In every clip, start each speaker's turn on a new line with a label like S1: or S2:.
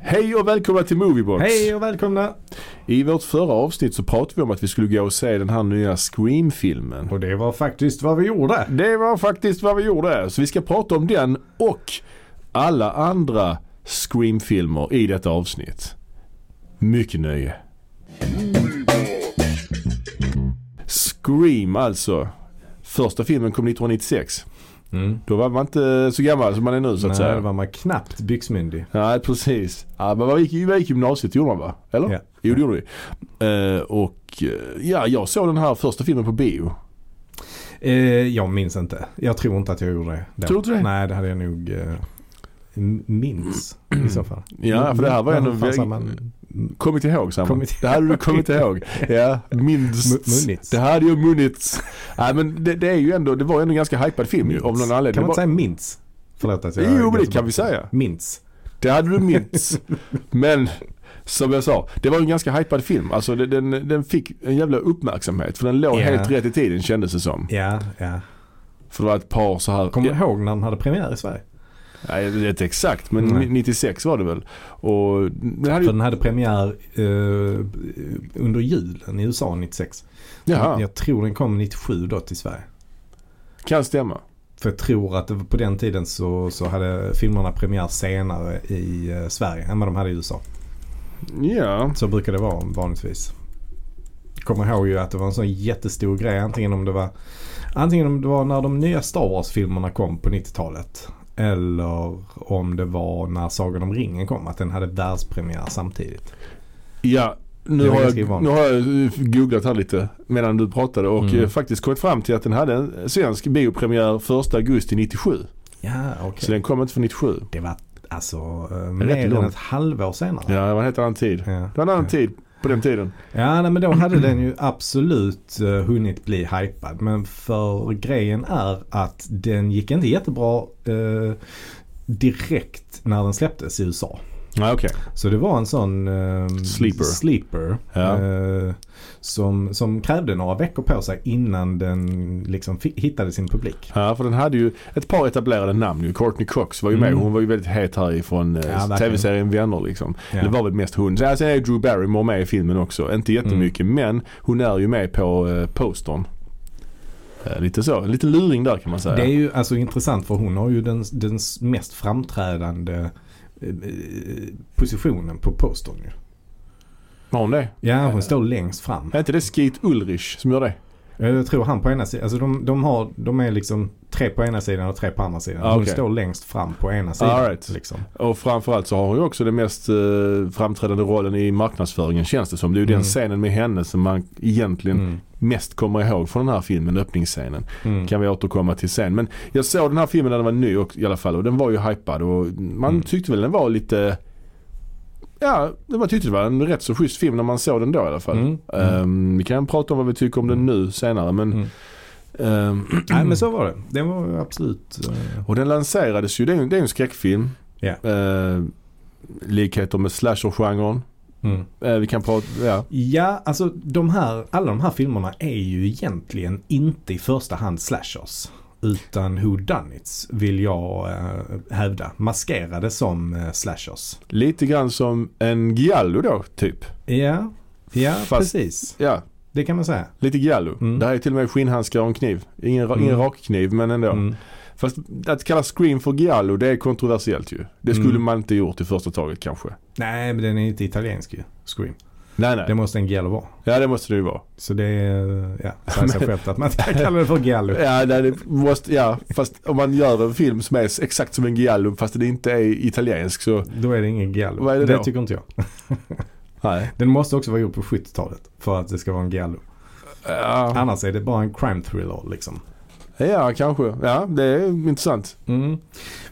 S1: Hej och välkomna till Moviebox!
S2: Hej och välkomna!
S1: I vårt förra avsnitt så pratade vi om att vi skulle gå och se den här nya Scream-filmen.
S2: Och det var faktiskt vad vi gjorde.
S1: Det var faktiskt vad vi gjorde. Så vi ska prata om den och alla andra Scream-filmer i detta avsnitt. Mycket nöje. Scream alltså. Första filmen kom 1996. Då var man inte så gammal som man är nu så att
S2: Mm. Nej,
S1: säga.
S2: då var man knappt byxmyndig.
S1: Nej precis. Ja, men man gick, vi gick gymnasiet gjorde man va? Eller?
S2: Ja.
S1: Jo det gjorde vi. Eh, och eh, ja, jag såg den här första filmen på bio.
S2: Eh, jag minns inte. Jag tror inte att jag gjorde det. då.
S1: Tror du inte det?
S2: Nej, det hade jag nog eh, m- minns i så fall.
S1: Ja, för det här var ändå Mm,
S2: Vad fan sa
S1: väl-
S2: man?
S1: Kommit ihåg Sam.
S2: Kommit
S1: Det hade du kommit ihåg. Ja,
S2: M-
S1: minst.
S2: munnits.
S1: Det hade ju munnits. Nej men det, det är ju ändå, det var ju ändå en ganska hypad film ju av någon anledning. Det var-
S2: Kan man inte säga mints? Förlåt att jag...
S1: Jo, men det
S2: jag-
S1: kan vi säga.
S2: Mints.
S1: Det hade du minst. Men som jag sa, det var en ganska hypad film. Alltså det- den, den fick en jävla uppmärksamhet. För den låg
S2: Ja.
S1: helt rätt i tiden kändes det som.
S2: Ja, ja.
S1: För det var ett par så här.
S2: Kommer du ihåg när den hade premiär i Sverige?
S1: Nej, jag vet inte exakt men
S2: Nej.
S1: 96 var det väl. Och den hade
S2: För
S1: ju...
S2: den hade premiär eh, under julen i USA 96.
S1: Jaha,
S2: Jag tror den kom 97 då till Sverige.
S1: kan stämma.
S2: För jag tror att det var på den tiden så, så hade filmerna premiär senare i eh, Sverige än vad de hade i USA.
S1: Ja,
S2: Så brukar det vara vanligtvis. Jag kommer ihåg ju att det var en sån jättestor grej. Antingen om det var, antingen om det var när de nya Star Wars-filmerna kom på 90-talet. Eller om det var när Sagan om ringen kom. Att den hade världspremiär samtidigt.
S1: ja. Nu
S2: Det var
S1: har,
S2: ganska
S1: jag, nu
S2: ovanligt.
S1: har jag googlat här lite medan du pratade och
S2: Mm.
S1: eh, faktiskt kommit fram till att den hade en svensk biopremiär 1 augusti 97.
S2: Ja, okej.
S1: Så den kom inte för 97.
S2: Det var alltså eh, mer än
S1: långt.
S2: ett halvår senare.
S1: Ja, det var en helt annan tid. Det
S2: Ja.
S1: var en annan
S2: Ja.
S1: tid på den tiden.
S2: Ja, nej, men då hade den ju absolut eh, hunnit bli hypad. Men för grejen är att den gick inte jättebra eh, direkt när den släpptes i USA.
S1: Nej, okej.
S2: Så det var en sån eh,
S1: Sleeper.
S2: sleeper,
S1: Ja.
S2: eh, som, som krävde några veckor på sig innan den liksom fi- hittade sin publik.
S1: Ja, för den hade ju ett par etablerade namn ju. Courtney Cox var ju med.
S2: Mm.
S1: Hon var ju väldigt het härifrån
S2: Ja,
S1: eh,
S2: verkligen.
S1: tv-serien Vänner liksom.
S2: Ja.
S1: Det var väl mest hon. Sen sen är ju Drew Barrymore med i filmen också. Inte
S2: Mm.
S1: jättemycket men hon är ju med på eh, postern. Eh, lite så. En liten luring där kan man säga.
S2: Det är ju alltså intressant för hon har ju den, den s- mest framträdande eh, positionen på postern ju.
S1: Har hon det?
S2: Ja, hon står längst fram.
S1: Är inte det Skeet Ulrich som gör det?
S2: Ja, Eh, Jag tror han på ena sidan. Alltså de, de, har, de är liksom tre på ena sidan och tre på andra sidan.
S1: Ah,
S2: Hon
S1: okej.
S2: står längst fram på ena sidan.
S1: All right.
S2: liksom.
S1: Och framförallt så har hon ju också den mest eh, framträdande rollen i marknadsföringen känns det som. Det är ju den
S2: Mm.
S1: scenen med henne som man egentligen
S2: Mm.
S1: mest kommer ihåg från den här filmen, öppningsscenen.
S2: Mm.
S1: kan vi återkomma till sen. Men jag såg den här filmen när den var ny och, i alla fall och den var ju hypad och man
S2: Mm.
S1: tyckte väl den var lite Ja, det- man tyckte det var en rätt så schysst film när man såg den då i alla fall.
S2: Mm. Mm.
S1: Ehm, vi kan prata om vad vi tycker om den nu senare men
S2: Mm.
S1: ehm,
S2: Nej men så var det. Det var ju absolut... eh,
S1: Och den lanserades ju, det är, ju- det är ju en skräckfilm.
S2: Ja.
S1: Ehm, likheter med slasher-genren.
S2: mm.
S1: Ehm, vi kan prata, ja.
S2: Ja, alltså de här, alla de här filmerna är ju egentligen inte i första hand slashers. Utan who done it vill jag eh, hävda. Maskerade som eh, slashers.
S1: Lite grann som en giallo då, typ.
S2: Ja, ja
S1: Fast-
S2: precis.
S1: Ja,
S2: Det kan man säga.
S1: lite giallo.
S2: Mm.
S1: Det här är till och med skinnhandskar och en kniv. Ingen, ra- ingen
S2: Mm.
S1: rakkniv men ändå.
S2: Mm.
S1: Fast att kalla Scream för Giallo det är kontroversiellt ju. Det skulle
S2: Mm.
S1: man inte gjort i första taget kanske.
S2: Nej, men den är inte italiensk ju. Scream.
S1: Nej
S2: Det
S1: nej.
S2: måste en giallo vara.
S1: Ja det måste det ju vara.
S2: Så det är, ja, säger sig självt att man inte kan kalla det för Gallo.
S1: Ja, nej, det måste, ja, fast om man gör en film som är exakt som en Giallo fast det inte är italiensk så
S2: Då är det ingen Gallo.
S1: Vad är det då?
S2: tycker inte jag.
S1: nej.
S2: Den måste också vara gjord på 70-talet för att det ska vara en Gallo.
S1: Ja,
S2: Annars är det bara en crime thriller liksom.
S1: ja kanske. Ja det är intressant.
S2: Mm.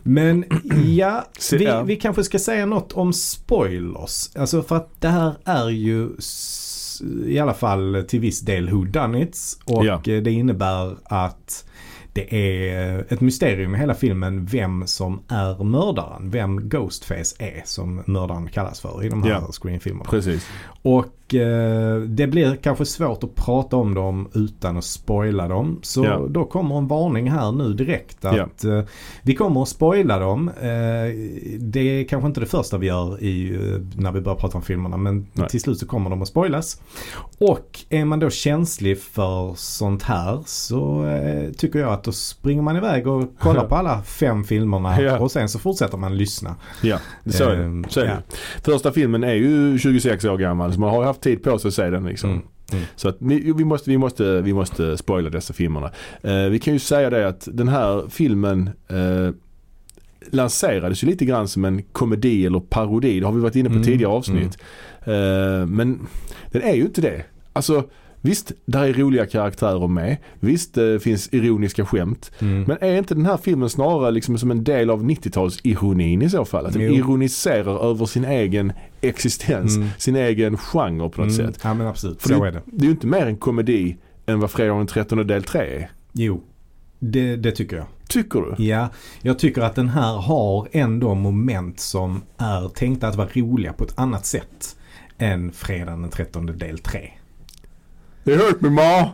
S2: Men ja,
S1: Se-
S2: vi,
S1: ja.
S2: vi kanske ska säga något om spoilers. Alltså för att det här är ju s- i alla fall till viss del who done it's och
S1: Ja.
S2: eh, det innebär att det är ett mysterium i hela filmen vem som är mördaren. Vem Ghostface är som mördaren kallas för i de här
S1: Ja.
S2: screenfilmerna.
S1: Precis.
S2: Och Och eh, det blir kanske svårt att prata om dem utan att spoila dem. Så
S1: Ja.
S2: då kommer en varning här nu direkt att eh, vi kommer att spoila dem. Eh, det är kanske inte det första vi gör i, eh, när vi börjar prata om filmerna men
S1: Nej.
S2: till slut så kommer de att spoilas. Och är man då känslig för sånt här så eh, tycker jag att då springer man iväg och kollar på alla fem filmerna
S1: Ja.
S2: och sen så fortsätter man lyssna.
S1: Ja, så är
S2: Ehm,
S1: det. Så är
S2: ja.
S1: det. Första filmen är ju 26 år gammal så man har ju haft tid på sig att se den liksom.
S2: Mm, mm.
S1: Så att vi, vi, måste, vi, måste, vi måste spoila dessa filmerna. Eh, vi kan ju säga det att den här filmen eh, lanserades ju lite grann som en komedi eller parodi. Det har vi varit inne på
S2: Mm,
S1: tidigare avsnitt. Eh, men den är ju inte det. Alltså visst, där är roliga karaktärer med. Visst, det finns ironiska skämt.
S2: Mm.
S1: Men är inte den här filmen snarare liksom som en del av 90-talsironin i så fall? Att den
S2: Jo.
S1: ironiserar över sin egen existens,
S2: Mm.
S1: sin egen genre på något
S2: Mm.
S1: sätt.
S2: Ja men absolut,
S1: För
S2: så är det.
S1: Det är ju inte mer en komedi än vad Fredag den 13 del 3 är.
S2: Jo, det, det tycker jag.
S1: Tycker du?
S2: Ja, jag tycker att den här har ändå moment som är tänkta att vara roliga på ett annat sätt än fredagen den 13 del 3.
S1: Det hört min ma!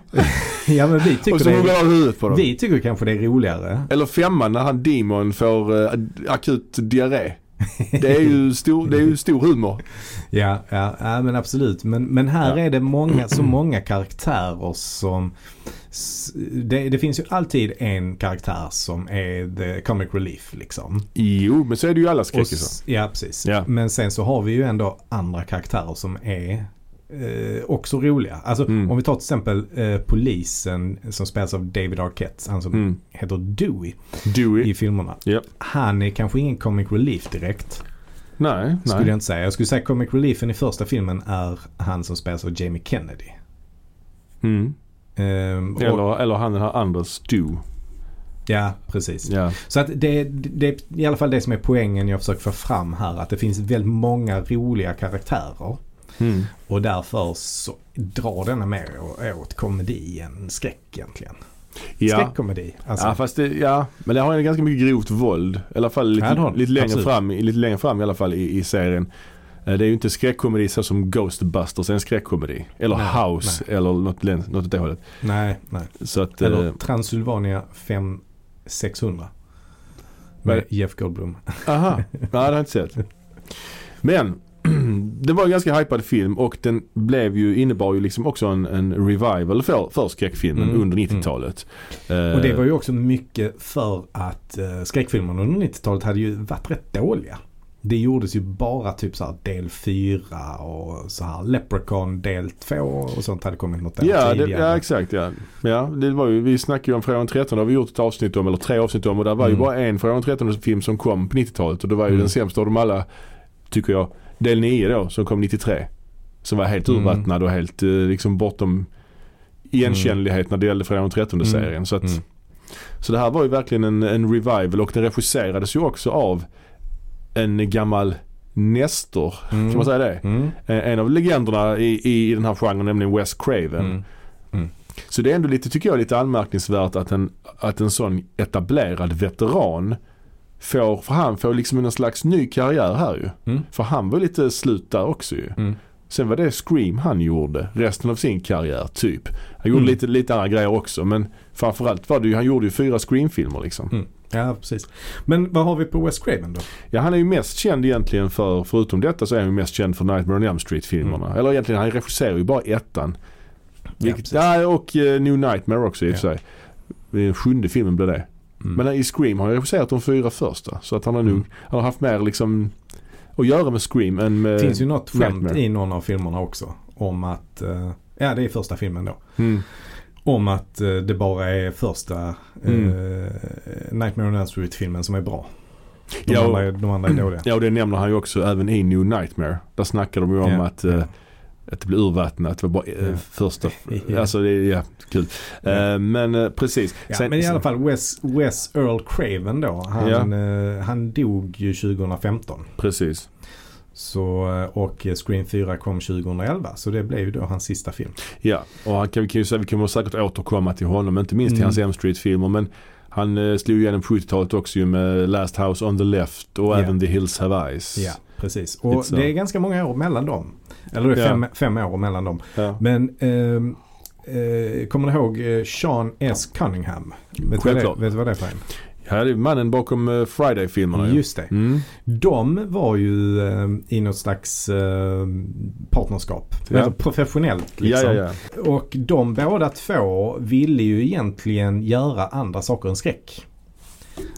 S2: Ja men vi
S1: Och
S2: tycker,
S1: så
S2: det
S1: hugger
S2: är,
S1: han huvudet på dem.
S2: vi tycker kanske det är roligare.
S1: Eller femman när han Demon får eh, akut diarré. Det är ju stor, det är ju stor humor.
S2: Ja, ja, ja men absolut. Men, men här
S1: Ja.
S2: är det många, så många karaktärer som... s- Det, det finns ju alltid en karaktär som är the comic relief liksom.
S1: Jo, men så är det ju i alla
S2: Och
S1: skräckisar.
S2: s- Ja, precis.
S1: Ja.
S2: Men sen så har vi ju ändå andra karaktärer som är eh, också roliga. Alltså
S1: Mm.
S2: om vi tar till exempel eh, polisen som spelas av David Arquette, han som
S1: Mm.
S2: heter Dewey
S1: Dewey.
S2: i filmerna.
S1: Japp.
S2: Han är kanske ingen comic relief direkt.
S1: Nej,
S2: Skulle
S1: nej.
S2: jag inte säga. Jag skulle säga comic reliefen i första filmen är han som spelas av Jamie Kennedy.
S1: Mm.
S2: Ehm, och-
S1: Eller, eller han den här andra Stu.
S2: Ja, precis.
S1: Ja.
S2: Så att det, det är i alla fall det som är poängen jag försöker få fram här. Att det finns väldigt många roliga karaktärer.
S1: Mm.
S2: Och därför så drar denna mer å- åt komedi än skräck egentligen.
S1: Ja.
S2: Skräckkomedi. Alltså,
S1: Ja, fast det, ja, men det har ju ganska mycket grovt våld. I alla fall lite,
S2: Ja, det har det.
S1: lite, längre,
S2: Absolut.
S1: fram, i- lite längre fram i alla fall i, i serien. Eh, Det är ju inte skräckkomedi så som Ghostbusters är en skräckkomedi. Eller
S2: Nej,
S1: House eller något, län- något åt det hållet.
S2: Nej, nej.
S1: Så att,
S2: Eller
S1: eh,
S2: Transylvania 5 600
S1: Vad är
S2: Med Jeff Goldblum.
S1: eh, aha, nej det har jag inte sett. Men det var en ganska hypad film och den blev ju, innebar ju liksom också en, en revival för, för skräckfilmen
S2: Mm,
S1: under
S2: mm.
S1: 90-talet.
S2: Och
S1: Eh.
S2: det var ju också mycket för att eh, skräckfilmerna under 90-talet hade ju varit rätt dåliga. Det gjordes ju bara typ så här del 4 och så här Leprechaun del 2 och sånt hade kommit något där
S1: Ja, det,
S2: tidigare.
S1: ja exakt ja. ja det var ju, vi snackade ju om Frågan 13, det har vi gjort ett avsnitt om, eller tre avsnitt om och där var
S2: Mm.
S1: ju bara en Frågan 13 film som kom på 90-talet och det var ju
S2: Mm.
S1: den sämsta av dem alla, tycker jag, del 9 då som kom 93. Som var helt
S2: Mm.
S1: urvattnad och helt eh, liksom bortom igenkännlighet när det gällde Frågan 13
S2: Mm.
S1: serien. Så, att,
S2: Mm.
S1: så det här var ju verkligen en, en revival och den regisserades ju också av en gammal Nestor,
S2: Mm.
S1: kan man säga det?
S2: Mm.
S1: Eh, En av legenderna i, i den här genren, nämligen Wes Craven.
S2: Mm.
S1: Så det är ändå lite, tycker jag, lite anmärkningsvärt att en, att en sån etablerad veteran får, för han får liksom en slags ny karriär här ju.
S2: Mm.
S1: För han var lite slut där också ju.
S2: Mm.
S1: Sen var det Scream han gjorde resten av sin karriär typ. Han gjorde
S2: Mm.
S1: lite, lite andra grejer också men framförallt var det ju, han gjorde ju fyra Scream-filmer liksom.
S2: Mm. Ja, precis. Men vad har vi på West Craven då?
S1: Ja han är ju mest känd egentligen för, förutom detta så är han ju mest känd för Nightmare on Elm Street-filmerna. Eller egentligen han regisserar ju bara ettan. Vilket,
S2: Mm. precis.
S1: ja, och eh, New Nightmare också i och för
S2: Ja.
S1: sig. Den sjunde filmen blev det.
S2: Mm.
S1: Men i Scream har han regisserat de fyra första. Så att han har nog
S2: Mm.
S1: han har haft mer liksom att göra med Scream än med...
S2: Det finns ju något skämt
S1: Nightmare.
S2: i någon av filmerna också. Om att, eh, ja det är första filmen då.
S1: Mm.
S2: Om att eh, det bara är första
S1: Mm.
S2: eh, Nightmare on Elm Street-filmen som är bra. De,
S1: Ja,
S2: andra,
S1: och,
S2: är- de andra är dåliga.
S1: ja, och det nämner han ju också även i New Nightmare. Där snackar de ju om
S2: Ja.
S1: att, eh, att det blir urvattnat. Det var bara eh,
S2: Ja.
S1: första...
S2: Ja.
S1: Alltså det är ja, kul. Eh,
S2: Ja.
S1: men eh, precis.
S2: Ja,
S1: Sen-
S2: men i alla fall Wes, Wes Earl Craven då. Han,
S1: Ja.
S2: eh, han dog ju 2015.
S1: Precis.
S2: Så, eh, och eh, Scream 4 kom 2011. Så det blev ju då hans sista film.
S1: Ja, och han kan, vi kan ju säga vi kommer säkert återkomma till honom. Inte minst till
S2: Mm.
S1: hans M Street-filmer. Men han eh, slog igenom på 70-talet också ju med Last House on the Left och
S2: Ja.
S1: även The Hills Have Eyes.
S2: Ja, precis. Och
S1: Lite så.
S2: det är ganska många år mellan dem. Eller det är
S1: Ja.
S2: fem, fem år mellan dem.
S1: Ja.
S2: Men ehm, eh, kommer du ihåg eh, Sean S. Cunningham? Vet du vad det,
S1: Självklart.
S2: vet du vad det är för en?
S1: Här är mannen bakom eh, Friday-filmerna ju.
S2: Just det.
S1: Mm.
S2: De var ju eh, i något slags eh, partnerskap.
S1: Ja.
S2: Alltså professionellt
S1: Ja,
S2: liksom.
S1: ja, ja.
S2: Och de båda två ville ju egentligen göra andra saker än skräck.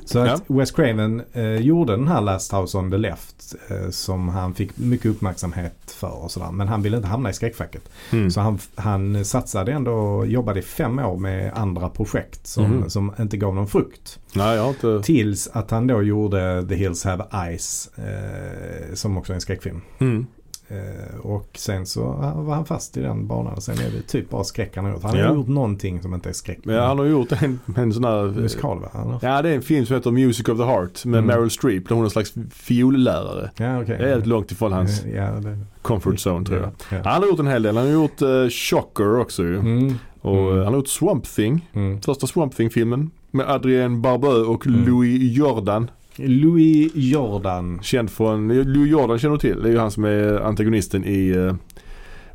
S2: Så att Wes Craven eh, gjorde den här Last House on the Left eh, som han fick mycket uppmärksamhet för och sådär. Men han ville inte hamna i skräckfacket.
S1: Mm.
S2: Så han, han satsade ändå och jobbade i fem år med andra projekt som,
S1: Mhm.
S2: som inte gav någon frukt.
S1: Nej, jag har inte...
S2: Tills att han då gjorde The Hills Have Eyes eh, som också är en skräckfilm.
S1: Mm.
S2: Eh, och sen så var han fast i den banan. Och sen är det typ bara skräck han har gjort. Han har
S1: Ja.
S2: gjort någonting som inte är skräck.
S1: Men han har gjort en, en sån här...
S2: Musikal va? Han har-
S1: Ja, det är en film som heter Music of the Heart med
S2: Mm.
S1: Meryl Streep där hon är en slags fiollärare.
S2: Ja, okej.
S1: Det är helt långt ifrån hans
S2: Eh, Ja, det,
S1: comfort zone tror jag.
S2: Ja.
S1: Han har gjort en hel del. Han har gjort eh, Shocker också ju.
S2: Mm,
S1: Och eh,
S2: Mm.
S1: han har gjort Swamp Thing.
S2: mm.
S1: Första Swamp Thing-filmen. Med Adrien Barbeau och
S2: Mm.
S1: Louis Jordan.
S2: Louis Jordan.
S1: Känd från, Louis Jordan känner du till. Det är ju han som är antagonisten i eh,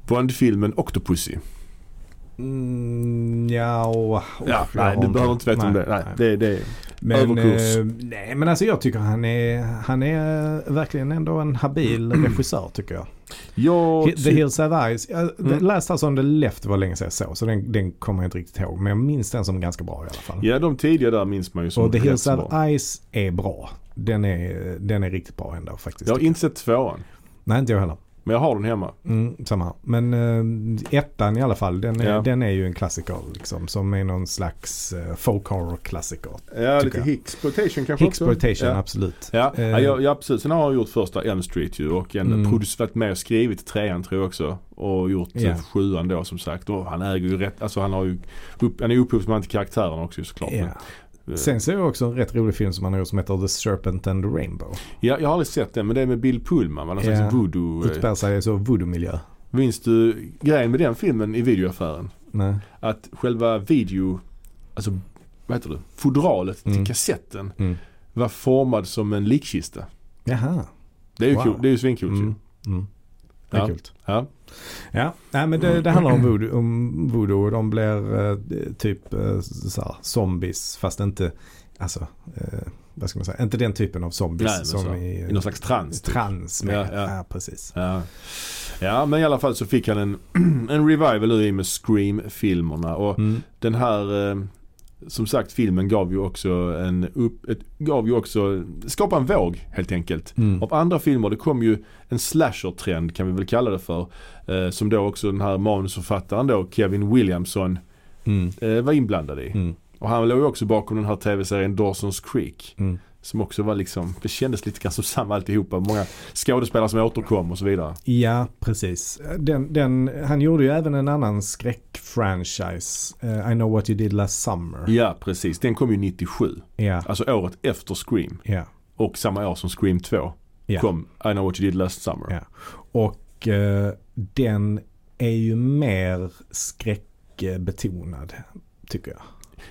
S1: Bond-filmen Octopussy.
S2: Mm, ja, och, och-
S1: ja,
S2: jag
S1: nej
S2: har
S1: du behöver inte veta om
S2: nej,
S1: det. Nej,
S2: nej.
S1: det, det.
S2: Men,
S1: Överkurs.
S2: eh, nej, men alltså jag tycker han är, han är verkligen ändå en habil regissör tycker jag.
S1: Jag,
S2: Hi- The Hills Have Eyes. Jag
S1: typ- Mm.
S2: läste alltså on the left var länge sedan jag såg så den, den kommer jag inte riktigt ihåg. Men jag minns den som ganska bra i alla fall.
S1: ja, de tidiga där minns man ju som
S2: och The
S1: rätt
S2: Hills
S1: så
S2: Have
S1: bra.
S2: Eyes är bra. Den är, den är riktigt bra ändå faktiskt.
S1: Jag har inte sett tvåan.
S2: Nej, inte jag heller.
S1: Men jag har den hemma.
S2: Mm, samma. här. Men eh, ettan i alla fall, den är,
S1: Ja.
S2: den är ju en klassiker liksom. Som är någon slags eh, folk horror-klassiker.
S1: Ja,
S2: Tycker
S1: lite
S2: jag.
S1: Hicksploitation kanske också.
S2: Exploitation,
S1: Ja.
S2: absolut.
S1: Ja,
S2: Eh.
S1: ja, ja, ja, precis. Sen har han gjort första Elm Street ju och en
S2: Mm.
S1: produc- varit med och skrivit trean tror jag också. Och gjort
S2: Ja.
S1: yeah. sjuan då som sagt. Och han äger ju rätt, alltså han har ju, upp, han är upphovsman till karaktärerna också ju, såklart.
S2: Ja.
S1: Men, eh,
S2: Sen såg jag också en rätt rolig film som han har gjort som heter The Serpent and the Rainbow.
S1: ja, jag har aldrig sett den men det är med Bill Pullman, va? någon
S2: Ja.
S1: slags voodoo. eh,
S2: Utspelar sig i så voodoo-miljö.
S1: Minns du grejen med den filmen i videoaffären?
S2: Nej.
S1: Att själva video, alltså vad heter det, fodralet
S2: Mm.
S1: till kassetten
S2: Mm.
S1: var formad som en likkista.
S2: Jaha.
S1: Det är ju
S2: Wow.
S1: kul, det är ju svincoolt ju.
S2: Mm. Mm. Det är
S1: Ja.
S2: kul.
S1: Ja.
S2: Ja, nej, men det, det handlar om voodoo, om voodoo och de blir eh, typ eh, så här, zombies fast inte, alltså, eh, vad ska man säga, inte den typen av zombies
S1: Nej, men
S2: som
S1: så.
S2: i,
S1: I någon slags trans. typ.
S2: trans med. Ja,
S1: Ja, ja.
S2: precis.
S1: Ja. ja men i alla fall så fick han en, en revival ur i med Scream-filmerna. Och
S2: Mm.
S1: den här eh, som sagt filmen gav ju också en upp, ett, gav ju också, skapade en våg helt enkelt.
S2: Mm.
S1: Av andra filmer, det kom ju en slasher-trend kan vi väl kalla det för. Eh, som då också den här manusförfattaren då, Kevin Williamson,
S2: Mm.
S1: eh, var inblandad i.
S2: Mm.
S1: Och han låg ju också bakom den här tv-serien Dawson's Creek.
S2: Mm.
S1: Som också var liksom, det kändes lite grann som samma alltihopa. Många skådespelare som återkom och så vidare.
S2: Ja, precis. Den, den, han gjorde ju även en annan skräckfranchise, eh, I know what you did last summer.
S1: Ja precis, den kom ju 97.
S2: Ja,
S1: Alltså året efter Scream.
S2: ja,
S1: Och samma år som Scream 2
S2: ja.
S1: kom I know what you did last summer.
S2: Ja. Och eh, den är ju mer skräckbetonad, tycker jag.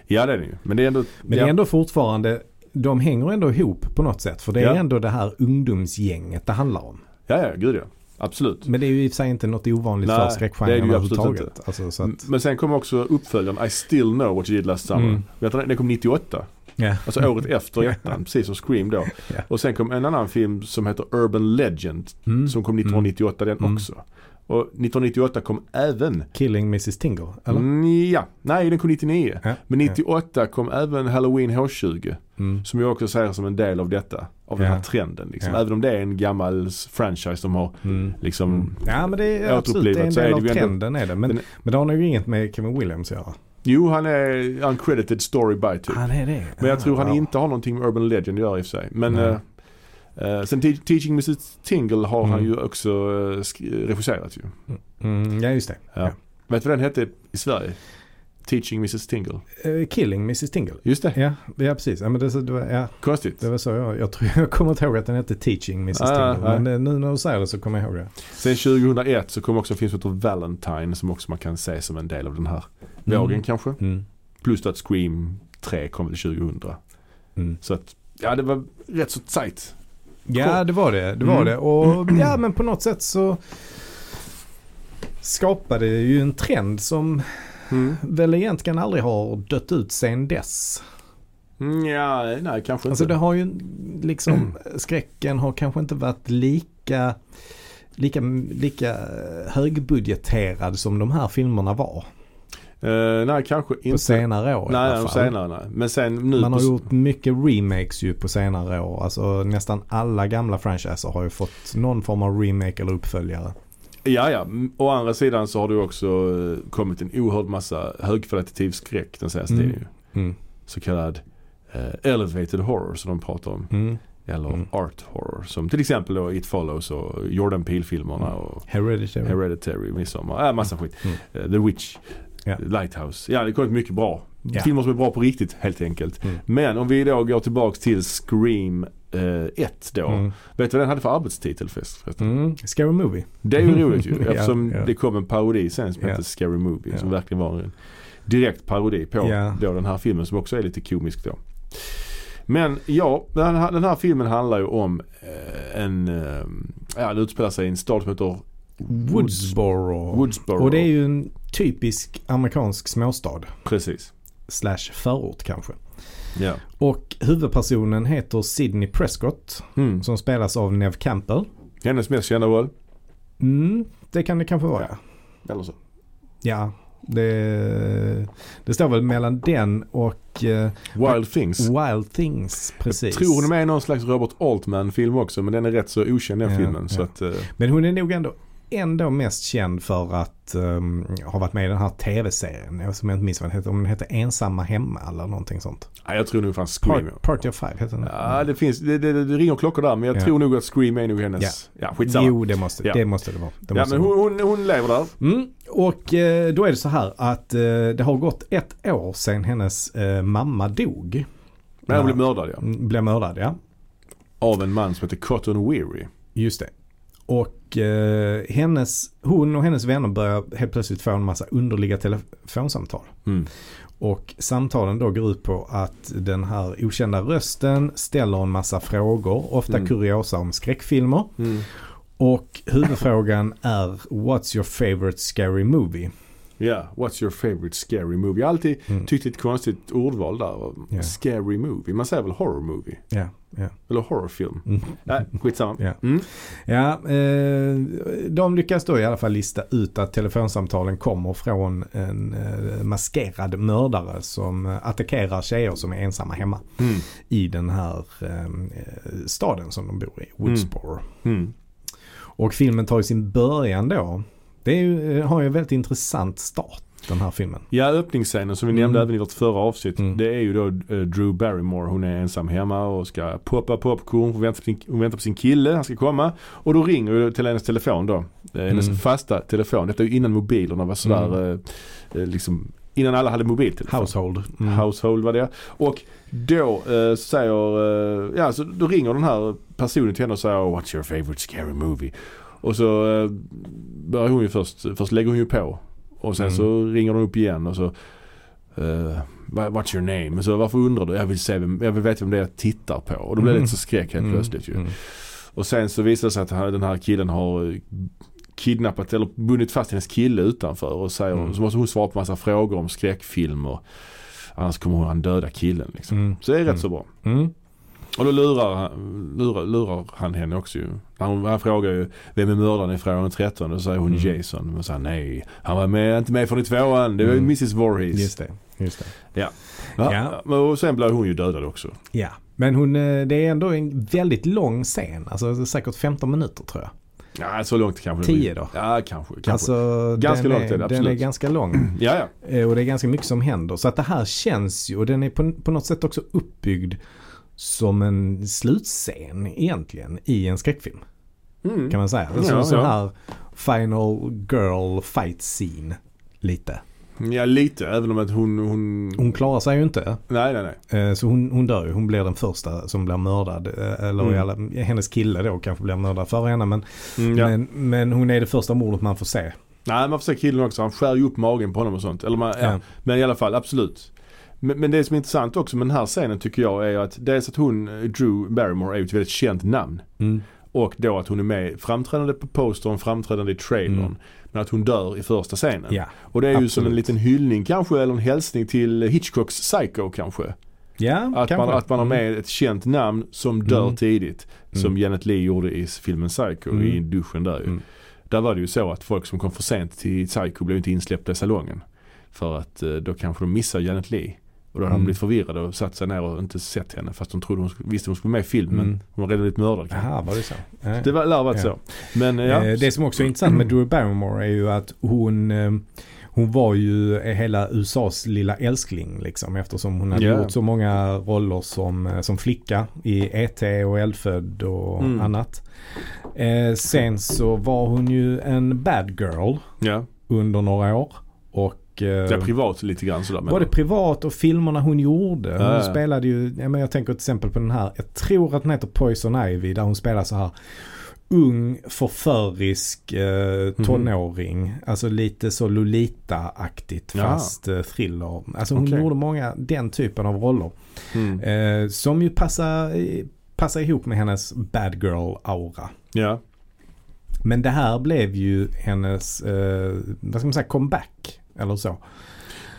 S1: Ja det är den ju. Men det är ändå...
S2: Men
S1: ja,
S2: det är ändå fortfarande, de hänger ändå ihop på något sätt. För det är
S1: Ja.
S2: ändå det här ungdomsgänget det handlar om.
S1: ja, ja, gud ja. Absolut.
S2: Men det är ju i och för sig inte något ovanligt
S1: Nej,
S2: för
S1: det är det
S2: skräckgenren
S1: ju absolut Mm.
S2: överhuvudtaget. Alltså, så att,
S1: Men sen kom också uppföljaren I still know what you did last summer.
S2: Mm.
S1: Vet du, den kom 98.
S2: ja.
S1: Alltså året efter ettan, precis som Scream då.
S2: Ja.
S1: Och sen kom en annan film som heter Urban Legend.
S2: Mm.
S1: Som kom 1998 den
S2: Mm.
S1: också. Och 1998 kom även
S2: Killing Mrs Tingle, eller?
S1: Mm, ja, nej den kom 99.
S2: Ja.
S1: Men 98 kom även Halloween H20.
S2: Mm.
S1: Som jag också ser som en del av detta. Av
S2: Ja.
S1: den här trenden. Liksom.
S2: Ja.
S1: Även om det är en gammal s- franchise som har
S2: Mm.
S1: liksom
S2: Ja men det är
S1: Jag
S2: absolut det är en
S1: återupplivat, så är
S2: del
S1: det
S2: av
S1: ju ändå- Typ.
S2: trenden är det. Men,
S1: Den-
S2: men det har nog inget med Kevin Williams att göra.
S1: Jo han är uncredited story by typ.
S2: Han är det.
S1: Men jag tror han
S2: Ja.
S1: inte har någonting med Urban Legend att göra i och för sig. Men
S2: Nej.
S1: eh, eh, sen Te- Teaching Mrs Tingle har han
S2: Mm.
S1: ju också eh, sk- regisserat ju.
S2: Mm, ja just det.
S1: Ja. Vet du vad den hette i Sverige? Teaching Mrs Tingle.
S2: Eh, Killing Mrs Tingle.
S1: Just det.
S2: Ja, ja precis. Ja, men det, det, var, ja,
S1: Konstigt.
S2: det var så jag, jag tror jag kommer inte ihåg att den hette Teaching Mrs
S1: Ah,
S2: Tingle.
S1: nej.
S2: Men eh, nu när du säger det så kommer jag ihåg det.
S1: Sen 2001 så kom också en film som heter Valentine som också man kan se som en del av den här vågen
S2: Mm.
S1: kanske.
S2: Mm.
S1: Plus att Scream 3 kom väl 2000.
S2: Mm.
S1: Så att, ja det var rätt så tight.
S2: Ja, det var det. Det var
S1: Mm.
S2: det. Och ja, men på något sätt så skapade ju en trend som
S1: Mm.
S2: väl egentligen aldrig har dött ut sen dess.
S1: Mm, ja, nej kanske
S2: Alltså det
S1: inte.
S2: har ju liksom, skräcken har kanske inte varit lika, lika, lika högbudgeterad som de här filmerna var
S1: Eh, nej kanske
S2: på
S1: inte.
S2: senare år i
S1: nej,
S2: alla
S1: de
S2: fall.
S1: senare nej. Men sen nu
S2: Man har
S1: på-
S2: gjort mycket remakes ju på senare år. Alltså nästan alla gamla franchiser har ju fått någon form av remake eller uppföljare.
S1: Ja, ja. M- Å andra sidan så har det ju också eh, kommit en oerhörd massa högkvalitativ skräck den senaste
S2: Mm.
S1: tiden. ju.
S2: Mm.
S1: Så kallad eh, elevated horror som de pratar om.
S2: Mm.
S1: Eller
S2: Mm.
S1: art horror. Som till exempel då It Follows och Jordan Peele-filmerna och
S2: Hereditary.
S1: Hereditary, Midsommar. Äh, massa skit.
S2: Mm.
S1: Eh, The Witch,
S2: Ja.
S1: Lighthouse. Ja, det har kommit mycket bra.
S2: Ja.
S1: Filmer som är bra på riktigt helt enkelt.
S2: Mm.
S1: Men om vi då går tillbaks till Scream 1 då.
S2: Mm.
S1: Vet du vad den hade för arbetstitel förresten?
S2: Mm. Scary Movie.
S1: Det är ju roligt ju
S2: Ja,
S1: eftersom
S2: ja.
S1: det kom en parodi sen som
S2: Ja.
S1: hette Scary Movie som
S2: Ja.
S1: verkligen var en direkt parodi på
S2: Ja.
S1: då den här filmen som också är lite komisk då. Men ja, den här, den här filmen handlar ju om eh, en, eh, ja det utspelar sig i en stad som heter
S2: Woodsboro.
S1: Woodsboro.
S2: Och det är ju en typisk amerikansk småstad.
S1: Precis.
S2: Slash förort kanske.
S1: Ja.
S2: Och huvudpersonen heter Sidney Prescott.
S1: Mm.
S2: Som spelas av Nev Campbell.
S1: Hennes mest kända roll.
S2: Mm, det kan det kanske vara.
S1: Ja. Eller så.
S2: Ja. Det, det står väl mellan den och eh,
S1: Wild Things.
S2: Wild Things. Precis.
S1: Tror hon är med i någon slags Robert Altman-film också men den är rätt så okänd den
S2: Ja,
S1: filmen. Så
S2: ja.
S1: att, eh,
S2: Men hon är nog ändå, ändå mest känd för att ehm, ha varit med i den här tv-serien. Jag som jag inte minns vad den heter. Om den heter Ensamma Hemma eller någonting sånt.
S1: ja, jag tror nog fan Scream.
S2: Part, Party of Five heter den.
S1: Ja, det finns, det, det, det ringer klockor där men jag
S2: Ja.
S1: tror nog att Scream är nog hennes, ja, skitsamma.
S2: jo, det måste,
S1: Ja.
S2: det måste det vara. Det
S1: ja
S2: måste
S1: men
S2: det vara.
S1: hon, hon, hon lever där.
S2: Mm, och eh, då är det så här att eh, det har gått ett år sedan hennes eh, mamma dog.
S1: Men hon
S2: Ja.
S1: blev mördad ja.
S2: Mm, Blev mördad, ja.
S1: Av en man som heter Cotton Weary.
S2: Just det. Och eh, hennes, hon och hennes vänner börjar helt plötsligt få en massa underliga telefonsamtal.
S1: Mm.
S2: Och samtalen då går ut på att den här okända rösten ställer en massa frågor, ofta
S1: Mm.
S2: kuriosa om skräckfilmer. Och huvudfrågan är What's your favorite scary movie?
S1: Ja, what's your favorite scary movie? Jag har alltid
S2: Mm.
S1: tyckt det är ett konstigt ordval där.
S2: Ja.
S1: Scary movie. Man säger väl horror movie?
S2: Ja, ja.
S1: Eller horrorfilm?
S2: Mm.
S1: Nej, skitsamma.
S2: Ja.
S1: Mm.
S2: ja eh, de lyckas då i alla fall lista ut att telefonsamtalen kommer från en eh, maskerad mördare som eh, attackerar tjejer som är ensamma hemma
S1: Mm.
S2: i den här eh, staden som de bor i, Woodsboro.
S1: Mm.
S2: Och filmen tar ju sin början då. Det är ju, eh, har ju en väldigt intressant start den här filmen.
S1: Ja, öppningsscenen som vi
S2: Mm.
S1: nämnde även i vårt förra avsnitt.
S2: Mm.
S1: Det är ju då eh, Drew Barrymore. Hon är ensam hemma och ska poppa popcorn. Hon väntar, på sin, hon väntar på sin kille, han ska komma. Och då ringer ju till hennes telefon då. Eh, Hennes
S2: Mm.
S1: fasta telefon. Detta är ju innan mobilerna var sådär,
S2: Mm.
S1: eh, eh, liksom, innan alla hade mobiltelefon.
S2: Household. Mm.
S1: Household var det. Och då eh, säger, eh, ja så då ringer den här personen till henne och säger What's your favorite scary movie? Och så eh, börjar hon ju först, först lägger hon ju på. Och sen
S2: Mm.
S1: så ringer hon upp igen och så eh, "Wha- What's your name? Och Så varför undrar du? Jag vill, se vem, jag vill veta vem det är jag tittar på. Och då blir det lite så skräck helt plötsligt ju.
S2: Mm.
S1: Och sen så visar det sig att han- den här killen har eh, kidnappat eller bundit fast hennes kille utanför och säger,
S2: Mm.
S1: så måste hon svara på massa frågor om skräckfilmer. Annars kommer hon han döda killen liksom.
S2: Mm.
S1: Så det är rätt
S2: Mm.
S1: så bra.
S2: Mm.
S1: Och då lurar han, lurar, lurar han henne också ju. Han, han frågar ju vem är mördaren i frågan 13? Och då säger hon
S2: Mm.
S1: Jason. Men så här, nej, han var med, inte med från i tvåan. Det var ju
S2: Mm.
S1: Mrs Voorhees.
S2: Just det. Just det.
S1: Ja.
S2: Ja.
S1: Men- Och sen blir hon ju dödad också.
S2: Ja. Men hon, eh, det är ändå en väldigt lång scen. Alltså säkert 15 minuter tror jag.
S1: Ja, så långt kanske det
S2: 10
S1: blir.
S2: då?
S1: Ja, kanske. kanske.
S2: Alltså,
S1: Ganska
S2: den
S1: långt
S2: är,
S1: är det,
S2: Den är
S1: absolut.
S2: ganska lång.
S1: ja, ja.
S2: Eh, Och det är ganska mycket som händer. Så att det här känns ju, och den är på, på något sätt också uppbyggd som en slutscen egentligen i en skräckfilm.
S1: Mm.
S2: Kan man säga. Alltså
S1: Ja,
S2: en sån
S1: ja.
S2: här final girl fight scene. Lite.
S1: Mm, Ja, lite. Även om att hon... hon...
S2: Hon klarar sig ju inte.
S1: Nej, nej, nej.
S2: eh, Så hon, hon dör ju. Hon blir den första som blir mördad. eh, Eller
S1: Mm.
S2: i alla, hennes kille då kanske blir mördad för henne. Men,
S1: Mm, ja.
S2: men, men hon är det första mordet man får se.
S1: Nej, man får se killen också. Han skär ju upp magen på honom och sånt. Eller man, ja.
S2: Ja.
S1: Men i alla fall, absolut. Men, men det som är intressant också med den här scenen tycker jag är att dels att hon, eh, Drew Barrymore, är ju ett väldigt känt namn.
S2: Mm.
S1: Och då att hon är med framträdande på postern, framträdande i trailern.
S2: Mm.
S1: Men att hon dör i första scenen.
S2: Ja.
S1: Och det är ju som en
S2: absolut.
S1: liten hyllning kanske eller en hälsning till Hitchcocks Psycho kanske.
S2: Ja,
S1: Att
S2: kanske.
S1: man, att man har med ett känt namn som dör
S2: Mm.
S1: tidigt. Som
S2: Mm.
S1: Janet Leigh gjorde i filmen Psycho
S2: Mm.
S1: i duschen där ju.
S2: Mm.
S1: Där var det ju så att folk som kom för sent till Psycho blev inte insläppta i salongen. För att eh, då kanske de missade Janet Leigh. Och då hade de
S2: Mm.
S1: blivit förvirrade och satt sig ner och inte sett henne. Fast de trodde hon, sk- visste hon skulle vara med i filmen.
S2: Mm.
S1: Hon var redan blivit mördad. kanske.
S2: Aha, var det så? Ja.
S1: Det var- lär ha varit
S2: Ja.
S1: så. Men eh, ja.
S2: Eh, Det som också är intressant med Drew Barrymore är ju att hon, eh, hon var ju hela USAs lilla älskling liksom eftersom hon hade
S1: Ja.
S2: gjort så många roller som, eh, som flicka i E.T. och Eldfödd och
S1: Mm.
S2: annat. Eh, Sen så var hon ju en bad girl
S1: ja.
S2: under några år och eh,
S1: Det är privat lite grann sådär. men-
S2: Både privat och filmerna hon gjorde. Hon
S1: Ja, ja.
S2: spelade ju, ja, men jag tänker till exempel på den här, jag tror att den heter Poison Ivy, där hon spelar så här ung, förförisk eh,
S1: Mhm.
S2: tonåring. Alltså lite så Lolita-aktigt
S1: Ja.
S2: fast eh, thriller. Alltså hon
S1: Okej.
S2: gjorde många den typen av roller.
S1: Mm.
S2: Eh, som ju passar, eh, passar ihop med hennes bad girl-aura.
S1: Ja.
S2: Men det här blev ju hennes, eh, vad ska man säga, comeback. Eller så.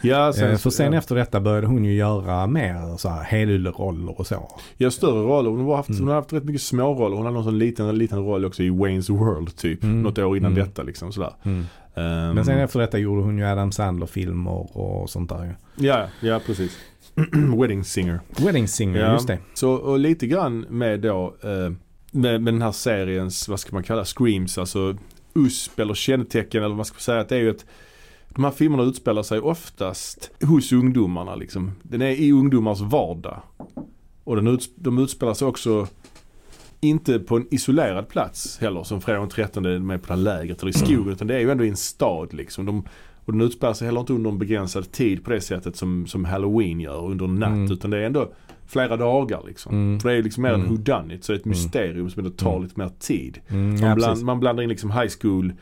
S1: Ja,
S2: Eh, För sen
S1: ja.
S2: efter detta började hon ju göra mer så här helylleroller och så.
S1: Ja, större roller. Hon har haft,
S2: Mm.
S1: hon har haft rätt mycket små roller. Hon hade någon sån liten, liten roll också i Wayne's World typ.
S2: Mm.
S1: Något år innan
S2: Mm.
S1: detta liksom sådär. Ehm,
S2: Men sen efter detta gjorde hon ju Adam Sandler-filmer och sånt där ju.
S1: ja, ja, precis. Wedding Singer.
S2: Wedding Singer,
S1: Ja.
S2: just det.
S1: Så och lite grann med då eh, med, med den här seriens, vad ska man kalla screams, alltså USP eller kännetecken eller vad man ska säga att det är ju ett de här filmerna utspelar sig oftast hos ungdomarna liksom. Den är i ungdomars vardag. Och den uts- de utspelar sig också inte på en isolerad plats heller som Fredag den 13 är med på det här lägret eller i skogen utan det är ju ändå i en stad liksom. De, och den utspelar sig heller inte under en begränsad tid på det sättet som, som Halloween gör under en natt
S2: Mm.
S1: utan det är ändå flera dagar liksom.
S2: Mm.
S1: För det är ju liksom mer en
S2: Mm.
S1: whodunit så det är ett
S2: Mm.
S1: mysterium som ändå tar
S2: Mm.
S1: lite mer tid.
S2: Mm,
S1: Man,
S2: ja,
S1: bland,
S2: precis.
S1: man blandar in liksom high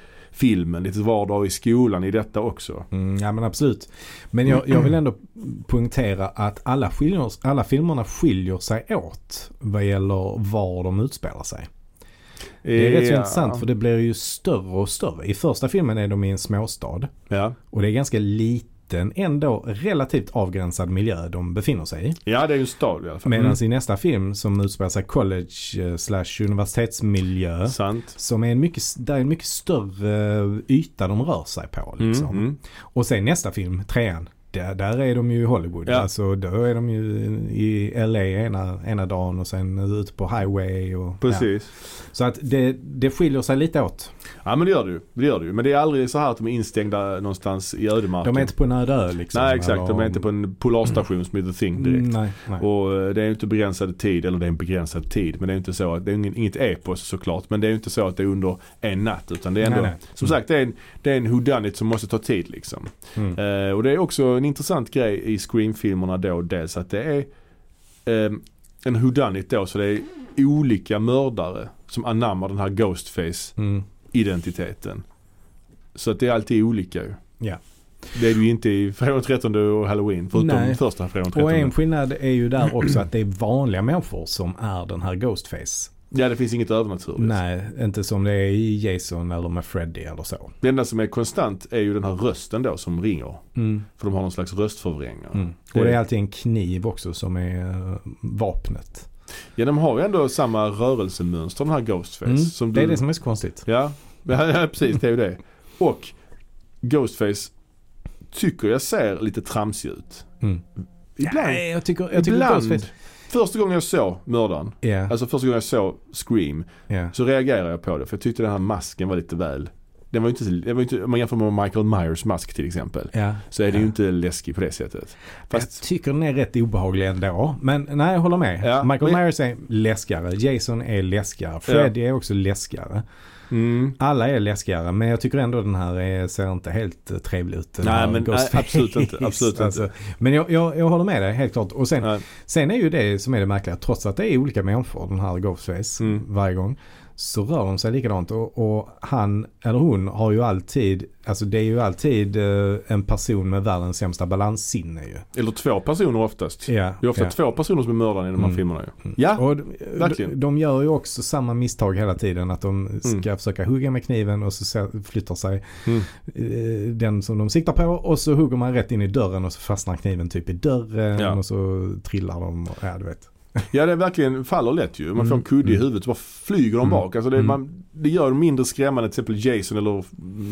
S1: school-filmen, lite vardag i skolan i detta också.
S2: Mm, ja men absolut. Men jag, jag vill ändå punktera att alla, skiljer, alla filmerna skiljer sig åt vad gäller var de utspelar sig. Det är rätt så intressant för det blir ju större och större. I första filmen är de i en småstad.
S1: Ja.
S2: Och det är ganska liten, ändå relativt avgränsad miljö de befinner sig i.
S1: ja, det är ju en stad i alla fall. Mm.
S2: Medan i nästa film som utspelar sig college eh, slash universitetsmiljö.
S1: Sant.
S2: Som är en mycket, där är en mycket större eh, yta de rör sig på.
S1: Mm,
S2: Liksom.
S1: mm.
S2: Och sen nästa film, trean. Där, där är de ju i Hollywood.
S1: Ja.
S2: Alltså då är de ju i LA ena, ena dagen och sen ute på highway. Och, Ja.
S1: Precis.
S2: Så att det, det skiljer sig lite åt.
S1: Ja. men det gör det ju. Det gör det ju. Men det är aldrig så här att de är instängda någonstans i ödemarken.
S2: De är inte på en öde ö liksom.
S1: Nej exakt,
S2: eller-
S1: de är inte på en polarstation som heter The Thing direkt.
S2: Mm, Nej, nej.
S1: Och eh, det är ju inte begränsad tid, eller det är en begränsad tid. Men det är ju inte så att, det är ingen, inget epos såklart. Men det är ju inte så att det är under en natt. Utan det är ändå,
S2: Nej, nej.
S1: som
S2: Mm.
S1: sagt det är en, det är en whodunit som måste ta tid liksom.
S2: Mm.
S1: Eh, och det är också en intressant grej i Scream-filmerna då dels att det är ehm, en whodunit då. Så det är olika mördare som anammar den här ghostface-identiteten.
S2: Mm.
S1: Så att det är alltid olika ju.
S2: Ja.
S1: Det är det ju inte i Fredag den 13 och Halloween. Förutom
S2: Nej.
S1: första Fredag den
S2: Och
S1: 13.
S2: en skillnad är ju där också att det är vanliga människor som är den här Ghostface.
S1: Ja det finns inget övernaturligt.
S2: Nej, inte som det är i Jason eller med Freddy eller så.
S1: Det enda som är konstant är ju den här rösten då som ringer.
S2: Mm.
S1: För de har någon slags röstförvrängare.
S2: Och det är alltid en kniv också som är eh, vapnet.
S1: Ja de har ju ändå samma rörelsemönster den här Ghostface.
S2: Mm.
S1: Som du...
S2: Det är det som är så konstigt.
S1: ja. ja, ja, precis det är ju det. Och Ghostface tycker jag ser lite tramsig ut.
S2: Mm.
S1: Ibland.
S2: Nej, jag tycker, jag tycker
S1: Ibland.
S2: Ghostface...
S1: Första gången jag såg mördaren,
S2: Ja,
S1: alltså första gången jag såg Scream,
S2: ja.
S1: så reagerade jag på det. För jag tyckte den här masken var lite väl den var ju inte, den var ju inte, om man jämför med Michael Myers mask till exempel.
S2: ja.
S1: Så är det ju
S2: Ja.
S1: inte läskig på det sättet. Fast
S2: Jag tycker den är rätt obehaglig ändå. Men nej, jag håller med.
S1: Ja,
S2: Michael
S1: men-
S2: Myers är läskigare. Jason är läskigare. Freddy är också läskigare.
S1: mm,
S2: Alla är läskigare men jag tycker ändå den här är, ser inte helt eh, trevlig ut. den
S1: Nej,
S2: här
S1: men, nej,
S2: Ghostface.
S1: absolut inte, absolut inte.
S2: Men jag, jag, jag håller med dig helt klart. Och sen,
S1: Nej.
S2: sen är ju det som är det märkliga. Trots att det är olika människor den här Ghostface
S1: Mm.
S2: varje gång. Så rör de sig likadant och, och han eller hon har ju alltid, alltså det är ju alltid eh, en person med världens sämsta balanssinne ju.
S1: Eller två personer oftast.
S2: Ja,
S1: Det är ofta
S2: ja.
S1: två personer som är mördaren i de här
S2: Mm.
S1: filmerna ju. Ja,
S2: Och de,
S1: verkligen.
S2: de, de gör ju också samma misstag hela tiden att de ska
S1: Mm.
S2: försöka hugga med kniven och så se- flyttar sig
S1: Mm.
S2: eh, den som de siktar på och så hugger man rätt in i dörren och så fastnar kniven typ i dörren
S1: Ja.
S2: och så trillar de. och- Ja, du vet.
S1: Ja det verkligen faller lätt ju. Man får en
S2: Mm.
S1: kudde i
S2: Mm.
S1: huvudet så bara flyger de
S2: Mm.
S1: bak. Alltså det,
S2: Mm.
S1: man, det gör det mindre skrämmande till exempel Jason eller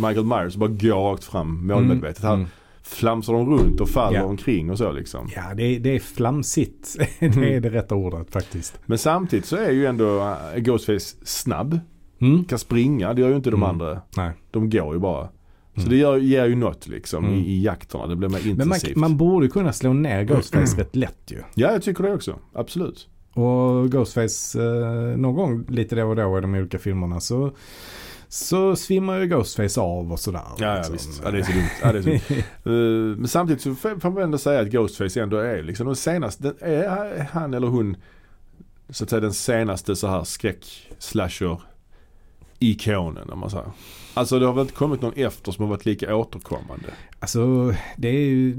S1: Michael Myers bara går rakt fram målmedvetet. Här
S2: Mm.
S1: flamsar de runt och faller
S2: Ja.
S1: omkring och så liksom.
S2: Ja, det är, det är flamsigt. det är
S1: Mm.
S2: det rätta ordet faktiskt.
S1: Men samtidigt så är ju ändå äh, Ghostface snabb.
S2: Mm.
S1: Kan springa, det gör ju inte de
S2: Mm.
S1: andra.
S2: Nej.
S1: De går ju bara. Så
S2: Mm.
S1: det gör, ger ju något liksom
S2: Mm.
S1: i, i jakterna. Det blir mer intensivt.
S2: Men man, man borde kunna slå
S1: Mm.
S2: ner Ghostface rätt lätt ju.
S1: Ja jag tycker det också. Absolut.
S2: Och Ghostface, eh, någon gång lite då och då i de olika filmerna så, så svimmar ju Ghostface av och sådär.
S1: Ja, ja
S2: liksom.
S1: visst. Ja, det är så dumt. Ja, det är så dumt. Eh, men samtidigt så får får man ändå säga att Ghostface ändå är liksom den senaste, den- är han eller hon så att säga den senaste så här skräck-slasher ikonen om man säger. Alltså det har väl inte kommit någon efter som har varit lika återkommande.
S2: alltså, det är ju,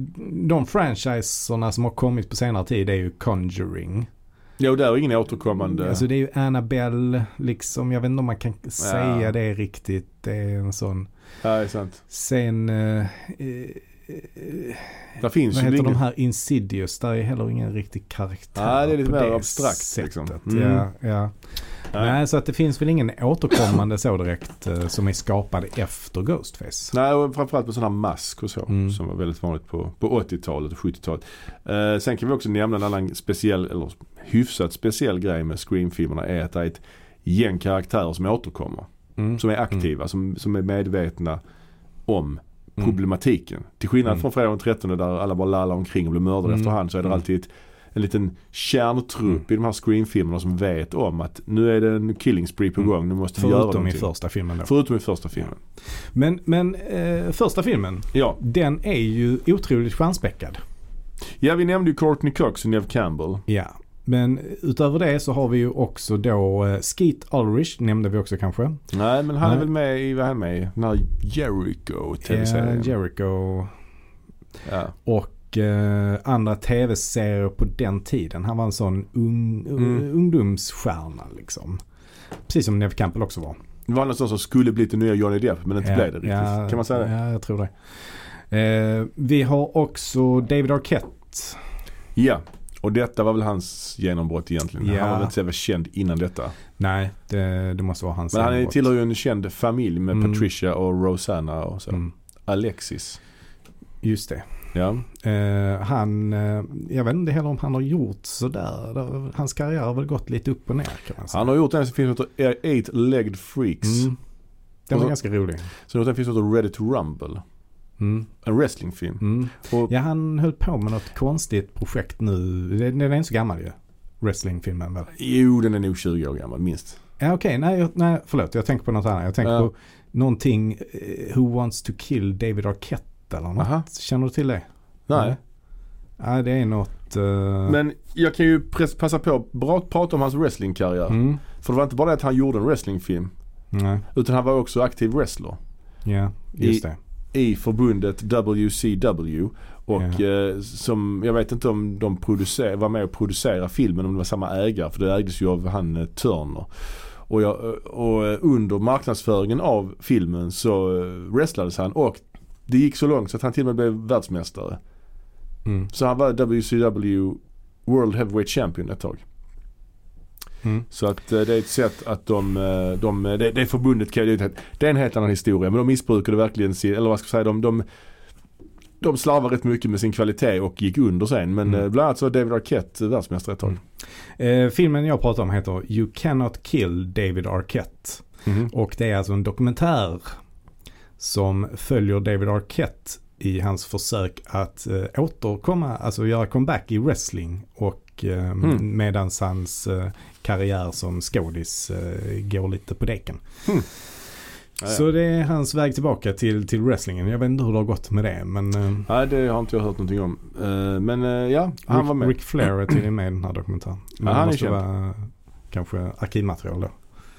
S2: de franchiserna som har kommit på senare tid är ju Conjuring.
S1: Jo, det är ingen återkommande.
S2: Alltså det är ju Annabelle, liksom. Jag vet inte om man kan säga det riktigt. Det är en sån.
S1: ja, det är sant.
S2: Sen, eh, eh, eh,
S1: Det finns
S2: vad
S1: ju
S2: heter
S1: ingen.
S2: de här Insidious? Där är heller ingen riktig karaktär
S1: Nej, det är lite
S2: på
S1: mer abstrakt,
S2: sättet.
S1: liksom. Mm.
S2: Ja, ja.
S1: Nej.
S2: Nej, så att det finns väl ingen återkommande så direkt eh, som är skapad efter Ghostface.
S1: Nej, och framförallt med sådana här mask och så.
S2: Mm.
S1: Som var väldigt vanligt på, på 80-talet och 70-talet. Eh, sen kan vi också nämna en annan speciell, eller hyfsat speciell grej med Scream-filmerna är att det är ett gäng karaktärer som återkommer.
S2: Mm.
S1: Som är aktiva, som, som är medvetna om
S2: Mm.
S1: problematiken. Till skillnad
S2: Mm.
S1: från fredag den 13 där alla bara lallar omkring och blir mördade
S2: Mm.
S1: efterhand så är det
S2: Mm.
S1: alltid ett, en liten kärntrupp i de här Scream-filmerna som vet om att nu är det en killing spree på
S2: Mm.
S1: gång, nu måste vi göra
S2: Förutom i
S1: någonting.
S2: första filmen då.
S1: Förutom i första filmen.
S2: Men, men eh, första filmen,
S1: Ja.
S2: den är ju otroligt stjärnspäckad.
S1: Ja vi nämnde ju Courtney Cox och Nev Campbell.
S2: Ja. Men utöver det så har vi ju också då eh, Skeet Ulrich, nämnde vi också kanske.
S1: Nej men han
S2: Nej.
S1: är väl med i, vad är han med i? Den här Jericho
S2: Eh,
S1: tv-serien.
S2: Jericho
S1: ja.
S2: och eh, andra tv-serier på den tiden. Han var en sån ung, eh,
S1: Mm.
S2: ungdomsstjärna liksom. Precis som Nev Campbell också var. Eh,
S1: Det var någon som skulle bli den nya Johnny Depp men inte blev det riktigt.
S2: ja,
S1: kan man säga det?
S2: Ja, jag tror det. Eh, vi har också David Arquette.
S1: Ja. Och detta var väl hans genombrott egentligen.
S2: Ja.
S1: Han var väl inte så jävla känd innan detta.
S2: Nej, det, det måste vara hans.
S1: Men han är,
S2: genombrott.
S1: tillhör ju en känd familj med
S2: Mm.
S1: Patricia och Rosanna och så.
S2: Mm,
S1: Alexis.
S2: just det.
S1: Ja.
S2: Eh, han, eh, jag vet inte heller om han har gjort sådär. Det- Hans karriär har väl gått lite upp och ner kan man säga.
S1: Han har gjort en som finns som heter Eight Legged Freaks.
S2: Mm. Den var
S1: Och-
S2: ganska rolig.
S1: Sen har han gjort en film som heter Ready to Rumble.
S2: Mm.
S1: En wrestlingfilm.
S2: Mm.
S1: Och
S2: Ja, han höll på med något konstigt projekt nu. Den den är inte så gammal ju. Wrestlingfilmen väl?
S1: jo den är nog 20 år gammal minst.
S2: Ja, okej, nej, jag- nej, förlåt. Jag tänker på något annat. Jag tänker
S1: Ja.
S2: på någonting eh, Who wants to kill David Arquette eller något.
S1: Aha.
S2: Känner du till det?
S1: Nej.
S2: Nej. Ja, det är något... eh,
S1: Men jag kan ju press- passa på att bra att prata om hans wrestlingkarriär.
S2: Mm.
S1: För det var inte bara det att han gjorde en wrestlingfilm.
S2: Nej,
S1: Utan han var också aktiv wrestler
S2: ja, just det.
S1: i förbundet WCW. Och eh, som, jag vet inte om de producer, var med och producerade filmen om det var samma ägare. För det ägdes ju av han eh, Turner. Och, jag, och eh, under marknadsföringen av filmen så eh, wrestlades han. Och det gick så långt så att han till och med blev världsmästare.
S2: Mm.
S1: Så han var WCW World Heavyweight Champion ett tag.
S2: Mm.
S1: Så att eh, det är ett sätt att de, eh, de det, det förbundet kan ju, det är en helt annan historia men de missbrukade verkligen sin, eller vad ska jag säga, de, de, de slarvade rätt mycket med sin kvalitet och gick under sen. Men
S2: Mm.
S1: mm. bland annat så var David Arquette världsmästare ett tag.
S2: Eh, filmen jag pratar om heter You Cannot Kill David Arquette. Och det är alltså en dokumentär som följer David Arquette i hans försök att eh, återkomma, alltså göra comeback i wrestling och eh,
S1: Mm.
S2: medans hans eh, karriär som skådis eh, går lite på däcken.
S1: Mm.
S2: Så det är hans väg tillbaka till, till wrestlingen. Jag vet inte hur det har gått med det men eh,
S1: Nej det har inte jag hört någonting om. Eh, Men eh, ja, han
S2: Ric-
S1: var med.
S2: Ric Flair är tydligen med i den här dokumentären. Men
S1: Ja, han
S2: det
S1: är
S2: måste
S1: känd.
S2: vara eh, kanske arkivmaterial då.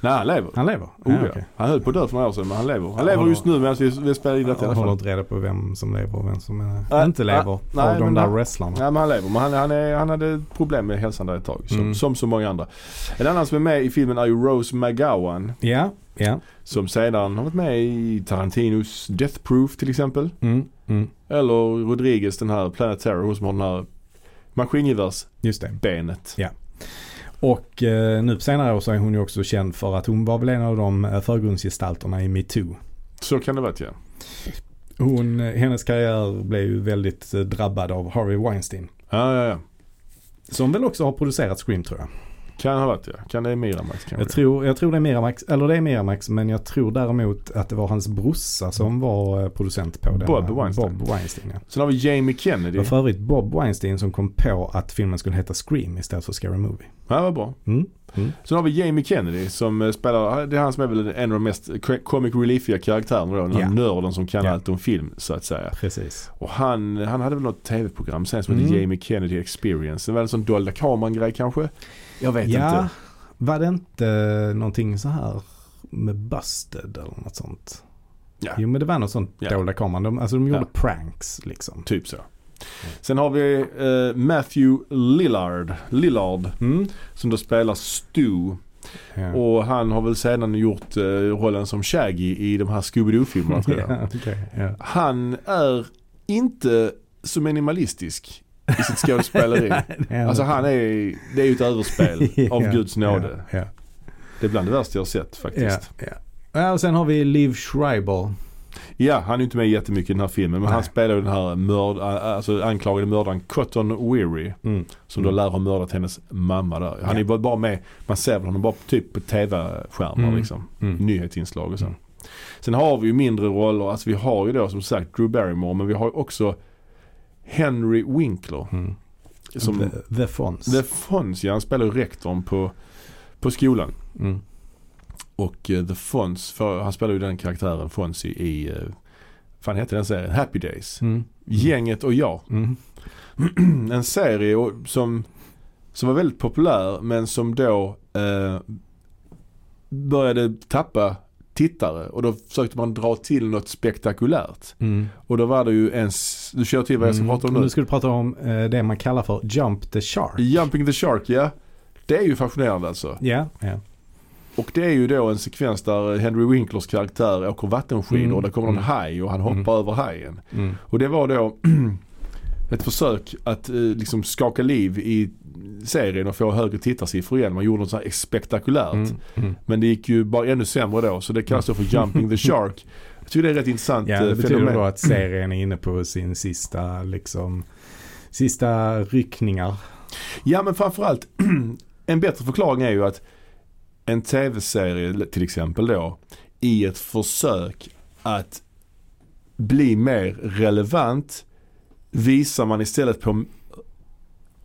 S1: Nej, han lever.
S2: Han lever?
S1: Oh, ja.
S2: okej.
S1: Han höll på att dö för några år sedan men han lever. Han
S2: Ja,
S1: lever
S2: han
S1: just nu medan vi, vi spelar in detta i
S2: Jag
S1: alla
S2: håller
S1: fall.
S2: inte reda på vem som lever och vem som eh,
S1: Nej,
S2: inte
S1: nej,
S2: lever
S1: nej,
S2: av de
S1: men
S2: där
S1: han-
S2: wrestlarna.
S1: Nej men han lever. Men han, han, är, han hade problem med hälsan där ett tag. Som,
S2: Mm.
S1: som så många andra. En annan som är med i filmen är ju Rose McGowan.
S2: Ja, ja.
S1: Som sedan har varit med i Tarantinos Death Proof till exempel.
S2: Mm, mm.
S1: Eller Rodriguez den här Planet Terror. Hon som har den här maskingevärsbenet.
S2: Just det. Och eh, nu på senare år så är hon ju också känd för att hon var väl en av de eh, förgrundsgestalterna i metoo.
S1: Så kan det vara ja.
S2: Hon, eh, hennes karriär blev ju väldigt eh, drabbad av Harvey Weinstein.
S1: Ja, ja, ja.
S2: Som väl också har producerat Scream tror jag.
S1: Kan ha varit ja. Kan det är Miramax kanske.
S2: Jag tror, jag tror det är Miramax, eller det är Miramax, men jag tror däremot att det var hans brorsa som var eh, producent på den.
S1: Bob Weinstein.
S2: Bob Weinstein ja.
S1: Sen har vi Jamie
S2: Det
S1: Kennedy.
S2: var för övrigt Bob Weinstein som kom på att filmen skulle heta Scream istället för Scary Movie.
S1: Ja, vad bra.
S2: Mm. Mm.
S1: Sen har vi Jamie Kennedy som eh, spelar, det är han som är väl en av de mest cre- comic reliefiga karaktärerna då. Den här
S2: Ja.
S1: nörden som kan
S2: Ja.
S1: allt om film så att säga.
S2: Precis.
S1: Och han, han hade väl något tv-program sen som hette
S2: Mm.
S1: Jamie Kennedy Experience. Det var en sån dolda kameran-grej kanske? Jag vet
S2: Ja,
S1: inte.
S2: var det inte någonting så här med Busted eller något sånt?
S1: Ja.
S2: Jo men det var något sånt
S1: Ja.
S2: dolda kameran. De, alltså de gjorde
S1: Ja.
S2: pranks liksom.
S1: Typ så. Sen har vi eh, Matthew Lillard, Lillard
S2: Mm.
S1: som då spelar Stu.
S2: Ja.
S1: Och han har väl sedan gjort eh, rollen som Shaggy i de här Scooby-Doo-filmerna tror jag.
S2: ja, okej, ja.
S1: Han är inte så minimalistisk i sitt skådespeleri. Alltså han är, det är ju ett överspel av
S2: Ja,
S1: guds nåde.
S2: Ja, ja.
S1: Det är bland det värsta jag har sett faktiskt.
S2: Ja, ja. ja, och sen har vi Liv Schreiber.
S1: Ja, han är ju inte med jättemycket i den här filmen men
S2: Nej.
S1: han spelar ju den här mörd, alltså anklagade mördaren Cotton Weary som
S2: Mm.
S1: då lär ha mördat hennes mamma där. Han
S2: Ja.
S1: är ju bara- bara med, man ser väl honom bara typ på tv-skärmar
S2: Mm.
S1: liksom.
S2: Mm.
S1: Nyhetsinslag och så.
S2: Mm.
S1: Sen har vi ju mindre roller, alltså vi har ju då som sagt Drew Barrymore men vi har ju också Henry Winkler.
S2: Mm.
S1: Som, the,
S2: the, the Fonz.
S1: Fons, ja han spelar ju rektorn på, på skolan.
S2: Mm.
S1: Och eh, The Fons, för, han spelar ju den karaktären Fons i, i eh, fan heter den serien? Happy Days.
S2: Mm.
S1: Gänget och jag.
S2: Mm.
S1: En serie och- som, som var väldigt populär men som då eh, började tappa tittare och då försökte man dra till något spektakulärt.
S2: Mm.
S1: Och då var det ju en, s- du känner till vad jag ska prata om
S2: Och
S1: nu?
S2: Mm, Nu ska du prata om eh, det man kallar för Jump the Shark.
S1: Jumping the Shark ja. Det är ju fascinerande alltså.
S2: Ja, ja.
S1: Och det är ju då en sekvens där Henry Winklers karaktär åker vattenskidor
S2: Mm.
S1: och det kommer en
S2: Mm.
S1: haj och han hoppar
S2: Mm.
S1: över hajen.
S2: Mm.
S1: Och det var då ett försök att eh, liksom skaka liv i serien och få högre tittarsiffror igen. Man gjorde något så här spektakulärt.
S2: Mm. Mm.
S1: Men det gick ju bara ännu sämre då så det kallas då för Jumping the Shark. Jag tycker det är ett rätt intressant
S2: Ja, det
S1: eh,
S2: betyder
S1: fenomen.
S2: då att serien är inne på sin sista, liksom, sista ryckningar.
S1: Ja men framförallt en bättre förklaring är ju att en tv-serie till exempel då i ett försök att bli mer relevant visar man istället på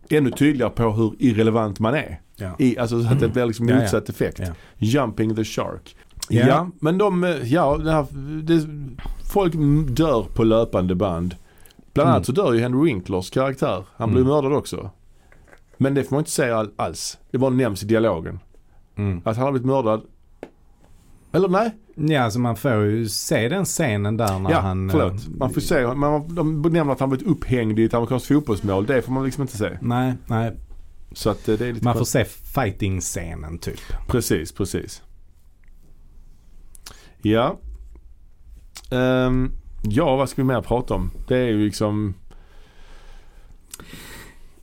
S1: ännu tydligare på hur irrelevant man är.
S2: Ja.
S1: I, alltså så att det blir liksom
S2: Mm. Ja, ja.
S1: motsatt effekt.
S2: Ja.
S1: Jumping the shark.
S2: Ja.
S1: Ja, men de, eh, ja, den här, det, folk m- dör på löpande band. Bland annat så dör ju Henry Winklers karaktär. Han blir
S2: Mm.
S1: mördad också. Men det får man inte säga all, alls. Det bara nämns i dialogen.
S2: Mm.
S1: Att han har blivit mördad. Eller nej,
S2: ja, så man får ju se den scenen där när
S1: ja
S2: han... eh,
S1: förlåt. Man får se, man, de nämner att han blivit upphängd i ett amerikanskt fotbollsmål. Det får man liksom inte se.
S2: Nej, nej.
S1: Så att eh, det är lite
S2: Man får
S1: konstigt.
S2: se fighting-scenen typ.
S1: Precis, precis. Ja. Ehm, ja, vad ska vi mer prata om? Det är ju liksom...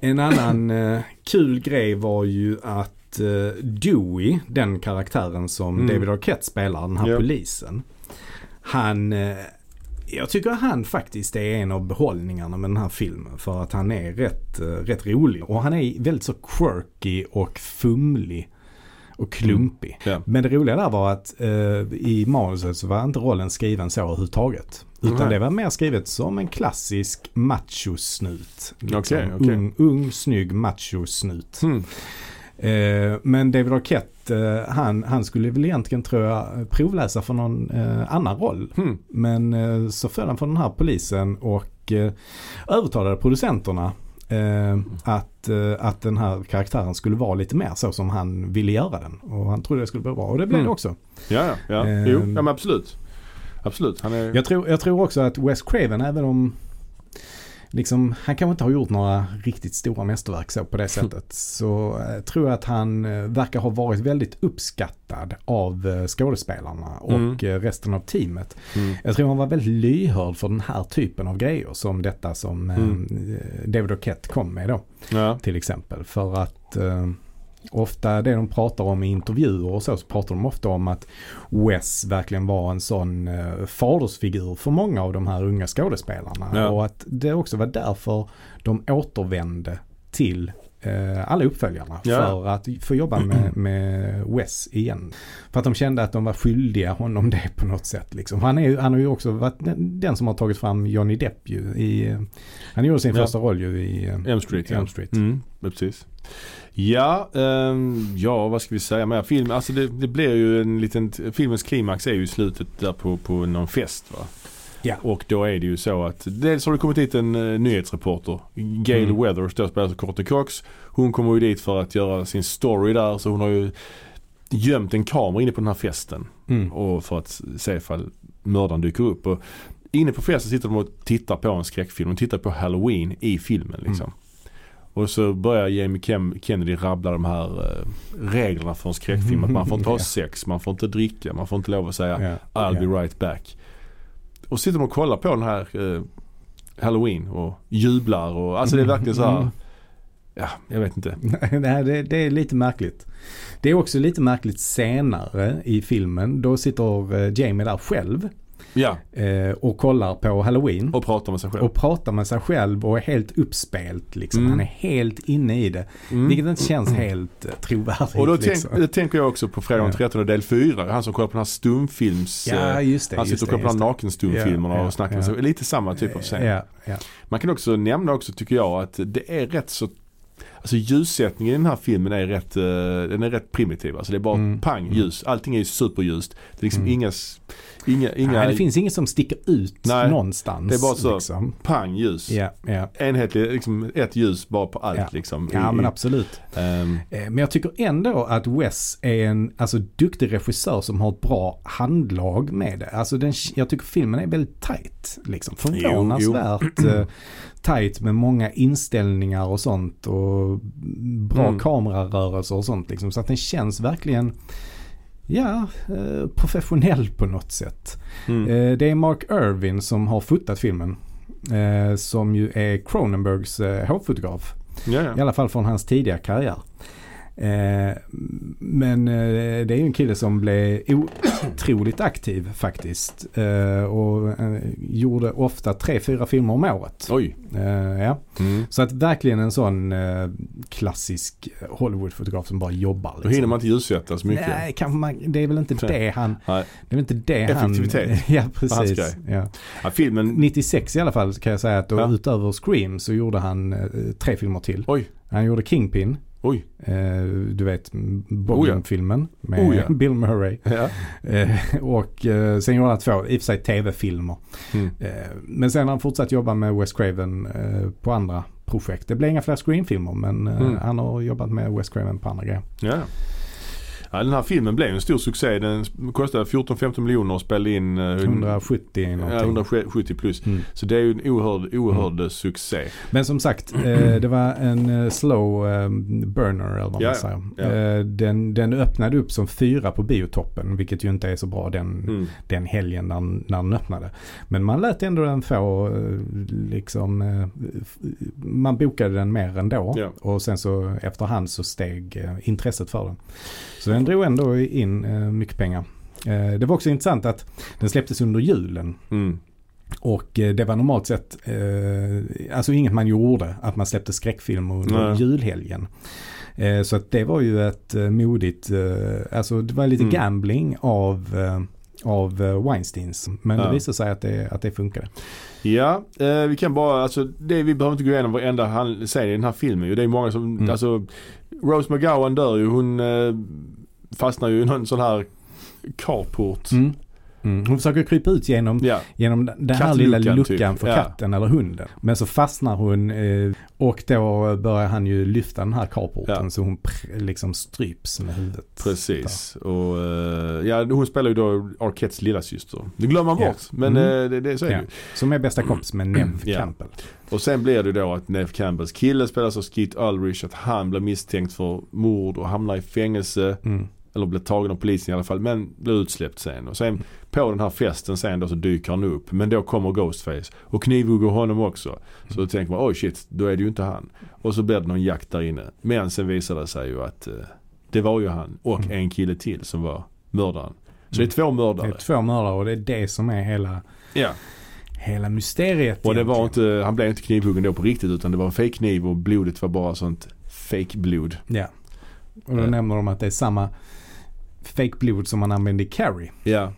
S2: En annan eh, kul grej var ju att eh, Dewey, den karaktären som
S1: Mm.
S2: David Arquette spelar, den här
S1: Ja.
S2: polisen. Han, eh, jag tycker han faktiskt är en av behållningarna med den här filmen. För att han är rätt, eh, rätt rolig. Och han är väldigt så quirky och fumlig. Och klumpig.
S1: Ja.
S2: Men det roliga där var att eh, i manuset så var inte rollen skriven så överhuvudtaget. Utan
S1: Nej.
S2: det var mer skrivet som en klassisk machosnut. liksom.
S1: Okej, okej.
S2: Ung, ung, snygg machosnut.
S1: Hmm.
S2: Eh, men David Arquette, eh, han, han skulle väl egentligen tror jag provläsa för någon eh, annan roll.
S1: Hmm.
S2: Men eh, så föll han för den här polisen och eh, övertalade producenterna Eh, att, eh, att den här karaktären skulle vara lite mer så som han ville göra den. Och han trodde det skulle bli bra och det blev
S1: Mm.
S2: det också.
S1: Ja, ja. ja.
S2: Ehm.
S1: Jo, ja, men absolut. Absolut. Han är...
S2: Jag tror, jag tror också att Wes Craven, även om liksom, han kanske inte har gjort några riktigt stora mästerverk så på det
S1: Mm.
S2: sättet. Så eh, tror jag att han eh, verkar ha varit väldigt uppskattad av eh, skådespelarna och
S1: Mm.
S2: eh, resten av teamet.
S1: Mm.
S2: Jag tror han var väldigt lyhörd för den här typen av grejer som detta som eh,
S1: Mm.
S2: David O'Kett kom med då
S1: Ja.
S2: till exempel. För att eh, ofta det de pratar om i intervjuer och så, så pratar de ofta om att Wes verkligen var en sån eh, fadersfigur för många av de här unga skådespelarna.
S1: Ja.
S2: Och att det också var därför de återvände till eh, alla uppföljarna
S1: Ja.
S2: för att få jobba med, med Wes igen. För att de kände att de var skyldiga honom det på något sätt. Liksom. Han, är, ju- han har ju också varit den, den som har tagit fram Johnny Depp ju. I, eh, han gjorde sin
S1: Ja.
S2: första roll ju i eh,
S1: Elm Street. Ja.
S2: Elm Street.
S1: Mm, men precis. Ja, ehm, ja, vad ska vi säga mer? Film, alltså det, det blir ju en liten, filmens klimax är ju i slutet där på, på någon fest va?
S2: Ja.
S1: Och då är det ju så att dels har det kommit hit en eh, nyhetsreporter. Gail
S2: Mm.
S1: Weathers, då spelas av Courtney Cox. Hon kommer ju dit för att göra sin story där så hon har ju gömt en kamera inne på den här festen.
S2: Mm.
S1: Och för att se ifall mördaren dyker upp. Och inne på festen sitter de och tittar på en skräckfilm. De tittar på Halloween i filmen
S2: Mm.
S1: liksom. Och så börjar Jamie Kem- Kennedy rabbla de här eh, reglerna för en skräckfilm. Att man får inte ha
S2: Ja.
S1: sex, man får inte dricka, man får inte lov att säga
S2: Ja.
S1: I'll
S2: ja.
S1: be right back. Och sitter de och kollar på den här eh, Halloween och jublar och alltså det är verkligen så här.
S2: Mm.
S1: Ja, jag vet inte.
S2: Nej, det, det är lite märkligt. Det är också lite märkligt senare i filmen. Då sitter eh, Jamie där själv
S1: Ja,
S2: eh, och kollar på Halloween.
S1: och pratar med sig själv.
S2: Och pratar med sig själv och är helt uppspelt liksom.
S1: Mm.
S2: Han är helt inne i det.
S1: Mm.
S2: Vilket inte känns helt eh, trovärdigt.
S1: Och då tänk,
S2: liksom.
S1: tänker jag också på fredag den
S2: Ja.
S1: 13 del 4. Han som kollar på den här stumfilms...
S2: Ja,
S1: eh,
S2: just det.
S1: han
S2: just
S1: sitter och kollar
S2: det,
S1: på de
S2: just
S1: här nakenstummfilmerna
S2: Ja, ja,
S1: och snackar
S2: ja.
S1: med sig. Lite samma typ av scen.
S2: det. Ja, ja.
S1: Man kan också nämna också tycker jag att det är rätt så Alltså ljussättningen i den här filmen är rätt, eh, den är rätt primitiv. Alltså det är bara
S2: Mm.
S1: pang ljus. Allting är ju superljust. Det är liksom
S2: Mm.
S1: inga, s- inga, inga
S2: Nej, det finns inget som sticker ut
S1: Nej,
S2: någonstans.
S1: det är bara så.
S2: Liksom.
S1: pang ljus.
S2: Ja, ja.
S1: Enhetlig, liksom ett ljus bara på allt
S2: Ja.
S1: liksom.
S2: ja,
S1: I-
S2: men
S1: i-
S2: absolut.
S1: ehm,
S2: Eh, Men jag tycker ändå att Wes är en alltså, duktig regissör som har ett bra handlag med det. Alltså, den, jag tycker filmen är väldigt tight. Liksom. Förvånansvärt eh, tight med många inställningar och sånt. Och bra
S1: Mm.
S2: kamerarörelser och sånt. Liksom. Så att den känns verkligen ja, eh, professionell på något sätt.
S1: mm.
S2: Eh, Det är Mark Irvin som har fotat filmen. eh, Som ju är Cronenbergs eh, hovfotograf.
S1: ja, ja.
S2: I alla fall från hans tidiga karriär. Eh, men eh, det är ju en kille som blev otroligt aktiv faktiskt. Eh, och eh, gjorde ofta tre, fyra filmer om året.
S1: Oj.
S2: Eh, ja.
S1: Mm.
S2: Så att verkligen en sån eh, klassisk Hollywood-fotograf som bara jobbar. liksom.
S1: Då hinner man inte ljussätta så mycket.
S2: Nej, kanske man, det är väl inte
S1: Tre.
S2: det han...
S1: Nej.
S2: Det är väl inte det
S1: Effektivitet.
S2: han... Ja,
S1: Hans
S2: precis.
S1: grej.
S2: Ja.
S1: Ja, filmen,
S2: 96 i alla fall kan jag säga att då,
S1: Ja.
S2: utöver Scream så gjorde han eh, tre filmer till.
S1: oj,
S2: Han gjorde Kingpin.
S1: oj.
S2: Eh, du vet Bogen-filmen med
S1: Oh ja.
S2: Bill Murray.
S1: Ja.
S2: Eh, och eh, sen gjorde han två, i och för sig tv-filmer.
S1: Mm.
S2: Eh, men sen har han fortsatt jobba med Wes Craven eh, på andra projekt. Det blev inga fler screenfilmer men eh,
S1: Mm.
S2: han har jobbat med Wes Craven på andra grejer.
S1: Ja. ja, den här filmen blev en stor succé. Den kostade 14-15 miljoner och spelade in eh,
S2: 170
S1: ja,
S2: någonting.
S1: 170 plus.
S2: Mm.
S1: Så det är ju en oerhörd, oerhörd succé.
S2: Men som sagt, eh, det var en eh, slow eh, burner eller vad man
S1: Ja, ja.
S2: säger.
S1: Ja.
S2: Eh, den, den öppnade upp som fyra på biotoppen, vilket ju inte är så bra den,
S1: Mm.
S2: den helgen när, när den öppnade. Men man lät ändå den få, eh, liksom, eh, f- man bokade den mer ändå.
S1: Ja.
S2: Och sen så efterhand så steg eh, intresset för den. Så den drog ändå in eh, mycket pengar. Eh, Det var också intressant att den släpptes under julen.
S1: Mm.
S2: Och eh, det var normalt sett, eh, alltså inget man gjorde, att man släppte skräckfilmer under
S1: Nej.
S2: julhelgen. Eh, så att det var ju ett eh, modigt, eh, alltså det var lite
S1: Mm.
S2: gambling av, eh, av eh, Weinsteins. Men
S1: Ja.
S2: det visade sig att det, att det funkade.
S1: Ja, eh, vi kan bara, alltså det, vi behöver inte gå igenom varenda han säger i den här filmen ju. Det är många som,
S2: Mm.
S1: alltså Rose McGowan dör ju. Hon eh, fastnar ju i någon sån här carport.
S2: Mm. Hon försöker krypa ut genom,
S1: Ja,
S2: genom den här
S1: Kattluckan,
S2: lilla luckan
S1: typ.
S2: för
S1: Ja.
S2: katten eller hunden. Men så fastnar hon eh, och då börjar han ju lyfta den här carporten
S1: Ja.
S2: så hon pr- liksom stryps med huvudet.
S1: precis. Och, eh, ja, hon spelar ju då Arquettes lillasyster. Det glömmer man
S2: Ja.
S1: bort, men
S2: Mm.
S1: eh, det, det, så är
S2: Ja.
S1: det ju.
S2: Som är bästa kompis med Nev
S1: Mm. Ja.
S2: Campbell.
S1: Och sen blir det då att Neve Campbells kille spelas av Skeet Ulrich. Att han blir misstänkt för mord och hamnar i fängelse.
S2: Mm.
S1: Eller blir tagen av polisen i alla fall. Men blir utsläppt sen. Och sen på den här festen sen då så dyker han upp. Men då kommer Ghostface. Och knivhugger honom också. Så då tänker man oj shit, då är det ju inte han. Och så blir det någon jakt där inne. Men sen visar det sig ju att eh, det var ju han. Och
S2: Mm.
S1: en kille till som var mördaren. Så det är två
S2: Det är
S1: mördare.
S2: två mördare och det är det som är hela,
S1: Ja.
S2: hela mysteriet.
S1: Och det
S2: egentligen.
S1: var inte, han blev inte knivhuggen då på riktigt utan det var en fejkkniv och blodet var bara sånt fake blod.
S2: Ja. Och då
S1: Eh.
S2: nämner de att det är samma fake blod som man använde i Carrie.
S1: Ja.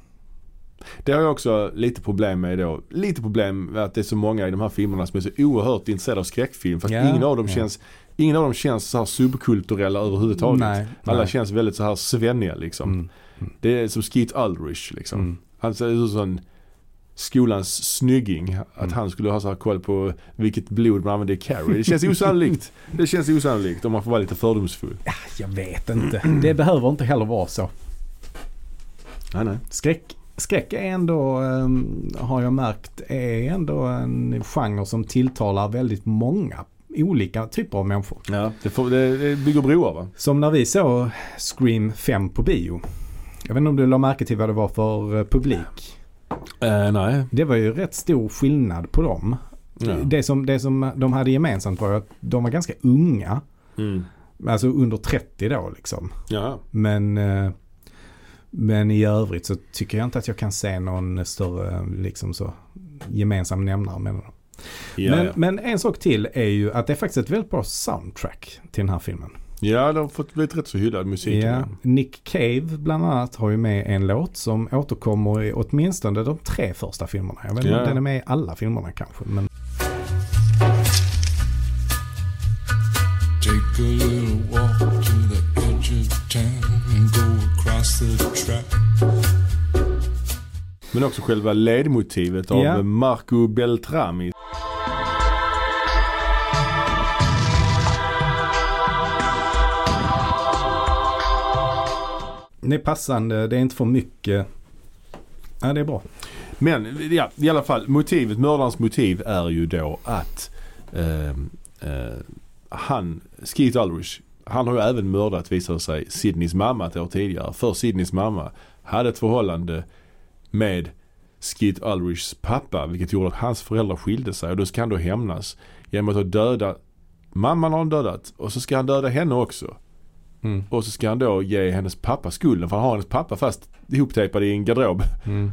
S1: Det har jag också lite problem med då. Lite problem med att det är så många i de här filmerna som är så oerhört intresserade av skräckfilm. Fast
S2: Ja,
S1: ingen, av dem
S2: ja.
S1: känns, ingen av dem känns så här subkulturella överhuvudtaget.
S2: Nej,
S1: Alla
S2: nej.
S1: känns väldigt så här svenniga liksom.
S2: Mm.
S1: Det är som Skeet Ulrich liksom.
S2: Mm.
S1: Han ser ut som en skolans snygging. Att
S2: Mm.
S1: han skulle ha så här koll på vilket blod man använde i Carrie. Det känns osannolikt. det känns osannolikt om man får vara lite fördomsfull.
S2: Jag vet inte. Det behöver inte heller vara så.
S1: Nej, nej.
S2: Skräck, skräck är ändå, ehm, har jag märkt, är ändå en genre som tilltalar väldigt många olika typer av människor.
S1: Ja, det, får, det, det bygger broar va?
S2: Som när vi såg Scream 5 på bio. Jag vet inte om du la märke till vad det var för eh, publik. Eh,
S1: nej.
S2: Det var ju rätt stor skillnad på dem.
S1: Ja.
S2: Det, som, det som de hade gemensamt var ju att de var ganska unga.
S1: Mm.
S2: Alltså under 30 då liksom.
S1: Ja.
S2: Men, eh, men i övrigt så tycker jag inte att jag kan se någon större eh, liksom så, gemensam nämnare mellan dem.
S1: Ja,
S2: men,
S1: ja.
S2: men en sak till är ju att det är faktiskt ett väldigt bra soundtrack till den här filmen.
S1: ja, de har fått blivit rätt så hyllad musik.
S2: Ja, Nick Cave bland annat har ju med en låt som återkommer i åtminstone de tre första filmerna. Jag vet inte
S1: Ja.
S2: om den är med i alla filmerna kanske. Men
S3: Take a little walk to the edge of town and go across the track.
S1: Men också själva ledmotivet av
S2: Ja.
S1: Marco Beltrami.
S2: det är passande, det är inte för mycket. Ja, det är bra.
S1: Men ja, i alla fall motivet, mördarens motiv är ju då att eh, eh, han, Skeet Ulrich, han har ju även mördat visar det sig Sidneys mamma ett år tidigare. För Sidneys mamma hade ett förhållande med Skeet Ulrichs pappa vilket gjorde att hans föräldrar skilde sig och då ska han då hämnas genom att ha döda mamman har han dödat och så ska han döda henne också.
S2: Mm.
S1: Och så ska han då ge hennes pappa skulden för han har hennes pappa fast ihoptejpad i en garderob.
S2: Mm.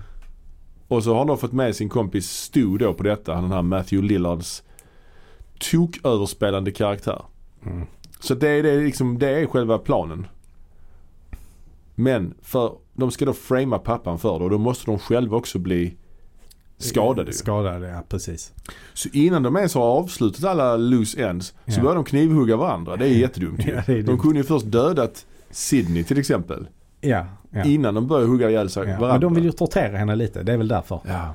S1: Och så har han då fått med sin kompis Stu då på detta. Han den här Matthew Lillards tok-överspelande karaktär.
S2: Mm.
S1: Så det är, det, är liksom, det är själva planen. Men för, de ska då framea pappan för det och då måste de själva också bli skadade. ju.
S2: Skadade, ja precis.
S1: Så innan de ens har avslutat alla loose ends så
S2: Ja.
S1: börjar de knivhugga varandra. Det är jättedumt ju.
S2: Ja, det är
S1: De
S2: dumt.
S1: kunde ju först dödat Sydney till exempel.
S2: Ja, ja.
S1: Innan de började hugga ihjäl sig
S2: Ja, men
S1: varandra.
S2: de vill ju tortera henne lite, det är väl därför.
S1: ja.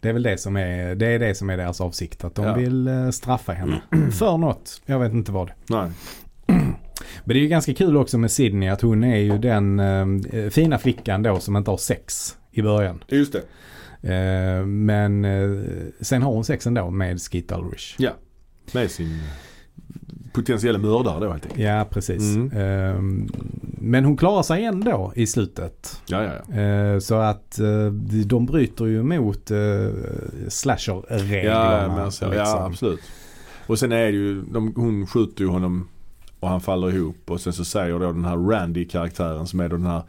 S2: Det är väl det som är, det är, det som är deras avsikt, att de
S1: Ja. Mm.
S2: vill eh, straffa henne. För något, jag vet inte vad.
S1: Nej.
S2: Men det är ju ganska kul också med Sydney att hon är ju den eh, fina flickan då som inte har sex i början.
S1: Just det.
S2: Eh, men eh, sen har hon sex ändå med Skeet Ulrich.
S1: Ja. Med sin potentiella mördare då helt enkelt.
S2: Ja, precis.
S1: Mm.
S2: Eh, men hon klarar sig ändå i slutet.
S1: Ja, ja, ja.
S2: Eh, Så att eh, de bryter ju mot eh, slasher-reglerna.
S1: Ja, men så, ja,
S2: liksom.
S1: absolut. Och sen är det ju, de, hon skjuter ju honom och han faller ihop. Och sen så säger då den här Randy-karaktären som är då den här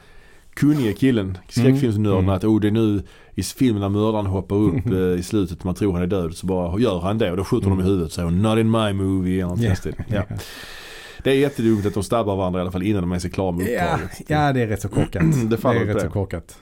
S1: kunnige killen, skräckfilmsnörden
S2: Mm.
S1: att oh, det är nu i filmen när mördaren hoppar upp eh, i slutet man tror han är död så bara gör han det och då skjuter de i huvudet. Så not in my movie eller något
S2: Mm. Ja.
S1: yeah. ja. Det är jättedumt att de stabbar varandra i alla fall innan de ens är klara med
S2: Ja,
S1: uppdraget.
S2: ja, det är rätt så korkat.
S1: Mm, Det faller
S2: är
S1: på
S2: rätt
S1: det.
S2: så korkat.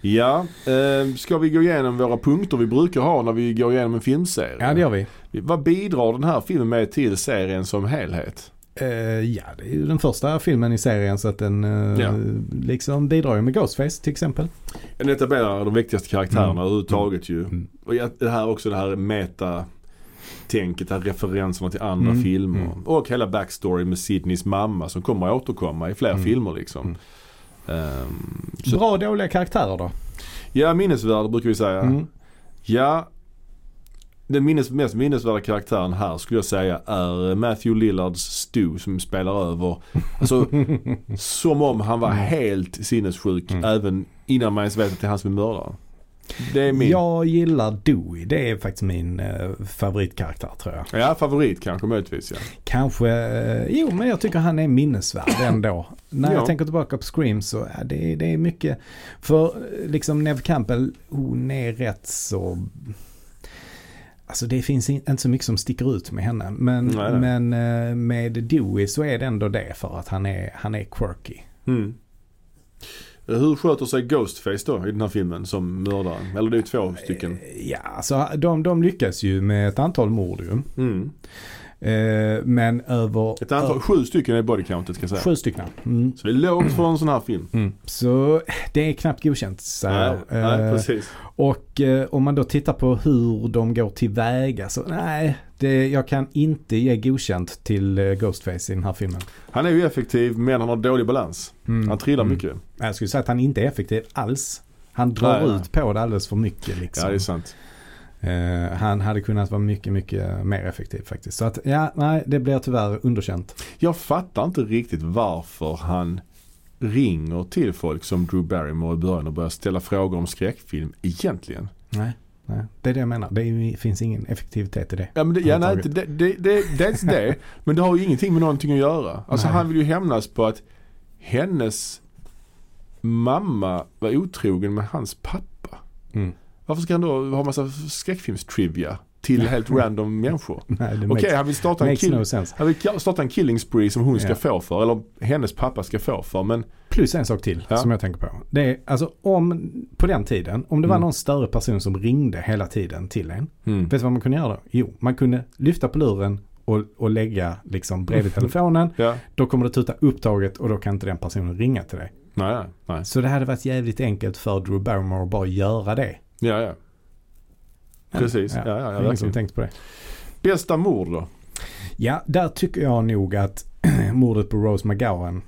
S1: Ja, eh, ska vi gå igenom våra punkter vi brukar ha när vi går igenom en filmserie?
S2: Ja, det gör vi.
S1: Vad bidrar den här filmen med till serien som helhet?
S2: Eh, ja, det är ju den första filmen i serien så att den eh,
S1: Ja.
S2: liksom bidrar ju med Ghostface till exempel.
S1: Den etablerar de viktigaste karaktärerna
S2: Mm.
S1: överhuvudtaget ju.
S2: Mm.
S1: Och jag- det här också det här meta-tänket, det här referenserna till andra
S2: Mm.
S1: filmer.
S2: Mm.
S1: Och hela backstory med Sidneys mamma som kommer att återkomma i fler
S2: Mm.
S1: filmer liksom.
S2: Mm.
S1: Ehm, så,
S2: Bra och dåliga karaktärer då?
S1: ja, minnesvärd brukar vi säga.
S2: Mm.
S1: Ja, den minnes, mest minnesvärda karaktären här skulle jag säga är Matthew Lillards Stu som spelar över. Alltså, som om han var helt sinnessjuk
S2: Mm.
S1: även innan man ens vet att det är han som är mördaren. Det är min
S2: Jag gillar Dewey. Det är faktiskt min eh, favoritkaraktär tror jag.
S1: ja, favorit kanske möjligtvis. Ja.
S2: Kanske, eh, jo men jag tycker han är minnesvärd ändå. När
S1: Ja.
S2: jag tänker tillbaka på Scream så är det, det är mycket, för eh, liksom Neve Campbell, hon är rätt så, alltså det finns in, inte så mycket som sticker ut med henne. Men,
S1: Nej, nej.
S2: men eh, med Dewey så är det ändå det för att han är, han är quirky.
S1: Mm. Hur sköter sig Ghostface då i den här filmen som mördaren? Eller det är ju två stycken.
S2: Ja, alltså de, de lyckas ju med ett antal mord ju.
S1: Mm.
S2: Eh, men över...
S1: Ett antal, sju stycken är body countet kan jag säga.
S2: Sju stycken. Mm.
S1: Så det är lågt för en sån här film.
S2: Så det är knappt godkänt. Så här.
S1: Mm. Nej, nej,
S2: Eh,
S1: precis.
S2: och eh, om man då tittar på hur de går tillväga så nej, det, jag kan inte ge godkänt till eh, Ghostface i den här filmen.
S1: Han är ju effektiv men han har dålig balans.
S2: Mm.
S1: Han trillar
S2: Mm.
S1: mycket.
S2: Jag skulle säga att han inte är effektiv alls. Han drar
S1: Nej, nej.
S2: ut på det alldeles för mycket. Liksom.
S1: Ja det är sant.
S2: Eh, han hade kunnat vara mycket, mycket mer effektiv faktiskt. Så att, ja, nej, det blir tyvärr underkänt.
S1: Jag fattar inte riktigt varför han ringer till folk som Drew Barrymore i början och börjar ställa frågor om skräckfilm egentligen.
S2: Nej. nej. Det är det jag menar. Det är, ju- finns ingen effektivitet i det.
S1: Ja, men det, ja, nej, inte,
S2: Överhuvudtaget.
S1: det, det, det, dels det, men det har ju ingenting med någonting att göra. Alltså
S2: Nej.
S1: han vill ju hämnas på att hennes mamma var otrogen med hans pappa.
S2: Mm.
S1: Varför ska han då ha massa skräckfilmstrivia till helt random människor?
S2: Nej, det
S1: Okej,
S2: makes,
S1: han vill starta en
S2: makes
S1: kill...
S2: no sense.
S1: Han vill starta en killing spree som hon ska
S2: Ja.
S1: få för, eller hennes pappa ska få för. Men
S2: Plus en sak till
S1: Ja.
S2: som jag tänker på. Det är alltså om, på den tiden, om det var
S1: Mm.
S2: någon större person som ringde hela tiden till en. Vet du vad man kunde göra då? Jo, man kunde lyfta på luren och, och lägga liksom bredvid telefonen.
S1: ja.
S2: Då kommer det tuta upptaget och då kan inte den personen ringa till dig.
S1: Nej, nej, nej.
S2: Så det hade varit jävligt enkelt för Drew Barrymore att bara göra det.
S1: Ja, ja.
S2: Men,
S1: Precis. Ja, ja,
S2: det
S1: ja,
S2: är ingen som
S1: verkligen.
S2: tänkt på det.
S1: Bästa mord då?
S2: Ja, där tycker jag nog att mordet på Rose McGowan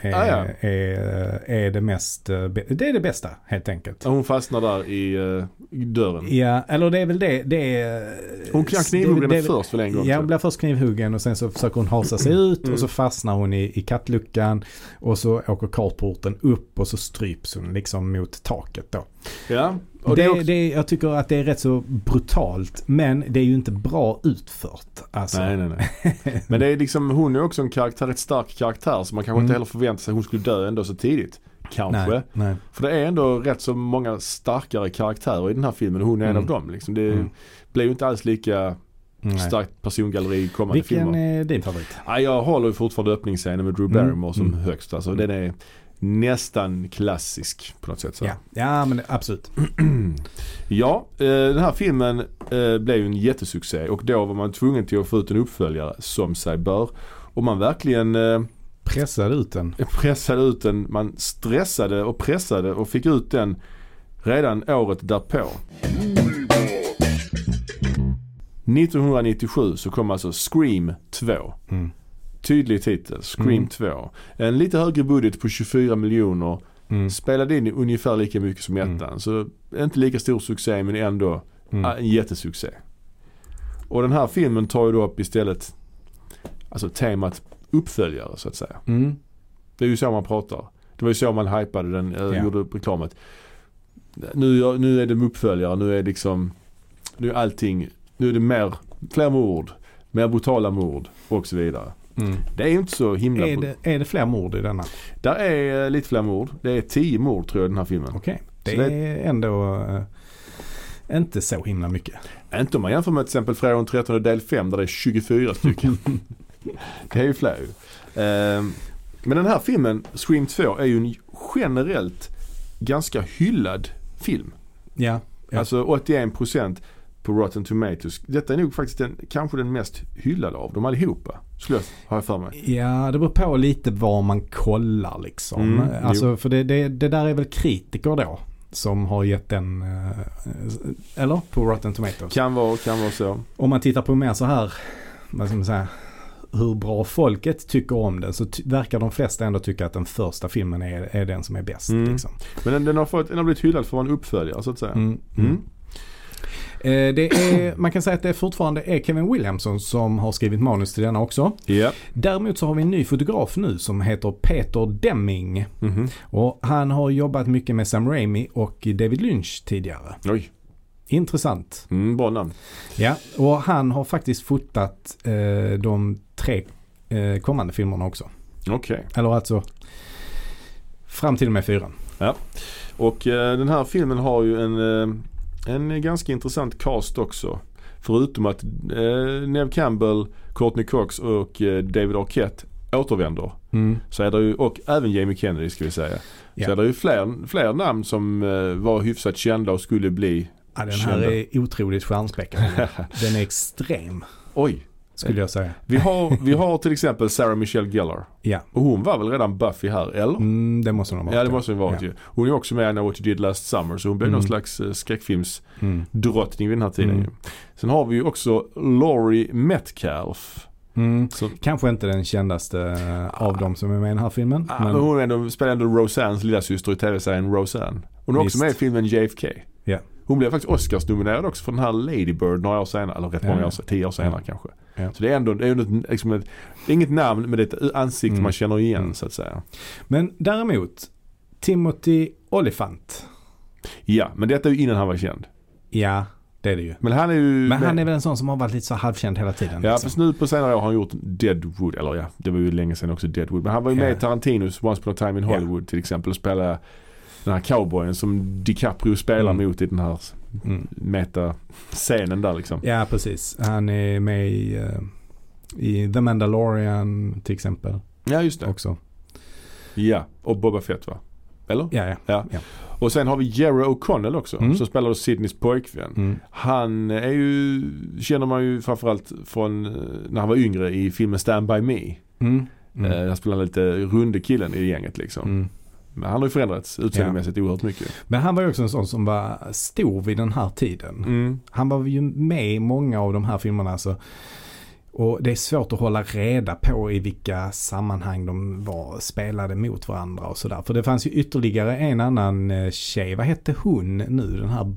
S2: är,
S1: Ah, ja.
S2: är, är det mest, eh, bä- det är det bästa helt enkelt.
S1: Hon fastnar där i, eh, i dörren.
S2: Ja, eller det är väl det. det är,
S1: Hon kan knivhugga henne först väl en gång Mm.
S2: Ja,
S1: till.
S2: hon blir först knivhuggen och sen så försöker hon hasa sig ut och så fastnar hon i, i kattluckan och så åker kartporten upp och så stryps hon liksom mot taket då.
S1: Ja. Och det,
S2: det,
S1: är också...
S2: det, jag tycker att det är rätt så brutalt men det är ju inte bra utfört. Alltså.
S1: Nej, nej, nej. Men det är liksom, hon är också en karaktär, ett stark karaktär så man kanske inte
S2: Mm.
S1: heller förväntar sig att hon skulle dö ändå så tidigt. Kanske.
S2: nej, nej.
S1: För det är ändå rätt så många starkare karaktärer i den här filmen och hon är en
S2: Mm.
S1: av dem. Liksom. Det
S2: Mm.
S1: blir ju inte alls lika
S2: nej.
S1: starkt persongalleri i kommande
S2: Vilken
S1: filmer.
S2: är din favorit?
S1: Ja, jag håller ju fortfarande öppningsscenen med Drew
S2: Mm.
S1: Barrymore som
S2: Mm.
S1: högst. Alltså, den är nästan klassisk på något sätt. Så.
S2: Ja. ja, men absolut.
S1: Ja, eh, den här filmen eh, blev ju en jättesuccé och då var man tvungen till att få ut en uppföljare som sig bör. Och man verkligen eh,
S2: Pressade ut den.
S1: pressade ut den, man stressade och pressade och fick ut den redan året därpå. 1997 så kom alltså Scream 2.
S2: Mm.
S1: Tydlig titel, Scream
S2: Mm.
S1: 2. En lite högre budget på 24 miljoner.
S2: Mm.
S1: Spelade in ungefär lika mycket som ettan. Så inte lika stor succé men ändå
S2: Mm.
S1: Ah, En jättesuccé. Och den här filmen tar ju då upp istället alltså temat uppföljare så att säga.
S2: Mm.
S1: Det är ju så man pratar. Det var ju så man hypade den, eh,
S2: Ja.
S1: gjorde upp reklamet. Nu, gör- nu är det uppföljare, nu är liksom, nu är allting, nu är det mer, fler mord, mer brutala mord och så vidare.
S2: Mm.
S1: Det är ju inte så himla...
S2: Är, det, är det fler mord i denna?
S1: Där är eh, lite fler mord. Det är tio mord tror jag i den här filmen.
S2: Okej, det,
S1: Så
S2: är ändå eh, inte så himla mycket.
S1: Inte om man jämför med till exempel Fredag den 13 del 5 där det är 24 stycken. det är ju fler ju. Ehm, Men den här filmen, Scream 2, är ju en generellt ganska hyllad film.
S2: Ja, Ja.
S1: Alltså 81% på Rotten Tomatoes. Detta är nog faktiskt den, kanske den mest hyllade av dem allihopa. Skulle jag, har jag för mig.
S2: ja det beror på lite var man kollar liksom.
S1: Mm,
S2: alltså, för det, det, det där är väl kritiker då. Som har gett den, eh, eller? På Rotten Tomatoes.
S1: Kan vara, kan vara så.
S2: Om man tittar på mer så här, vad ska man säga, hur bra folket tycker om den så ty- verkar de flesta ändå tycka att den första filmen är, är den som är bäst.
S1: Mm.
S2: Liksom.
S1: Men den, den, har fått, den har blivit hyllad för att vara en uppföljare så att säga.
S2: Mm.
S1: Mm.
S2: Eh, det är, man kan säga att det fortfarande är Kevin Williamson som har skrivit manus till denna också.
S1: Ja.
S2: Däremot så har vi en ny fotograf nu som heter Peter Deming.
S1: Mhm.
S2: Och han har jobbat mycket med Sam Raimi och David Lynch tidigare.
S1: Oj,
S2: Intressant.
S1: mm, bra namn.
S2: Ja, och han har faktiskt fotat eh, de tre eh, kommande filmerna också.
S1: Okej.
S2: Eller alltså fram till och med fyran.
S1: Och eh, den här filmen har ju en, eh, en ganska intressant cast också. Förutom att eh, Neve Campbell, Courtney Cox och eh, David Arquette återvänder. Så är det ju, och även Jamie Kennedy ska vi säga.
S2: Ja.
S1: Så är det ju fler, fler namn som eh, var hyfsat kända och skulle bli.
S2: Ja, den här är otroligt stjärnspäckad. Den är extrem
S1: Oj!
S2: skulle jag säga.
S1: Vi har, vi har till exempel Sarah Michelle Gellar.
S2: Ja,
S1: Och hon var väl redan Buffy här, eller?
S2: mm, det måste den ha varit.
S1: Ja det måste hon varit
S2: Ja.
S1: ju. Hon är också med i I Know What You Did Last Summer så hon blev
S2: Mm.
S1: någon slags eh, skräckfilms
S2: Mm.
S1: drottning vid den här tiden.
S2: Mm.
S1: Ju. Sen har vi ju också Laurie Metcalf.
S2: Mm.
S1: Så,
S2: Kanske inte den kändaste eh, av dem som är med i den här filmen.
S1: ah, men
S2: men,
S1: hon är ändå, spelar ändå Rosannes lilla syster i tv-serien Roseanne. Hon är också
S2: Visst.
S1: med i filmen JFK.
S2: Ja.
S1: Hon blev faktiskt Oscars-nominerad också för den här Lady Bird några år senare. Eller rätt
S2: Ja,
S1: många
S2: ja.
S1: år senare, tio år senare kanske.
S2: Ja.
S1: Så det är ändå, det är ändå ett, liksom ett, det är inget namn men det är ett ansikte
S2: Mm.
S1: man känner igen
S2: Mm.
S1: så att säga.
S2: men däremot, Timothy Olyphant.
S1: Ja, men detta är ju innan han var känd.
S2: Ja, det är det ju.
S1: Men han är ju
S2: Men han
S1: med-
S2: är väl en sån som har varit lite så halvkänd hela tiden.
S1: Ja,
S2: liksom.
S1: fast nu på senare år har han gjort Deadwood, eller ja, det var ju länge sedan också Deadwood. Men han var ju med
S2: Ja.
S1: i Tarantinos Once upon a time in
S2: Ja.
S1: Hollywood till exempel och spelade den här cowboyen som DiCaprio spelar
S2: Mm.
S1: mot i den här
S2: Mm.
S1: meta-scenen där liksom.
S2: ja, precis. Han är med i, eh, i The Mandalorian till exempel
S1: Ja, just det.
S2: också.
S1: Ja, och Boba Fett va? Eller?
S2: Ja, ja.
S1: Och sen har vi Jerry O'Connell också
S2: Mm.
S1: som spelar då Sidneys pojkvän.
S2: Mm.
S1: Han är ju, känner man ju framförallt från eh, när han var yngre i filmen Stand By Me.
S2: Mm. Mm.
S1: Eh, Han spelar lite runde killen i gänget liksom.
S2: Mm.
S1: Men han har ju förändrats utseendemässigt oerhört mycket.
S2: Men han var ju också en sån som var stor vid den här tiden.
S1: Mm.
S2: Han var ju med i många av de här filmerna. Alltså. Och det är svårt att hålla reda på i vilka sammanhang de var, spelade mot varandra och sådär. För det fanns ju ytterligare en annan eh, tjej. Vad hette hon nu? Den här...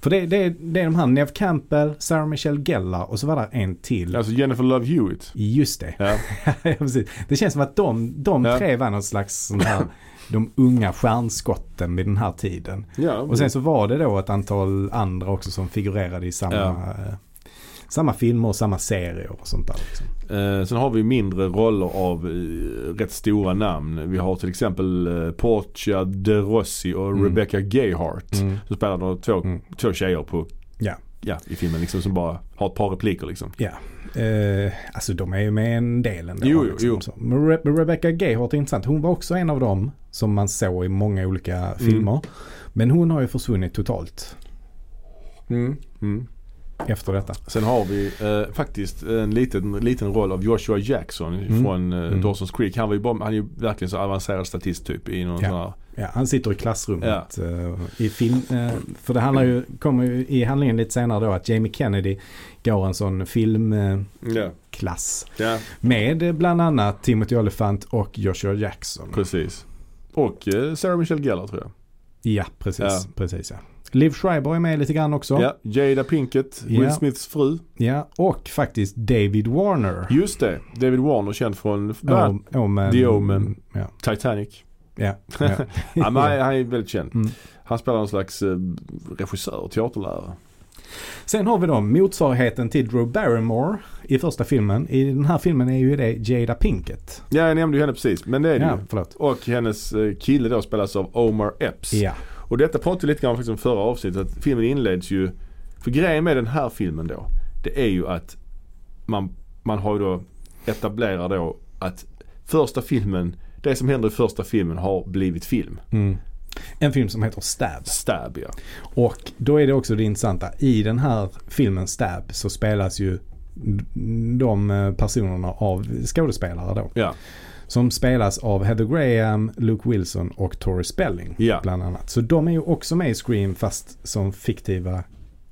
S2: För det, det, det är de här Neve Campbell, Sarah Michelle Gellar och så var där en till.
S1: Alltså Jennifer Love Hewitt.
S2: Just det.
S1: Ja.
S2: Ja, precis. det känns som att de, de
S1: Ja.
S2: tre var någon slags sån här, de unga stjärnskotten vid den här tiden.
S1: ja.
S2: Och sen så var det då ett antal andra också som figurerade i samma,
S1: Ja.
S2: eh, samma filmer och samma serier och sånt där. Liksom.
S1: Eh, sen har vi mindre roller av eh, rätt stora namn. Vi har till exempel eh, Portia de Rossi och
S2: Mm.
S1: Rebecca Gayheart. Som spelar då två,
S2: Mm.
S1: två tjejer på,
S2: Ja.
S1: ja, i filmen liksom, som bara har ett par repliker liksom.
S2: Ja. Eh, alltså de är ju med en del ändå. liksom,
S1: Jo, jo, jo.
S2: Så. Men Re- Rebecca Gayheart är intressant. Hon var också en av dem som man såg i många olika filmer. Men hon har ju försvunnit totalt
S1: Mm.
S2: efter detta.
S1: Sen har vi eh, faktiskt en liten, liten roll av Joshua Jackson
S2: Mm.
S1: från eh,
S2: Mm.
S1: Dawson's Creek. Han, var ju bara, han är ju verkligen så avancerad statist typ i någon
S2: Ja.
S1: sån här.
S2: Ja, han sitter i klassrummet eh, i film. eh, för det handlar ju, kommer ju i handlingen lite senare då att Jamie Kennedy går en sån eh, filmklass.
S1: Ja. ja,
S2: Med eh, bland annat Timothy Olyphant och Joshua Jackson.
S1: precis. Och eh, Sarah Michelle Gellar tror jag.
S2: Ja, precis.
S1: Ja.
S2: precis ja. Liv Schreiber är med lite grann också.
S1: Ja, Jada Pinkett, Will
S2: Ja.
S1: Smiths fru.
S2: Ja, och faktiskt David Warner.
S1: Just det, David Warner känd från bland annat
S2: Om- Omen.
S1: The Omen.
S2: Ja.
S1: Titanic.
S2: ja, ja.
S1: Ja, men han, han är väldigt känd.
S2: Mm.
S1: Han spelar någon slags eh, regissör, teaterlärare.
S2: Sen har vi då motsvarigheten till Drew Barrymore i första filmen. I den här filmen är ju det Jada Pinkett.
S1: Ja, jag nämnde ju henne precis, men det är det
S2: Ja,
S1: ju.
S2: förlåt.
S1: Och hennes eh, kille då spelas av Omar Epps.
S2: Ja.
S1: Och detta pratade vi lite grann om faktiskt om förra avsnittet. Att filmen inleds ju, för grejen med den här filmen då, det är ju att man, man har ju då etablerar då att första filmen, det som händer i första filmen har blivit film.
S2: Mm. En film som heter Stab.
S1: Stab ja.
S2: Och då är det också det intressanta. I den här filmen Stab så spelas ju de personerna av eh, skådespelare då.
S1: ja.
S2: Som spelas av Heather Graham, Luke Wilson och Tori Spelling.
S1: Ja.
S2: Bland annat. Så de är ju också med i Scream fast som fiktiva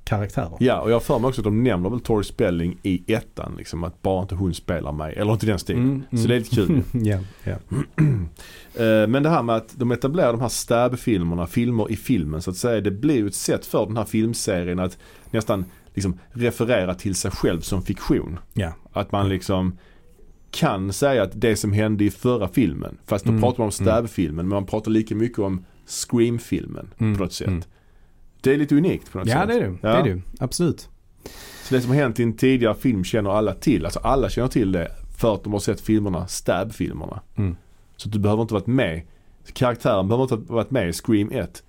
S2: karaktärer.
S1: Ja, och jag har för mig också att de nämner väl Tori Spelling i ettan. Liksom, att bara inte hon spelar mig. Eller inte i den stilen.
S2: Mm, mm.
S1: Så det är lite kul.
S2: Ja, ja.
S1: Eh, Men det här med att de etablerar de här stab-filmerna, filmer i filmen så att säga. Det blir ju ett sätt för den här filmserien att nästan liksom referera till sig själv som fiktion.
S2: ja.
S1: Att
S2: Mm.
S1: man liksom kan säga att det som hände i förra filmen, fast då
S2: Mm.
S1: pratar man om stab-filmen men man pratar lika mycket om scream-filmen
S2: Mm.
S1: på något sätt.
S2: Mm.
S1: Det är lite unikt på något
S2: ja
S1: sätt.
S2: det är du.
S1: Ja.
S2: Det är du. Absolut.
S1: Så det som har hänt i en tidigare film känner alla till. Alltså alla känner till det för att de har sett filmerna, Stab-filmerna.
S2: Mm.
S1: Så du behöver inte varit med. Karaktären behöver inte ha varit med i Scream 1.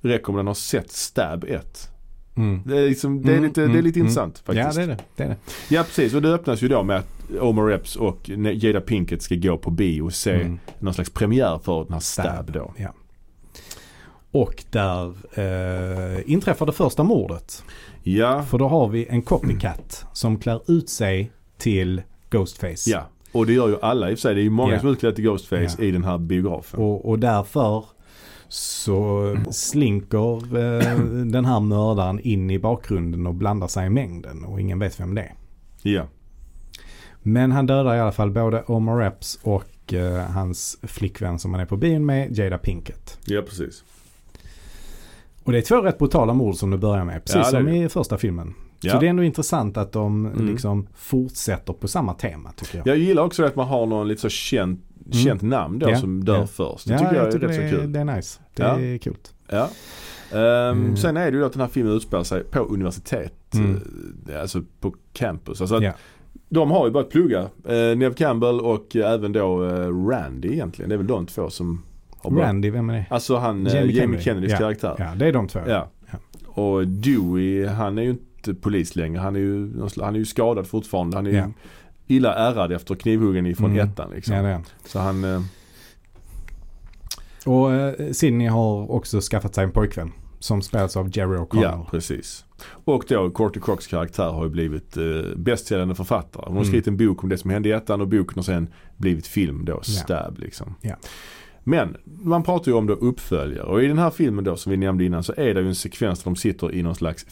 S1: Räcker om den har sett Stab 1.
S2: Mm.
S1: Det är, liksom, det är
S2: Mm,
S1: lite,
S2: mm,
S1: det är lite
S2: mm.
S1: intressant faktiskt.
S2: Ja det är det. det, är det.
S1: Ja, precis. Och det öppnas ju då med att Omar Epps och Jada Pinkett ska gå på bio och se
S2: Mm.
S1: någon slags premiär för den här Stab då.
S2: Ja. Och där eh, inträffar det första mordet.
S1: Ja,
S2: För då har vi en copycat som klär ut sig till Ghostface.
S1: ja. Och det gör ju alla i och för sig. Det är ju många
S2: Ja.
S1: som är utklädda till Ghostface
S2: Ja.
S1: i den här biografen.
S2: Och, och därför så slinker eh, den här mördaren in i bakgrunden och blandar sig i mängden och ingen vet vem det är.
S1: Ja.
S2: Men han dödar i alla fall både Omar Epps och eh, hans flickvän som han är på bion med, Jada Pinkett.
S1: ja, precis.
S2: Och det är två rätt brutala mord som du börjar med, precis
S1: Ja, det är
S2: som
S1: det.
S2: i första filmen. Så
S1: Ja.
S2: det är ändå intressant att de
S1: Mm.
S2: liksom fortsätter på samma tema tycker jag.
S1: Jag gillar också att man har någon lite så känt, känt namn då
S2: Mm. Ja,
S1: som dör
S2: ja.
S1: först. Det tycker jag, är rätt
S2: det,
S1: så kul.
S2: det är nice. Det
S1: Ja.
S2: är kul.
S1: Ja. Ehm,
S2: Mm.
S1: Sen är det ju då att den här filmen utspelar sig på universitet.
S2: Mm.
S1: eh, Alltså på campus. Alltså att
S2: Ja.
S1: De har ju börjat plugga. Eh, Nev Campbell och eh, även då eh, Randy egentligen. Det är väl de två som har börjat.
S2: Randy, vem är det?
S1: Alltså han, eh,
S2: Jamie
S1: Jamie
S2: Kennedy.
S1: Kennedys karaktär.
S2: Ja, det är de två.
S1: Ja.
S2: Ja.
S1: Och Dewey, han är ju inte polis längre. Han är ju, någon sl- han är ju skadad fortfarande. Han är ju
S2: Ja.
S1: illa ärrad efter knivhuggen ifrån
S2: Mm.
S1: ettan liksom.
S2: Ja, det är. han.
S1: Så han, eh,
S2: Och eh, Sidney har också skaffat sig en pojkvän som spelas av Jerry
S1: ja
S2: O'Connell.
S1: precis. Och då Courtney Cox karaktär har ju blivit eh, bästsäljande författare. Hon har
S2: Mm.
S1: skrivit en bok om det som hände i ettan och boken har sen blivit film då, Stab liksom.
S2: Ja.
S1: Men man pratar ju om då uppföljare och i den här filmen då som vi nämnde innan så är det ju en sekvens där de sitter i någon slags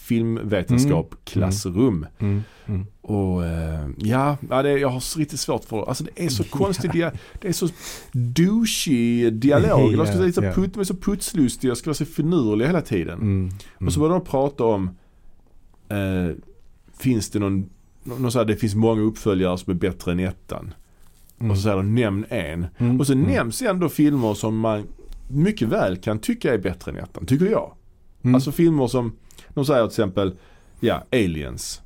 S1: filmvetenskap-klassrum.
S2: Mm, mm.
S1: Och eh, ja, ja det, jag har riktigt svårt för Alltså det är så konstig dia, Det är så douchig dialog. De ska vara lite så
S2: Ja, ja.
S1: putt, de är så putslustiga, ska vara så finurliga hela tiden.
S2: Mm.
S1: Och så börjar de prata om eh, Finns det någon, någon så här, det finns många uppföljare som är bättre än ettan.
S2: Mm.
S1: Och så säger de nämn en.
S2: Mm.
S1: Och så
S2: Mm.
S1: nämns ändå filmer som man mycket väl kan tycka är bättre än ettan, tycker jag.
S2: Mm.
S1: Alltså filmer som, de säger till exempel, ja, Aliens.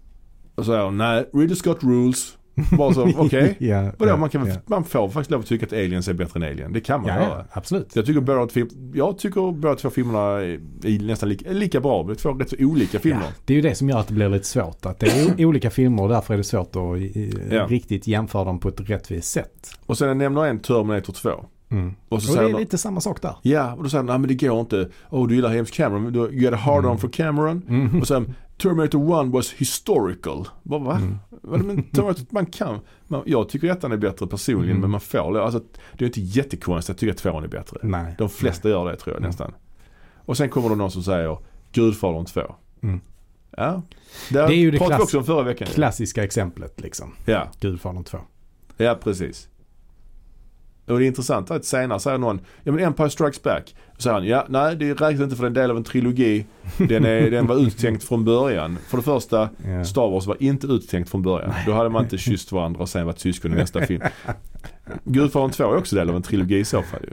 S1: Och så säger de, nej, Ridley Scott rules. Bara så, alltså, okej.
S2: ja,
S1: Vadå,
S2: ja,
S1: man, kan,
S2: ja.
S1: man får faktiskt lov att tycka att Aliens är bättre än Alien. Det kan man
S2: Ja,
S1: göra.
S2: ja, absolut.
S1: Jag tycker båda två, jag tycker båda två filmerna är är nästan lika, är lika bra. Det är två rätt så olika filmer.
S2: Ja, det är ju det som gör att det blir lite svårt. Att det är o- olika filmer och därför är det svårt att i-
S1: Ja.
S2: riktigt jämföra dem på ett rättvist sätt.
S1: Och sen nämner en Terminator 2. Mm. Och så
S2: Och det
S1: säger
S2: är
S1: de,
S2: lite samma sak där.
S1: ja, och då säger de, nej men det går inte. Oh, du gillar James Cameron, men du you had a hard
S2: Mm.
S1: on for Cameron. Mm. Och sen, Terminator 1 was historical. Bara, va?
S2: Mm.
S1: Vad, Men Terminator, man kan, man, jag tycker ettan är bättre personligen,
S2: Mm.
S1: men man får det. Alltså, det är inte jättekonstigt att tycka att tvåan är bättre.
S2: Nej.
S1: De flesta gör det tror jag
S2: Mm.
S1: nästan. Och sen kommer det någon som säger Gudfadern 2.
S2: Mm.
S1: Ja.
S2: Det är ju det
S1: pratade vi
S2: klass-
S1: också om förra veckan.
S2: Klassiska exemplet liksom.
S1: Ja,
S2: Gudfadern 2.
S1: ja precis. Och det är intressant att senare säger någon, ja men Empire Strikes Back. Så säger han, ja nej det räknas inte för den del av en trilogi. Den, är, den var uttänkt från början. För det första,
S2: Ja.
S1: Star Wars var inte uttänkt från början. Då hade man inte kysst varandra och sen varit syskon i nästa film. Gudfadern 2 är också del av en trilogi i så fall ju.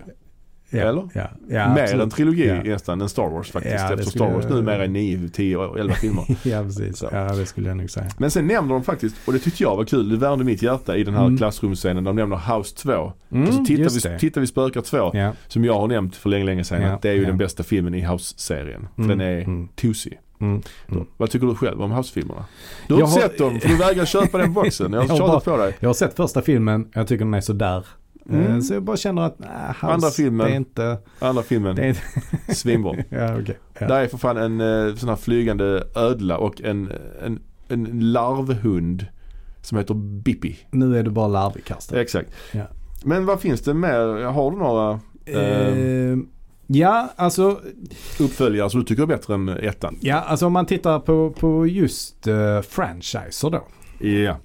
S2: Ja,
S1: Eller?
S2: Ja, ja,
S1: Mer
S2: absolut.
S1: en trilogi
S2: Ja.
S1: nästan än Star Wars faktiskt.
S2: Ja, det
S1: eftersom
S2: skulle
S1: Star Wars
S2: jag-
S1: numera är 9, 10, och 11 filmer.
S2: Ja, precis.
S1: Så.
S2: Ja, det skulle jag nog säga.
S1: Men sen nämner de faktiskt, och det tyckte jag var kul, det värmde mitt hjärta i den här
S2: Mm.
S1: klassrumsscenen. De nämner House 2.
S2: Mm,
S1: och så tittar
S2: just
S1: vi,
S2: det.
S1: tittar vi Spökar 2,
S2: Ja.
S1: som jag har nämnt för länge, länge sedan,
S2: Ja,
S1: att det är ju
S2: ja.
S1: den bästa filmen i House-serien. För
S2: Mm,
S1: den är
S2: mm.
S1: tosig.
S2: Mm. Mm.
S1: Vad tycker du själv om House-filmerna? Du har
S2: Jag
S1: inte
S2: har-
S1: sett dem, för du vägrar köpa den boxen. Jag har
S2: Jag har
S1: tjatat på dig.
S2: Jag har sett första filmen, jag tycker den är sådär.
S1: Mm.
S2: Mm. Så jag bara känner att, nej, House,
S1: Andra filmen.
S2: det är inte...
S1: Andra filmen,
S2: Det är,
S1: svinbra.
S2: ja, okej. Ja.
S1: Där är för fan en eh, sån här flygande ödla och en, en, en larvhund som heter Bippi.
S2: Nu är du bara larvig, Karsten.
S1: Exakt.
S2: Ja.
S1: Men vad finns det mer? Har du några Ehm.
S2: Eh, ja, alltså,
S1: uppföljare som du tycker är bättre än ettan?
S2: ja, alltså om man tittar på, på just eh, franchiser då.
S1: Ja.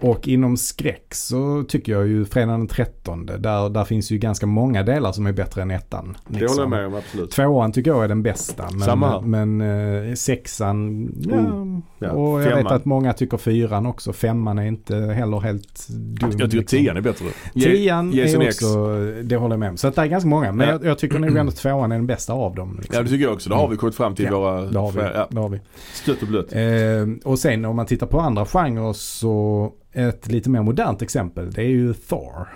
S2: Och inom skräck så tycker jag ju Fredagen den 13. Där, där finns ju ganska många delar som är bättre än ettan.
S1: Det
S2: liksom.
S1: håller jag med om absolut.
S2: Tvåan tycker jag är den bästa. Men,
S1: Samma här.
S2: men eh, sexan, ja.
S1: Oh, ja.
S2: Och jag vet
S1: Femman.
S2: att många tycker fyran också. Femman är inte heller helt dum.
S1: Jag tycker
S2: liksom.
S1: tian är bättre.
S2: Tian
S1: Ge- Jason
S2: är
S1: X.
S2: också, det håller jag med om. Så att det är ganska många. Men
S1: Ja.
S2: jag, jag tycker nog ändå tvåan är den bästa av dem. Liksom.
S1: Ja det tycker jag också. Det har vi kommit fram till i
S2: Ja,
S1: våra...
S2: det har vi.
S1: Ja,
S2: Det har vi.
S1: stött och blött.
S2: Eh, och sen om man tittar på andra genrer så ett lite mer modernt exempel det är ju Thor.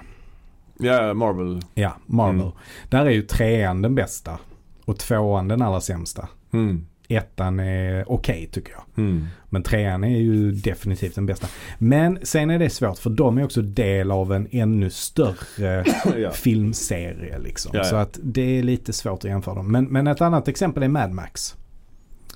S1: Ja, Marvel.
S2: Ja, Marvel.
S1: Mm.
S2: Där är ju trean den bästa och tvåan den allra sämsta.
S1: Mm.
S2: Ettan är okej tycker jag.
S1: Mm.
S2: Men trean är ju definitivt den bästa. Men sen är det svårt för de är också del av en ännu större
S1: Ja.
S2: filmserie. Liksom.
S1: Ja, ja.
S2: Så att det är lite svårt att jämföra dem. Men, men ett annat exempel är Mad Max.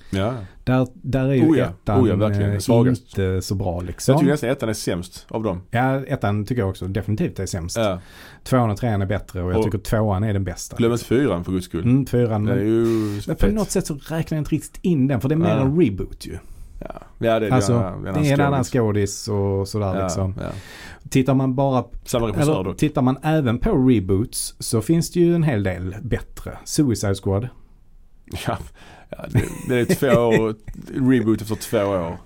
S1: ja.
S2: Där, där är ju
S1: Oh ja.
S2: ettan
S1: Oh ja, verkligen.
S2: eh,
S1: Svagast.
S2: inte så bra
S1: Så jag tycker
S2: liksom.
S1: nästan ettan är sämst av dem.
S2: Ja, ettan tycker jag också definitivt är sämst.
S1: Ja.
S2: Tvåan och trean är bättre och jag
S1: Och-
S2: tycker tvåan är den bästa.
S1: Glöm inte fyran för guds skull.
S2: Mm, fyran.
S1: Det är
S2: Men,
S1: ju...
S2: men på
S1: fett.
S2: något sätt så räknar jag inte riktigt in den för det är mer
S1: Ja.
S2: en reboot ju.
S1: Ja, ja det är
S2: Alltså,
S1: en annan-
S2: det är en annan
S1: skådis.
S2: skådis och sådär liksom. Alltså,
S1: Ja, ja.
S2: Tittar man bara
S1: Samma regissör
S2: eller,
S1: dock.
S2: tittar man även på reboots så finns det ju en hel del bättre. Suicide Squad.
S1: Ja, ja, det, det är två år, reboot efter två år.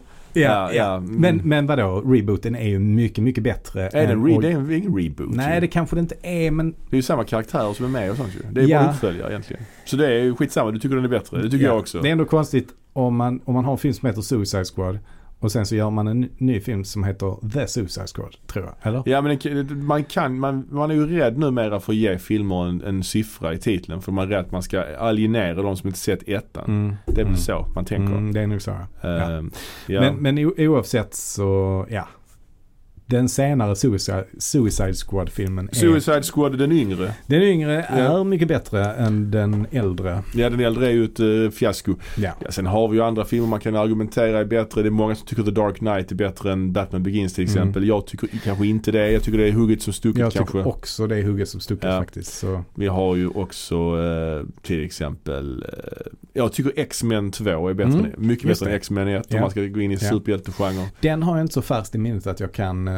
S1: mm.
S2: Men, men vadå, rebooten är ju mycket, mycket bättre.
S1: är det, en
S2: än
S1: re,
S2: ori-
S1: det är en- ingen reboot. ju.
S2: Nej, det kanske det inte är, men
S1: det är ju samma karaktärer som är med och sånt ju. Det är
S2: Ja.
S1: bara uppföljare egentligen. Så det är ju skitsamma, du tycker den är bättre. Det tycker
S2: Ja,
S1: jag också.
S2: Det är ändå konstigt om man, om man har en film som heter Suicide Squad och sen så gör man en ny film som heter The Suicide Squad, tror jag. Eller?
S1: Ja men det- man kan, man, man är ju rädd numera för att ge filmer en, en siffra i titeln. För man är rädd att man ska alienera de som inte sett ettan.
S2: Mm.
S1: Det är väl
S2: Mm.
S1: så man tänker.
S2: Mm, det är nog så. Ja. Ja.
S1: Ehm, ja.
S2: Men, men o- oavsett så, ja. Den senare Suicide, Suicide Squad-filmen är...
S1: Suicide Squad, den yngre.
S2: Den yngre
S1: Ja.
S2: är mycket bättre än den äldre.
S1: Ja den äldre är ju ett eh, fiasko.
S2: Ja.
S1: Ja, sen har vi ju andra filmer man kan argumentera är bättre. Det är många som tycker The Dark Knight är bättre än Batman Begins till exempel. Jag tycker kanske inte det. Jag tycker det är hugget som stucket
S2: Mm. Jag
S1: kanske.
S2: tycker också det är hugget som stucket
S1: Ja.
S2: faktiskt. Så.
S1: Vi har ju också eh, till exempel, eh, jag tycker X-Men 2 är bättre.
S2: Mm,
S1: än- Mycket
S2: just
S1: bättre än
S2: det.
S1: X-Men 1 om
S2: Ja.
S1: man ska gå in i
S2: Ja.
S1: superhjältegenren.
S2: Den har jag inte så färskt i minnet att jag kan eh,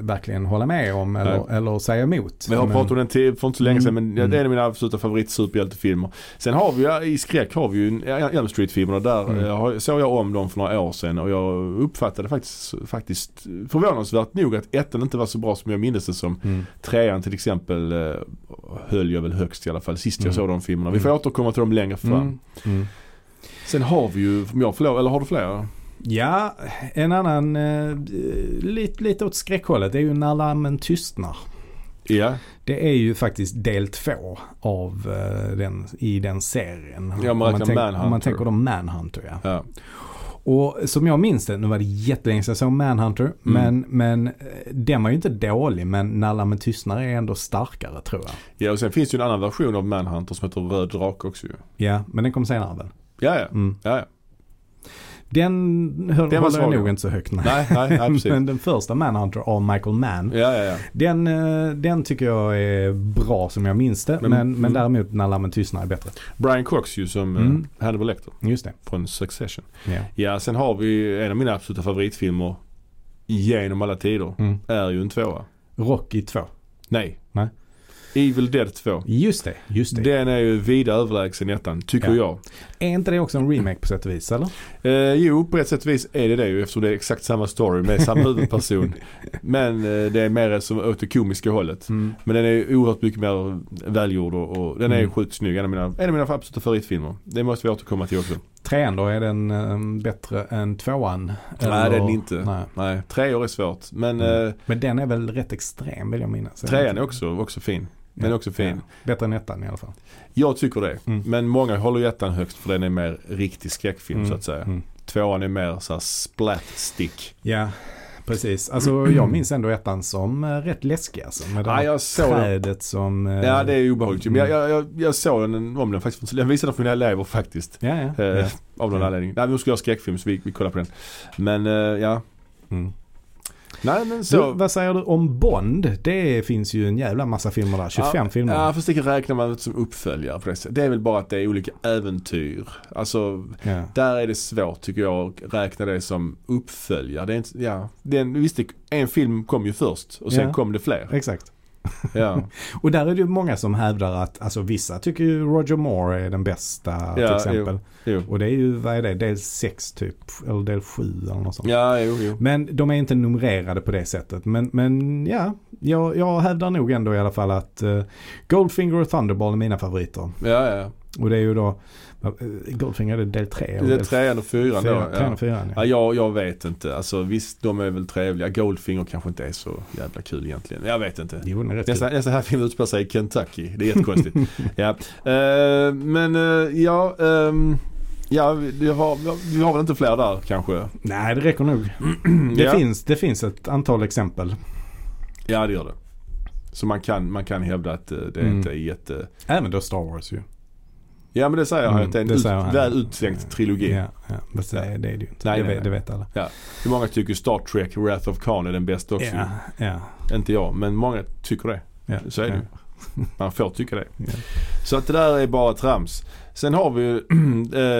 S2: verkligen hålla med om eller, eller säga emot.
S1: Vi har
S2: Men-
S1: pratat om den till, för inte så länge sedan
S2: Mm,
S1: men det är en av mina absoluta favoritsuperhjältefilmer. Sen har vi ju, i skräck har vi ju en- Elm Street-filmerna. Där
S2: Mm.
S1: eh, har- såg jag om dem för några år sedan och jag uppfattade faktiskt, faktiskt förvånansvärt nog att ettan inte var så bra som jag minns det som.
S2: Mm.
S1: Trean till exempel eh, höll jag väl högst i alla fall sist jag
S2: Mm.
S1: såg de filmerna. Vi får
S2: Mm.
S1: återkomma till dem längre fram.
S2: Mm. Mm.
S1: Sen har vi ju, om jag får lov, eller har du fler?
S2: Ja, en annan eh, lite, lite åt skräckhållet det är ju När lammen tystnar.
S1: Ja,
S2: Det är ju faktiskt del två av eh, den, i den serien.
S1: Ja, om man räknar
S2: tänk-
S1: Manhunter.
S2: om man tänker om Manhunter ja.
S1: ja.
S2: Och som jag minns det, nu var det jättelänge sedan jag såg Manhunter, men, men eh, den var ju inte dålig men När lammen tystnar är ändå starkare tror jag.
S1: ja, och sen finns det ju en annan version av Manhunter som heter Röd Drake också ju.
S2: Ja, men den kom senare väl?
S1: Ja, ja.
S2: Mm.
S1: ja, ja.
S2: Den höll,
S1: Den var
S2: håller jag
S1: svag.
S2: nog inte så högt. Nej.
S1: Nej, nej, nej precis.
S2: men den första Manhunter av Michael Mann
S1: Ja, ja, ja.
S2: Den, eh, den tycker jag är bra som jag minns det. Men,
S1: Men-
S2: men,
S1: mm.
S2: däremot När lammen tystnar är bättre.
S1: Brian Cox ju som
S2: Mm.
S1: mm. Hannibal Lecter
S2: Just det.
S1: från Succession.
S2: Ja.
S1: Ja, sen har vi en av mina absoluta favoritfilmer genom alla tider.
S2: Mm.
S1: Är ju en tvåa.
S2: Rocky 2.
S1: Nej.
S2: Nej.
S1: Evil Dead 2.
S2: Just det. Just det.
S1: Den är ju vida överlägsen ettan, tycker
S2: Ja.
S1: jag.
S2: Är inte det också en remake på sätt och vis eller?
S1: Eh, jo, på ett sätt och vis är det det ju eftersom det är exakt samma story med samma huvudperson. Men eh, det är mer som åt det komiska hållet.
S2: Mm.
S1: Men den är oerhört mycket mer välgjord och, och den är
S2: Mm.
S1: sjukt snygg. En av, mina, en av mina absoluta favoritfilmer. Det måste vi återkomma till också.
S2: Trean då, är den eh, bättre än tvåan?
S1: Nej,
S2: Eller-
S1: det är den inte.
S2: Nej.
S1: Nej, tre år är svårt. Men
S2: Mm.
S1: eh,
S2: Men den är väl rätt extrem vill jag minnas.
S1: trean är också, också fin. Den är också fin.
S2: Ja. Bättre än ettan i alla fall.
S1: Jag tycker det.
S2: Mm.
S1: Men många håller ju ettan högst för den är mer riktig skräckfilm
S2: Mm.
S1: så att säga.
S2: Mm.
S1: Tvåan är mer så här splat stick.
S2: Ja, precis. Alltså jag minns ändå ettan som eh, rätt läskig alltså. Med det
S1: Ja,
S2: här
S1: jag såg den.
S2: trädet som... eh,
S1: Ja det är obehagligt. Men
S2: Mm.
S1: jag, jag, jag, jag såg den, om den faktiskt. för inte så- Jag visade den för mina elever faktiskt.
S2: Ja,
S1: Eh,
S2: ja. ja.
S1: Av någon
S2: Ja.
S1: anledning. Nej vi skulle göra skräckfilm så vi, vi kollade på den. Men eh, ja.
S2: Mm.
S1: Nej men
S2: Så,
S1: så...
S2: vad säger du om Bond? Det finns ju en jävla massa filmer där. 25
S1: ja,
S2: filmer.
S1: Ja fast det räknar man inte som uppföljare på det sättet. Det är väl bara att det är olika äventyr. Alltså
S2: Ja.
S1: där är det svårt tycker jag att räkna det som uppföljare. Det är inte, ja, den, visst det, en film kom ju först och sen
S2: Ja.
S1: kom det fler.
S2: Exakt.
S1: Ja.
S2: Och där är det ju många som hävdar att, alltså vissa tycker ju Roger Moore är den bästa
S1: Ja,
S2: till exempel.
S1: Jo.
S2: Och det är ju, vad är det, del 6 typ, eller del 7 eller något sånt.
S1: Ja, jo, jo.
S2: Men de är inte numrerade på det sättet. Men, men ja, jag, jag hävdar nog ändå i alla fall att eh, Goldfinger och Thunderball är mina favoriter.
S1: Ja, ja.
S2: Och det är ju då, eh, Goldfinger är det del 3?
S1: Det är trean och fyran då.
S2: Trean
S1: Ja.
S2: och fyran,
S1: Ja,
S2: ja.
S1: jag, jag vet inte. Alltså visst, de är väl trevliga. Goldfinger kanske inte är så jävla kul egentligen. Jag vet inte.
S2: Jo, den är rätt
S1: Nästa, nästa här film utspelar sig i Kentucky. Det är jättekonstigt. ja. Eh, men eh, ja, ehm, ja vi, vi har, vi har väl inte fler där kanske?
S2: kul. Nej, det räcker nog. Det,
S1: ja.
S2: finns, det finns ett antal exempel.
S1: ja, det gör det. Så man kan, man kan hävda att eh, det
S2: Mm.
S1: inte är jätte...
S2: Även då Star Wars ju.
S1: Ja men det säger jag
S2: Mm,
S1: att det är en
S2: det
S1: ut,
S2: säger han.
S1: väl uttänkt trilogi.
S2: Ja, ja. Fast det, det är det ju inte.
S1: Nej, nej,
S2: det, vet-
S1: nej.
S2: det vet alla.
S1: Hur många tycker Star Trek, Wrath of Khan är den bästa också?
S2: Ja, ja,
S1: Inte jag, men många tycker det.
S2: ja.
S1: Så är det
S2: ja.
S1: ju. Man får tycka det.
S2: Ja.
S1: Så att det där är bara trams. Sen har vi ju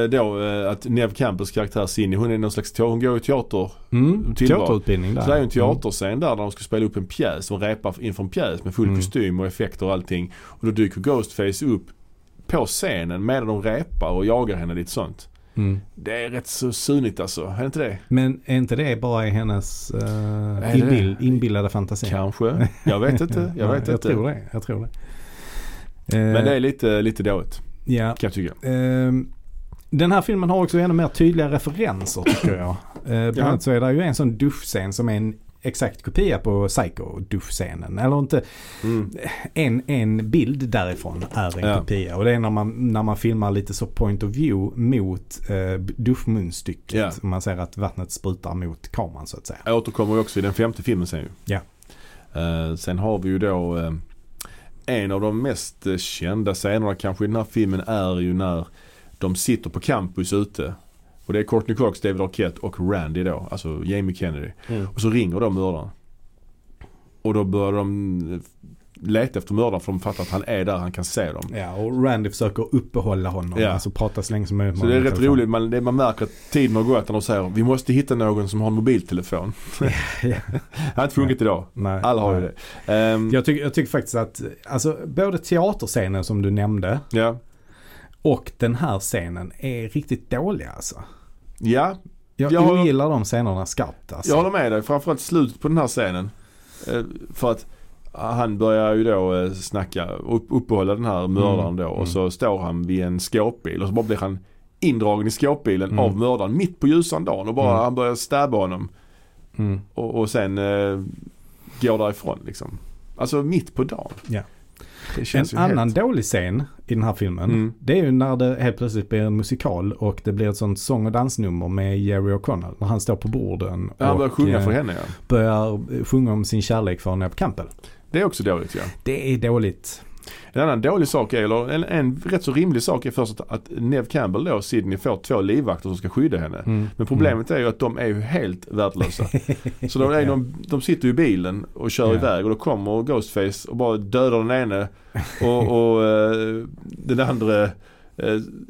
S1: eh, då eh, att Neve Campbells karaktär Cindy, hon är någon slags, te- hon går i teater.
S2: Mm,
S1: Tillvaro.
S2: teaterutbildning där.
S1: Så det är ju en teaterscen där, där de ska spela upp en pjäs. Hon repar inför en pjäs med full
S2: Mm.
S1: kostym och effekter och allting. Och då dyker Ghostface upp på scenen medan de repar och jagar henne lite sånt.
S2: Mm. Mm.
S1: Det är rätt så synigt alltså, är det inte det?
S2: Men är inte det bara i hennes eh,
S1: det
S2: inbill, inbillade fantasi?
S1: Kanske. Jag vet inte. Jag
S2: Ja,
S1: vet
S2: jag
S1: inte.
S2: Tror det, jag tror det. Eh,
S1: Men det är lite, lite dåligt
S2: ja.
S1: kan jag tycka.
S2: Ehm, den här filmen har också ännu mer tydliga referenser tycker jag. Eh,
S1: Ja.
S2: bland annat så är det ju en sån duschscen som är en exakt kopia på Psycho-duschscenen. Eller inte,
S1: Mm.
S2: en, en bild därifrån är en
S1: Ja.
S2: kopia. Och det är när man, när man filmar lite så point of view mot eh, duschmunstycket.
S1: Ja.
S2: Och Man ser att vattnet sprutar mot kameran så att säga.
S1: Jag återkommer ju också i den femte filmen sen ju.
S2: Ja.
S1: Eh, sen har vi ju då eh, en av de mest eh, kända scenerna kanske i den här filmen är ju när de sitter på campus ute. Och det är Courtney Cox, David Arquette och Randy då, alltså Jamie Kennedy.
S2: Mm.
S1: Och så ringer de mördaren. Och då börjar de eh, leta efter mördaren för de fattar att han är där, han kan se dem.
S2: Ja, och Randy försöker uppehålla honom.
S1: Ja.
S2: Alltså prata så länge som möjligt
S1: Så
S2: med
S1: det är
S2: honom i
S1: rätt
S2: telefon.
S1: roligt, man, det, man märker att tiden har gått när de säger vi måste hitta någon som har en mobiltelefon.
S2: ja.
S1: Det har inte funkat idag.
S2: Nej,
S1: Alla har ju
S2: nej.
S1: det. Ehm,
S2: Jag, tycker- jag tycker faktiskt att alltså, både teaterscenen som du nämnde
S1: ja.
S2: och den här scenen är riktigt dåliga alltså.
S1: ja,
S2: Jag,
S1: Jag
S2: jag
S1: håller-
S2: ogillar de scenerna skarpt alltså.
S1: jag håller med dig. Framförallt slutet på den här scenen. Eh, För att han börjar ju då eh, snacka, upp, uppehålla den här mördaren
S2: Mm,
S1: då. Och
S2: mm.
S1: så står han vid en skåpbil och så bara blir han indragen i skåpbilen
S2: Mm.
S1: av mördaren mitt på ljusan dagen. Och bara
S2: Mm.
S1: han börjar stabba honom.
S2: Mm.
S1: Och, och sen eh, går därifrån liksom. Alltså mitt på dagen.
S2: Ja.
S1: Det
S2: En
S1: känns ju
S2: annan
S1: helt...
S2: dålig scen i den här filmen
S1: Mm.
S2: det är ju när det helt plötsligt blir en musikal och det blir ett sånt sång och dansnummer med Jerry O'Connell. När han står på borden och
S1: Han börjar sjunga
S2: eh,
S1: för henne ja.
S2: börjar eh, sjunga om sin kärlek för Neve Campbell.
S1: Det är också dåligt ja.
S2: Det är dåligt.
S1: En annan dålig sak är, eller en, en rätt så rimlig sak är först att, att Neve Campbell då, Sidney, får två livvakter som ska skydda henne. Mm. Men problemet är ju att de är ju helt värdelösa. Så de, är, de, de sitter ju i bilen och kör
S2: Ja.
S1: iväg och då kommer Ghostface och bara dödar den ene och, och eh, den andra eh,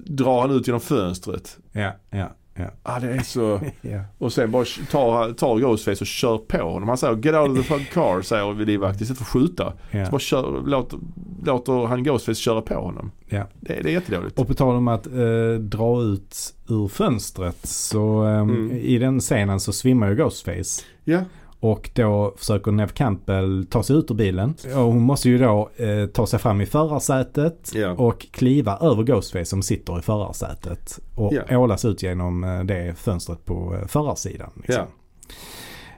S1: drar han ut genom fönstret.
S2: Mm. Ja, ja, ja.
S1: Ah, det är så...
S2: ja.
S1: Och sen bara tar, tar Ghostface och kör på honom. Han säger “Get out of the fucking car” säger livvakten istället för att skjuta.
S2: ja.
S1: Så bara kör, låter, låter han Ghostface köra på honom.
S2: Ja.
S1: Det, det är jättedåligt.
S2: Och på tal om att eh, dra ut ur fönstret så eh,
S1: Mm.
S2: i den scenen så svimmar ju Ghostface.
S1: Ja,
S2: Och då försöker Neve Campbell ta sig ut ur bilen. Och hon måste ju då eh, ta sig fram i förarsätet
S1: Ja.
S2: och kliva över Ghostface som sitter i förarsätet. Och
S1: Ja.
S2: ålas ut genom eh, det fönstret på eh, förarsidan. Liksom.
S1: ja.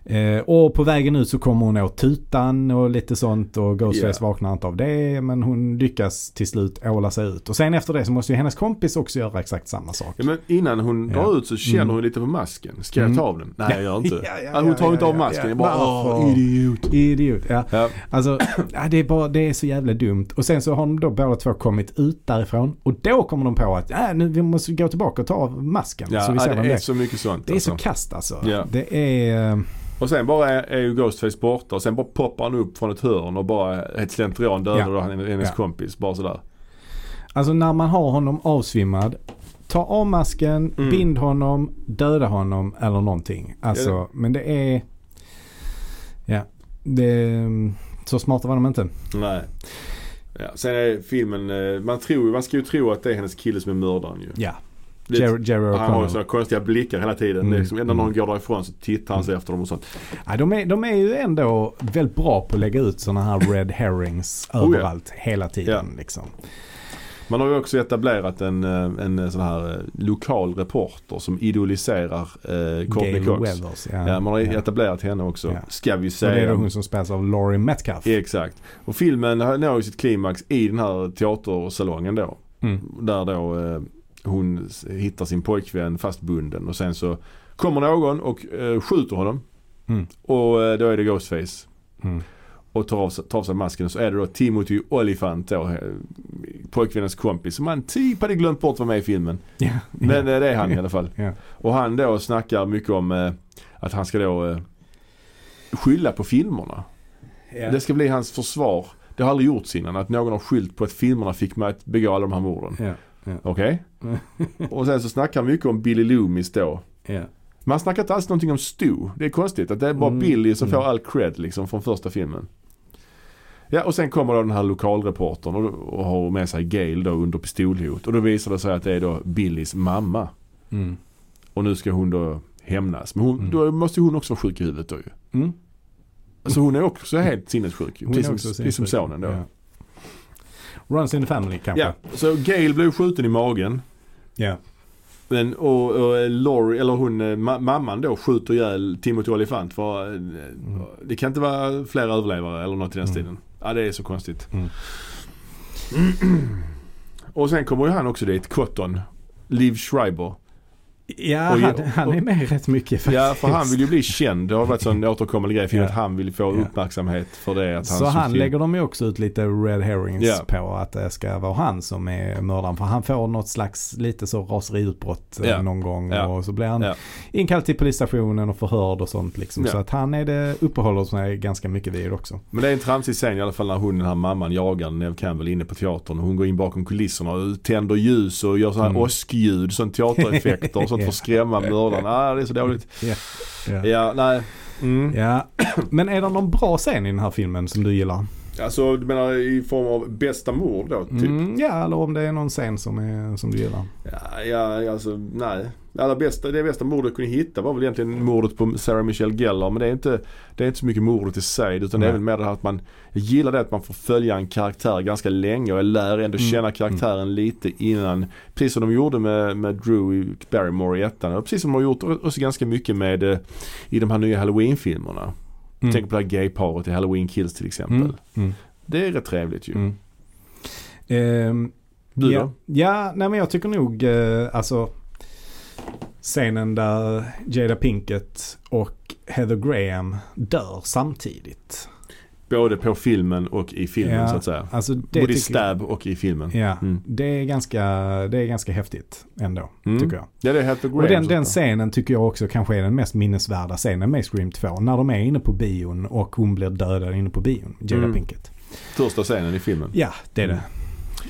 S2: Eh, och på vägen ut så kommer hon åt tutan och lite sånt och Ghostface
S1: Ja.
S2: vaknar inte av det men hon lyckas till slut åla sig ut. Och sen efter det så måste ju hennes kompis också göra exakt samma sak.
S1: ja men innan hon
S2: Ja.
S1: drar ut så känner
S2: Mm.
S1: hon lite på masken. Ska
S2: Mm.
S1: jag ta av den? Nej, jag gör inte.
S2: Ja, ja,
S1: Ah, hon tar
S2: ja,
S1: inte
S2: ja,
S1: av
S2: ja,
S1: masken.
S2: ja.
S1: Jag bara
S2: Varför?
S1: Åh, idiot.
S2: Idiot. Ja.
S1: Ja,
S2: Alltså, ja, det, är bara, det är så jävla dumt. Och sen så har de då båda två kommit ut därifrån och då kommer de på att äh, nu vi måste gå tillbaka och ta av masken.
S1: ja
S2: så vi ser
S1: ah,
S2: vem
S1: det
S2: det
S1: är
S2: är.
S1: så mycket sånt
S2: Det är så
S1: alltså.
S2: kast alltså.
S1: Ja.
S2: Det är... eh,
S1: Och sen bara är, är ju Ghostface borta och sen bara poppar han upp från ett hörn och bara helt slentrian dödar
S2: Ja.
S1: då han- hennes
S2: Ja.
S1: kompis. Bara sådär.
S2: Alltså när man har honom avsvimmad. Ta av masken,
S1: Mm.
S2: bind honom, döda honom eller någonting. Alltså,
S1: Ja.
S2: men det är... Ja, det... mm, Så smarta var de inte.
S1: Nej. Ja, sen är filmen, eh, man, tror, ju- man ska ju tro att det är hennes kille som är mördaren ju.
S2: Ja,
S1: Det-
S2: Jer- Jerry
S1: han har ju
S2: O'Connell.
S1: sådana konstiga blickar hela tiden.
S2: Mm.
S1: Det är liksom, ändå när
S2: Mm.
S1: någon går därifrån så tittar han sig efter dem och sånt.
S2: Ja, de, är, de är ju ändå väldigt bra på att lägga ut sådana här red herrings
S1: Oh, ja.
S2: överallt hela tiden. Liksom.
S1: Man har ju också etablerat en, eh, en sån här eh, lokal reporter som idoliserar eh, Courtney
S2: Gayle
S1: Cox.
S2: Weathers. Ja,
S1: Ja, man har
S2: ja.
S1: etablerat henne också.
S2: Ja.
S1: Ska vi
S2: Och
S1: säga.
S2: det är då hon som spelas av Laurie Metcalf.
S1: Exakt. Och filmen når ju sitt klimax i den här teatersalongen då.
S2: Mm.
S1: Där då eh, hon s- hittar sin pojkvän fastbunden och sen så kommer någon och eh, skjuter honom.
S2: Mm.
S1: Och eh, då är det Ghostface.
S2: Mm.
S1: Och tar av, sig- tar av sig masken och så är det då Timothy Olyphant då, eh, pojkvännens kompis som man typ hade glömt bort var med i filmen.
S2: Ja,
S1: Men eh, det är han i alla fall.
S2: Ja.
S1: Och han då snackar mycket om eh, att han ska då eh, skylla på filmerna.
S2: ja.
S1: Det ska bli hans försvar. Det har aldrig gjorts innan att någon har skyllt på att filmerna fick mig att begå alla de här morden.
S2: Ja,
S1: Okej? och sen så snackar han mycket om Billy Loomis då.
S2: ja.
S1: Man snackar inte alls någonting om Stu. Det är konstigt att det är bara
S2: Mm,
S1: Billy som
S2: mm.
S1: får all cred liksom från första filmen. Ja och sen kommer då den här lokalreportern och, och har med sig Gail då under pistolhot. Och då visar det sig att det är då Billys mamma.
S2: Mm.
S1: Och nu ska hon då hämnas. Men hon,
S2: Mm.
S1: då måste ju hon också vara sjuk i huvudet då ju.
S2: Mm.
S1: Så hon är också helt sinnessjuk. ju.
S2: Hon är
S1: Precis
S2: också
S1: som, precis som
S2: sinnessjuk.
S1: sonen då.
S2: Ja. Runs in the family kanske.
S1: Ja, så Gail blev skjuten i magen.
S2: Ja.
S1: Men, och, och Laurie, eller hon, eh, ma- mamman då, skjuter ihjäl Timothy Olyphant. För, eh, Det kan inte vara fler överlevare eller något i den
S2: Mm.
S1: stilen. Ja, det är så konstigt.
S2: Mm.
S1: och sen kommer ju han också dit, Cotton. Liv Schreiber.
S2: Ja,
S1: Och-
S2: han, han är med rätt mycket faktiskt.
S1: Ja, för han vill ju bli känd. Det har varit en återkommande grej för
S2: Ja.
S1: att han vill få
S2: Ja.
S1: uppmärksamhet för det. Att han
S2: så han
S1: syns i-
S2: lägger dem ju också ut lite red herrings
S1: Ja.
S2: på att det ska vara han som är mördaren. För han får något slags lite så raseriutbrott eh,
S1: Ja.
S2: någon gång
S1: Ja.
S2: och så blir han
S1: Ja.
S2: inkallad till polisstationen och förhörd och sånt liksom.
S1: Ja.
S2: Så att han är det, uppehåller sig ganska mycket vid också.
S1: Men det är en tramsig scen i alla fall när hon, den här mamman jagar Nev Campbell inne på teatern. Hon går in bakom kulisserna och tänder ljus och gör sådana här
S2: Mm.
S1: åskljud, sån teatereffekter och sånt för att skrämma mördaren. Ah, det är så dåligt.
S2: Ja. Ja.
S1: Ja, nej. Mm.
S2: Ja. Men är det någon bra scen i den här filmen som du gillar?
S1: Alltså du menar i form av bästa mord då? Typ?
S2: Mm, ja, eller om det är någon scen som, är, som du gillar.
S1: Ja, ja, alltså nej. Allra bästa, det bästa mordet jag kunde hitta var väl egentligen mordet på Sarah Michelle Gellar. Men det är inte, det är inte så mycket mordet i sig. Utan det är
S2: Nej.
S1: väl mer det här att man jag gillar det att man får följa en karaktär ganska länge. Och jag lär ändå
S2: Mm.
S1: känna karaktären lite innan. Precis som de gjorde med, med Drew i Barrymore i ettan. Och precis som de har gjort också ganska mycket med eh, i de här nya Halloween-filmerna.
S2: Mm.
S1: Tänk på det här gay-paret i Halloween Kills till exempel.
S2: Mm. Mm.
S1: Det är rätt trevligt ju.
S2: Mm. Ehm,
S1: Du
S2: ja,
S1: då?
S2: ja, nej men jag tycker nog eh, alltså scenen där Jada Pinkett och Heather Graham dör samtidigt.
S1: Både på filmen och i filmen
S2: Ja,
S1: så att säga.
S2: Alltså det
S1: Både i
S2: tycker jag-
S1: stab och i filmen.
S2: Ja,
S1: Mm.
S2: det är, ganska, det är ganska häftigt ändå,
S1: Mm.
S2: tycker jag.
S1: Ja det är Heather Graham.
S2: Och den,
S1: som
S2: den
S1: spelar.
S2: scenen tycker jag också kanske är den mest minnesvärda scenen med Scream 2. När de är inne på bion och hon blir dödad inne på bion, Jada
S1: Mm.
S2: Pinkett.
S1: Första scenen i filmen.
S2: Ja, det är det. Eh,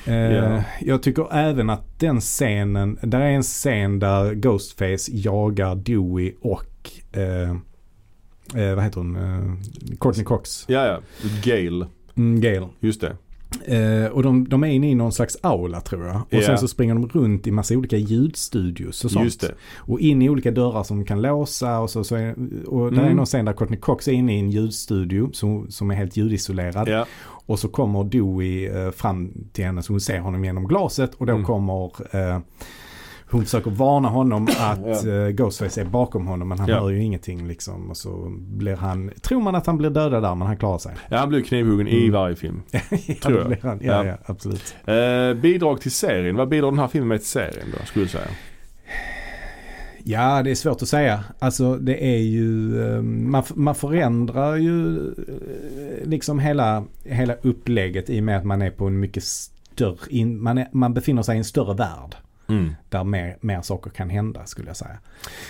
S1: Mm. Ja.
S2: Jag tycker även att den scenen, där är en scen där Ghostface jagar Dewey och, eh, eh, vad heter hon, eh, Courtney Cox,
S1: Ja ja, Gale.
S2: mm, Gale.
S1: Just det.
S2: Eh, och de, de är inne i någon slags aula tror jag. Och
S1: Ja.
S2: sen så springer de runt i massa olika ljudstudios och sånt.
S1: Just det.
S2: Och in i olika dörrar som kan låsa och så, så är, och där är
S1: Mm.
S2: någon scen där Courtney Cox är inne i en ljudstudio som, som är helt ljudisolerad.
S1: Ja.
S2: Och så kommer Dewey eh, fram till henne så hon ser honom genom glaset och då
S1: Mm.
S2: kommer eh, hon försöker varna honom att eh, Ghostface är bakom honom men han
S1: Ja.
S2: hör ju ingenting liksom. Och så blir han, tror man att han blir dödad där men han klarar sig.
S1: ja han blir knivhuggen i
S2: Mm.
S1: varje film.
S2: Ja,
S1: Tror
S2: det
S1: jag.
S2: blir han.
S1: Ja.
S2: Ja, ja. absolut.
S1: Eh, bidrag till serien. Vad bidrar den här filmen med till serien då skulle du säga?
S2: Ja, det är svårt att säga. Alltså det är ju, eh, man, f- man förändrar ju eh, liksom hela, hela upplägget i och med att man är på en mycket större, in, man, är, man befinner sig i en större värld.
S1: Mm.
S2: Där mer, mer saker kan hända skulle jag säga.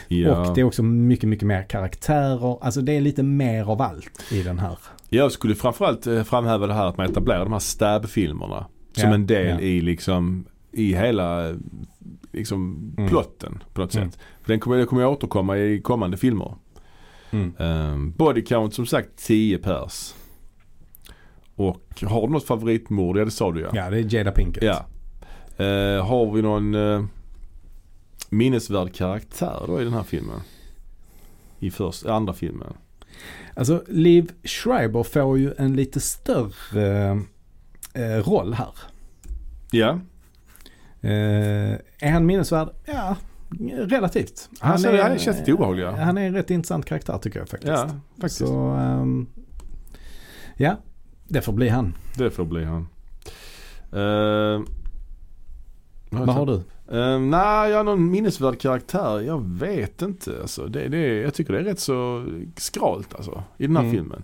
S1: Ja.
S2: Och det är också mycket, mycket mer karaktärer. Alltså det är lite mer av allt i den här.
S1: Jag skulle framförallt eh, framhäva det här att man etablerar de här stab-filmerna som
S2: Ja,
S1: en del
S2: ja.
S1: i liksom i hela eh, liksom
S2: Mm.
S1: plotten på något
S2: Mm.
S1: sätt. För den kommer, det kommer jag återkomma i kommande filmer. Um, body count som sagt 10 pers. Och har du något favoritmord? Ja det sa du ja.
S2: Ja, det är Jada Pinkett.
S1: Ja. Eh, har vi någon eh, minnesvärd karaktär då i den här filmen? I först, andra filmen.
S2: Alltså Liv Schreiber får ju en lite större eh, roll här.
S1: Ja.
S2: Eh, är han minnesvärd? Ja, relativt.
S1: Han ser- Alltså, han känns lite obehaglig, ja.
S2: Han är en rätt intressant karaktär tycker jag faktiskt.
S1: Ja,
S2: faktiskt. Så, ehm, ja, det får bli han.
S1: Det får bli han. Ehm, Eh,
S2: Vad har du?
S1: Eh, nej, jag har någon minnesvärd karaktär. Jag vet inte. Alltså, det, det, jag tycker det är rätt så skralt alltså, i den här
S2: Mm.
S1: filmen.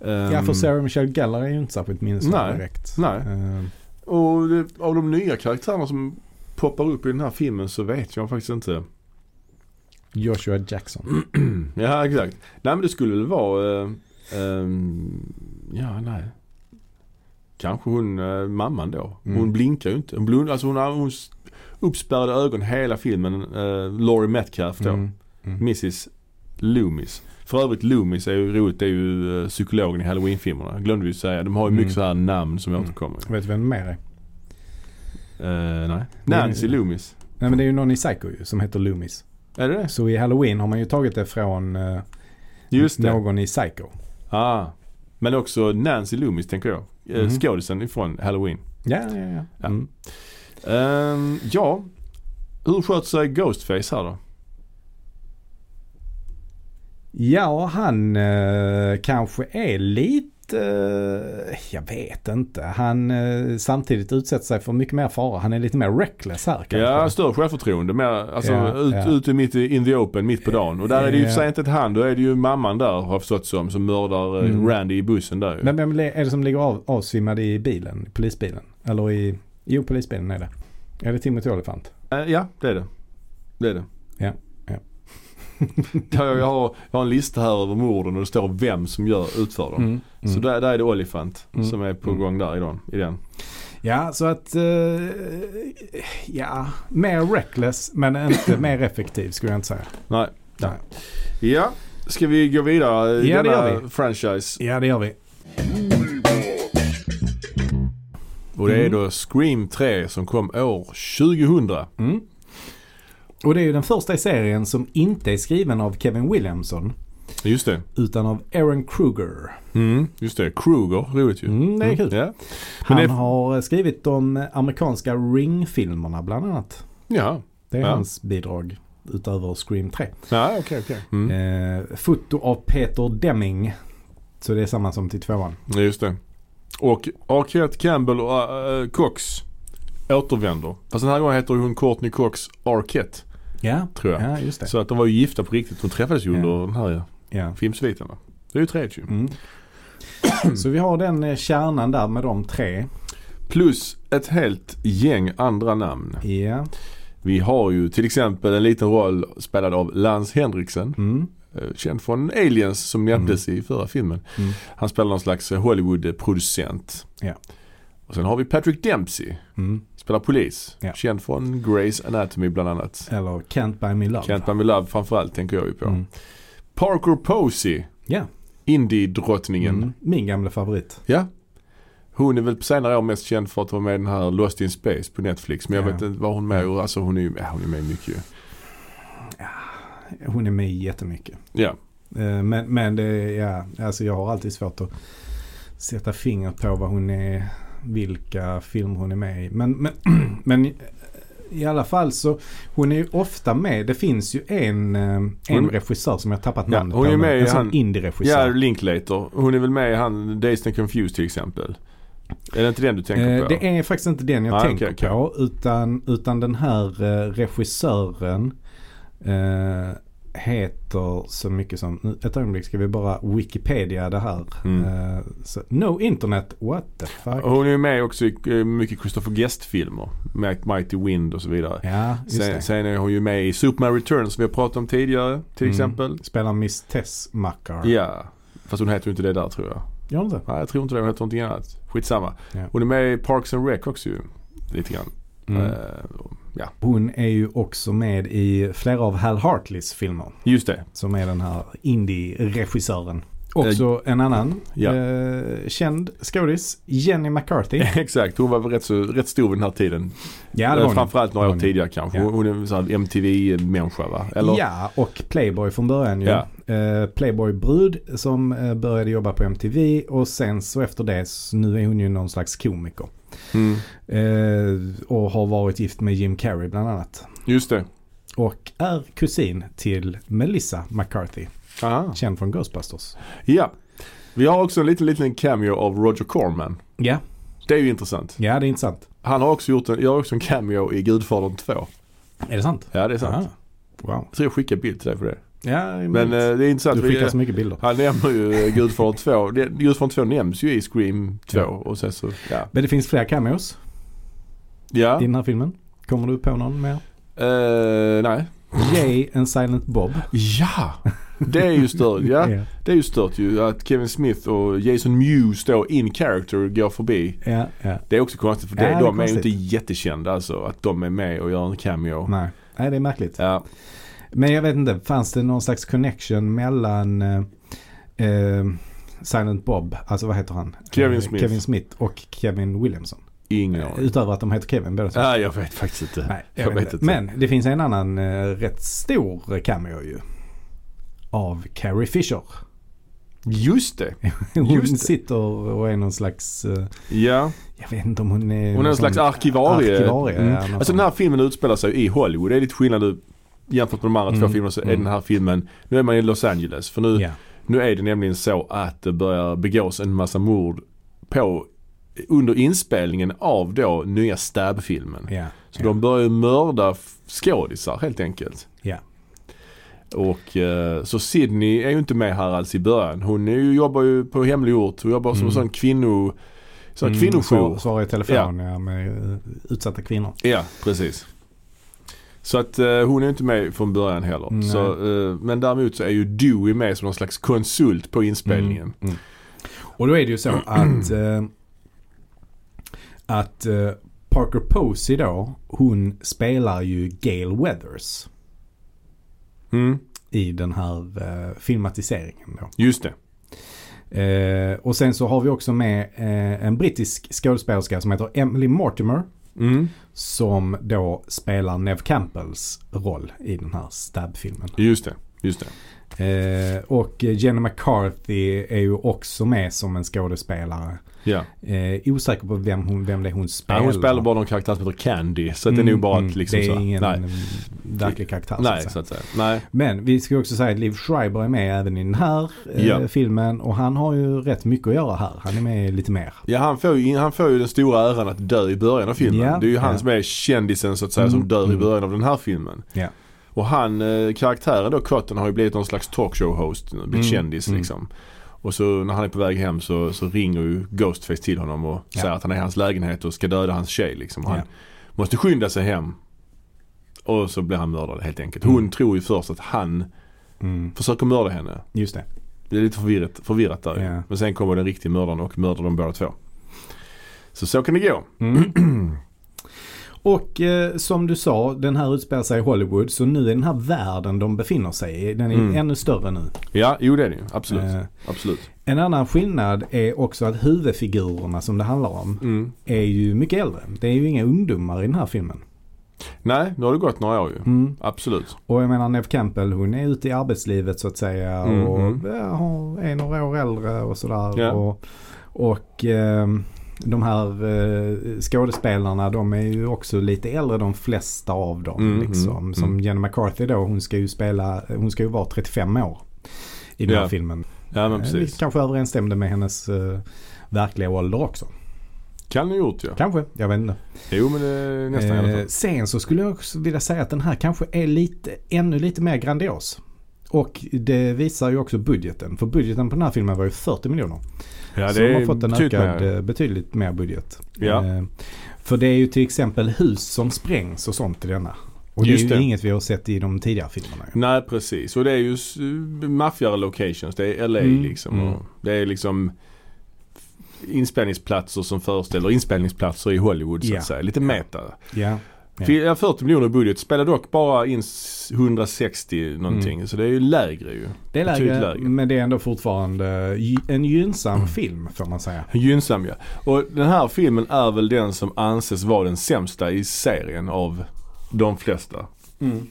S1: Eh,
S2: ja, för Sarah Michelle Gellar är ju inte särskilt minnesvärd
S1: Nej.
S2: direkt.
S1: Nej.
S2: Eh,
S1: Och det, av de nya karaktärerna som poppar upp i den här filmen så vet jag faktiskt inte.
S2: Joshua
S1: Mm.
S2: Jackson.
S1: Ja, exakt. Nej, men det skulle väl vara... eh, ehm, ja, nej. Kanske hon, eh, mamman då. Hon
S2: Mm.
S1: blinkar ju inte. Hon, blund, alltså hon har hon s- uppspärrade ögon hela filmen. Uh, Laurie Metcalf då.
S2: Mm. Mm.
S1: Mrs Loomis. För övrigt Loomis är ju roligt. Det är ju eh, psykologen i Halloween-filmerna. Glömde vi säga. De har ju mycket
S2: Mm.
S1: så här namn som
S2: Mm.
S1: återkommer.
S2: Vet du vem mer är?
S1: Eh, nej. Nancy Loomis.
S2: Nej men det är ju någon i Psycho ju, som heter Loomis.
S1: Är det det?
S2: Så i Halloween har man ju tagit det från eh,
S1: Just det.
S2: någon i Psycho.
S1: Ah. Men också Nancy Loomis tänker jag. Eh,
S2: Mhm.
S1: Skådisen ifrån Halloween.
S2: Ja, ja, ja.
S1: Ja.
S2: Mm.
S1: Ehm, ja. Hur sköt sig Ghostface här då?
S2: ja han eh, kanske är lite, eh, jag vet inte. Han eh, samtidigt utsätter sig för mycket mer fara. Han är lite mer reckless här kanske.
S1: Ja, större självförtroende. Mer, alltså
S2: Ja,
S1: ut,
S2: ja.
S1: ute mitt i, in the open, mitt på dagen. Och där är det ju i och för sig inte ett han. Då är det ju mamman där, har jag förstått som, som mördar eh,
S2: Mm.
S1: Randy i bussen där ju.
S2: Men vem le- är det som ligger av, avsvimmad i bilen? i Polisbilen? Eller i... Jo, polisbilen är det. Är det Timothy Olyphant?
S1: Eh, ja, det är det. Det är det.
S2: Ja, ja.
S1: jag, jag, har, jag har en lista här över morden och det står vem som gör, utför dem. Mm. Så där, där är det Olifant
S2: Mm.
S1: som är på
S2: Mm.
S1: gång där i den. I den.
S2: Ja, så att... eh, ja, mer reckless men inte mer effektiv skulle jag inte säga.
S1: Nej.
S2: Nej.
S1: Ja, ska vi gå vidare i
S2: Ja, det
S1: denna
S2: gör vi.
S1: franchise?
S2: Ja, det gör vi.
S1: Och det är
S2: Mm.
S1: då Scream 3 som kom år 2000.
S2: Mm. Och det är ju den första i serien som inte är skriven av Kevin Williamson
S1: Just det.
S2: utan av Aaron Kruger.
S1: Mm, just det. Kruger, roligt ju.
S2: Mm, det är kul.
S1: Ja.
S2: Han
S1: Men det-
S2: har eh, skrivit de amerikanska Ring-filmerna bland annat.
S1: Ja,
S2: Det är
S1: Ja.
S2: hans bidrag utöver Scream 3.
S1: ja okej, okej. Mm.
S2: Eh, foto av Peter Deming. Så det är samma som till tvåan.
S1: Ja, Just det. Och Arquette Campbell och äh, Cox återvänder. Fast den här gången heter ju hon Courtney Cox Arquette,
S2: Ja,
S1: tror jag.
S2: ja just det.
S1: Så att de var ju gifta på riktigt. De träffades ju
S2: Ja.
S1: under den här ja,
S2: Ja.
S1: filmsviten. va? Det är ju träet ju.
S2: Mm. Så vi har den eh, kärnan där med de tre.
S1: Plus ett helt gäng andra namn.
S2: Ja.
S1: Vi har ju till exempel en liten roll spelad av Lance Henriksen.
S2: Mm.
S1: eh, Känd från Aliens som nämndes i förra filmen.
S2: Mm.
S1: Han spelar någon slags eh, Hollywood-producent.
S2: Ja.
S1: Och sen har vi Patrick Dempsey.
S2: Mm.
S1: Spelar polis.
S2: Ja.
S1: Känd från Grey's Anatomy bland annat.
S2: Eller Can't Buy Me Love.
S1: Kent Man With Love framförallt tänker jag ju på.
S2: Mm.
S1: Parker Posey,
S2: Ja.
S1: indie-drottningen.
S2: Mm. Min gamla favorit.
S1: Ja. Hon är väl på senare år mest känd för att vara med i den här Lost in Space på Netflix. Men jag
S2: Ja.
S1: vet inte vad hon med och alltså hon är ju ja, hon är med mycket ju.
S2: Hon är med jättemycket.
S1: Ja.
S2: Eh, Men, men det, ja, alltså jag har alltid svårt att sätta fingret på vad hon är, vilka filmer hon är med i. Men, men, men eh, i alla fall så, hon är ju ofta med. Det finns ju en, eh, en
S1: Hon-
S2: regissör som jag tappat
S1: Ja,
S2: namnet
S1: hon är
S2: på,
S1: med
S2: men
S1: i
S2: En sån
S1: han- Ja,
S2: indie-regissör.
S1: Linklater. Hon är väl med i han Dazed and Confused till exempel. Är det inte den du tänker
S2: Eh,
S1: på?
S2: det är faktiskt inte den jag
S1: Ah,
S2: tänker
S1: okej, okej.
S2: på utan, utan den här eh, regissören. Eh, heter så mycket som, nu, ett ögonblick ska vi bara Wikipedia det här.
S1: Mm. Oh.
S2: Eh, så, no internet, what the fuck.
S1: Hon är ju med också i eh, mycket Christopher Guest-filmer. Mac Mighty Wind och så vidare.
S2: Ja, just
S1: Sen,
S2: det.
S1: sen är hon ju med i Superman Returns som vi har pratat om tidigare till
S2: Mm.
S1: exempel.
S2: Spelar Miss Tess Mackar.
S1: Ja, Eh. fast hon heter ju inte det där tror jag.
S2: Gör hon inte?
S1: Nej, jag tror inte det. Hon heter någonting annat. Skitsamma.
S2: Ja.
S1: Hon är med i Parks and Rec också ju. Lite grann.
S2: Mm.
S1: Eh, ja,
S2: Hon är ju också med i flera av Hal Hartleys filmer.
S1: just det.
S2: Som är den här indie-regissören. Också en annan
S1: ja.
S2: eh, känd skådis, Jenny McCarthy.
S1: Exakt, hon var väl rätt, så, rätt stor vid den här tiden.
S2: Ja,
S1: Eh,
S2: Eh, det var hon.
S1: Framförallt några
S2: Det
S1: år
S2: var hon.
S1: tidigare kanske.
S2: Ja.
S1: Hon hon är en sån här MTV-människa va? Eller?
S2: Ja, och Playboy från början ju.
S1: Ja.
S2: Eh, Playboy-brud som eh, började jobba på MTV och sen så efter det, så nu är hon ju någon slags komiker.
S1: Mm.
S2: Eh, och har varit gift med Jim Carrey bland annat.
S1: Just det.
S2: Och är kusin till Melissa McCarthy,
S1: Aha.
S2: känd från Ghostbusters.
S1: Ja. Vi har också en liten, liten cameo av Roger Corman.
S2: Ja,
S1: Det är ju intressant.
S2: ja det är intressant.
S1: Han har också gjort en, gör också en cameo i Gudfadern 2.
S2: Är det sant?
S1: Ja, det är sant.
S2: Aha. Wow.
S1: Jag tror jag skickade bild till dig på det.
S2: Ja,
S1: Men eh, det är intressant.
S2: Mm. du
S1: Vi-
S2: skickar så mycket bilder.
S1: Han nämner ju eh, Gudfadern 2. Det- Gudfadern 2 nämns ju i Scream 2
S2: Ja.
S1: och sen så, ja.
S2: Men det finns fler cameos
S1: Ja,
S2: i den här filmen. Kommer du på någon mer?
S1: eh, nej.
S2: Jay and Silent Bob.
S1: Ja! Det är ju stört. Ja, det är ju stört ju att Kevin Smith och Jason Mewes då in character går förbi.
S2: Ja, ja.
S1: Det är också konstigt för det,
S2: Ja, det är
S1: de är ju
S2: konstigt. Mm.
S1: inte jättekända alltså. Att de är med och gör en cameo.
S2: Nej. Nej, det är märkligt.
S1: Ja.
S2: Men jag vet inte, fanns det någon slags connection mellan eh, eh, Silent Bob, alltså vad heter han?
S1: Kevin
S2: Eh,
S1: Smith.
S2: Kevin Smith och Kevin Williamson.
S1: Ingen aning.
S2: Utöver att de heter Kevin båda två.
S1: Ja, jag vet faktiskt inte.
S2: Nej, jag,
S1: jag
S2: vet
S1: vet
S2: inte.
S1: inte.
S2: Men det finns en annan eh, rätt stor cameo ju. Av Carrie Fisher.
S1: Just det.
S2: Hon
S1: Just det.
S2: sitter och är någon slags, eh,
S1: Ja.
S2: jag vet inte om hon är...
S1: Hon är en
S2: någon
S1: slags
S2: sån-
S1: arkivarie.
S2: Arkivarie,
S1: Mm.
S2: ja, något
S1: Alltså den här filmen utspelar sig i Hollywood. Det är lite skillnad nu jämfört med de andra två
S2: Mm.
S1: filmerna så är
S2: Mm.
S1: den här filmen, nu är man i Los Angeles. För nu,
S2: Ja.
S1: nu är det nämligen så att det börjar begås en massa mord på under inspelningen av då nya Stab-filmen.
S2: Ja.
S1: Så de börjar ju mörda f- skådisar helt enkelt.
S2: Ja.
S1: Och eh, så Sydney är ju inte med här alls i början. Hon är ju, jobbar ju på hemlig ort. Hon jobbar som en
S2: Mm.
S1: sån kvinno... Sån
S2: Mm,
S1: kvinnojour.
S2: svar- Svara i telefon ja. med eh, utsatta kvinnor.
S1: Ja, precis. Så att eh, hon är inte med från början heller.
S2: Nej.
S1: Så, eh, men däremot så är ju Dewey med som någon slags konsult på inspelningen.
S2: Och då är det ju så att, eh, att eh, Parker Posey då, hon spelar ju Gail Weathers
S1: Mm,
S2: i den här eh, filmatiseringen då.
S1: just det.
S2: Eh, och sen så har vi också med eh, en brittisk skådespelerska som heter Emily Mortimer.
S1: Mm,
S2: Som då spelar Nev Campbells roll i den här Stab-filmen.
S1: just det. Just det.
S2: Eh, och Jenny McCarthy är ju också med som en skådespelare.
S1: Ja.
S2: Eh, osäker på vem, hon, vem det är hon
S1: Ja,
S2: spelar.
S1: hon spelar bara någon karaktär som heter Candy. Så att det är nog
S2: Mm,
S1: bara
S2: mm.
S1: att liksom
S2: Det är
S1: så,
S2: ingen alltså.
S1: nej,
S2: mm, verklig karaktär. så att
S1: nej,
S2: säga.
S1: så att säga. Nej.
S2: Men vi ska ju också säga att Liv Schreiber är med även i den här eh,
S1: Ja.
S2: filmen. Och han har ju rätt mycket att göra här. Han är med lite mer.
S1: Ja, han får, ju, han får ju den stora äran att dö i början av filmen.
S2: Ja,
S1: det är ju han
S2: ja.
S1: som är kändisen så att säga som
S2: Mm,
S1: dör i
S2: mm.
S1: början av den här filmen.
S2: Ja.
S1: Och han, eh, karaktären då, Cotton har ju blivit någon slags talkshow-host, blivit
S2: Mm,
S1: kändis
S2: mm.
S1: liksom. Och så när han är på väg hem så, så ringer ju Ghostface till honom och
S2: Ja.
S1: säger att han är i hans lägenhet och ska döda hans tjej liksom. Och Han
S2: Ja.
S1: måste skynda sig hem. Och så blir han mördad helt enkelt. Hon tror ju först att han
S2: Mm,
S1: försöker mörda henne.
S2: just det.
S1: Det är lite förvirrat, förvirrat där ju.
S2: Ja.
S1: Men sen kommer den riktiga mördaren och mördar dem båda två. Så så kan det gå.
S2: Och eh, som du sa, den här utspelar sig i Hollywood. Så nu är den här världen de befinner sig i, den är
S1: Mm.
S2: ännu större nu.
S1: Ja, jo det är det ju. Absolut.
S2: Eh,
S1: Absolut.
S2: en annan skillnad är också att huvudfigurerna som det handlar om
S1: Mm.
S2: är ju mycket äldre. Det är ju inga ungdomar i den här filmen.
S1: Nej, nu har det gått några år ju.
S2: Mm.
S1: Absolut.
S2: Och jag menar Neve Campbell hon är ute i arbetslivet så att säga
S1: Mhm.
S2: och ja, hon är några år äldre och sådär.
S1: Ja.
S2: Och, och ehm, de här eh, skådespelarna de är ju också lite äldre de flesta av dem.
S1: Mhm,
S2: Liksom. Som
S1: mm.
S2: Jenny McCarthy då hon ska ju spela, hon ska ju vara 35 år i den
S1: Ja,
S2: här filmen.
S1: Ja men
S2: Eh,
S1: precis.
S2: Vilket kanske överensstämde med hennes eh, verkliga ålder också.
S1: Kan ni gjort ja.
S2: Kanske, jag vet inte.
S1: Jo men eh, nästan i alla
S2: Eh,
S1: fall.
S2: sen så skulle jag också vilja säga att den här kanske är lite, ännu lite mer grandios Och det visar ju också budgeten. För budgeten på den här filmen var ju 40 miljoner.
S1: Ja, typ
S2: så de har fått en
S1: betydligt
S2: ökad,
S1: mer.
S2: eh, betydligt mer budget.
S1: Ja.
S2: Eh, För det är ju till exempel hus som sprängs och sånt i denna. Och det
S1: Just
S2: är ju
S1: det.
S2: inget vi har sett i de tidigare filmerna. ju.
S1: Nej precis. Och det är ju s- eh, maffigare locations. Det är LA
S2: Mm.
S1: liksom.
S2: Mm.
S1: Och det är liksom inspelningsplatser som föreställer inspelningsplatser i Hollywood så att
S2: Ja.
S1: säga. Lite meta.
S2: Ja. Ja.
S1: Ja. 40 miljoner i budget. Spelar dock bara in s- 160 någonting.
S2: Mm.
S1: Så det är ju lägre ju.
S2: Det är
S1: Betydligt
S2: lägre,
S1: lägre. Mm.
S2: men det är ändå fortfarande gy- en gynnsam film får man säga.
S1: Gynnsam ja. Och den här filmen är väl den som anses vara den sämsta i serien av de flesta.
S2: Mm.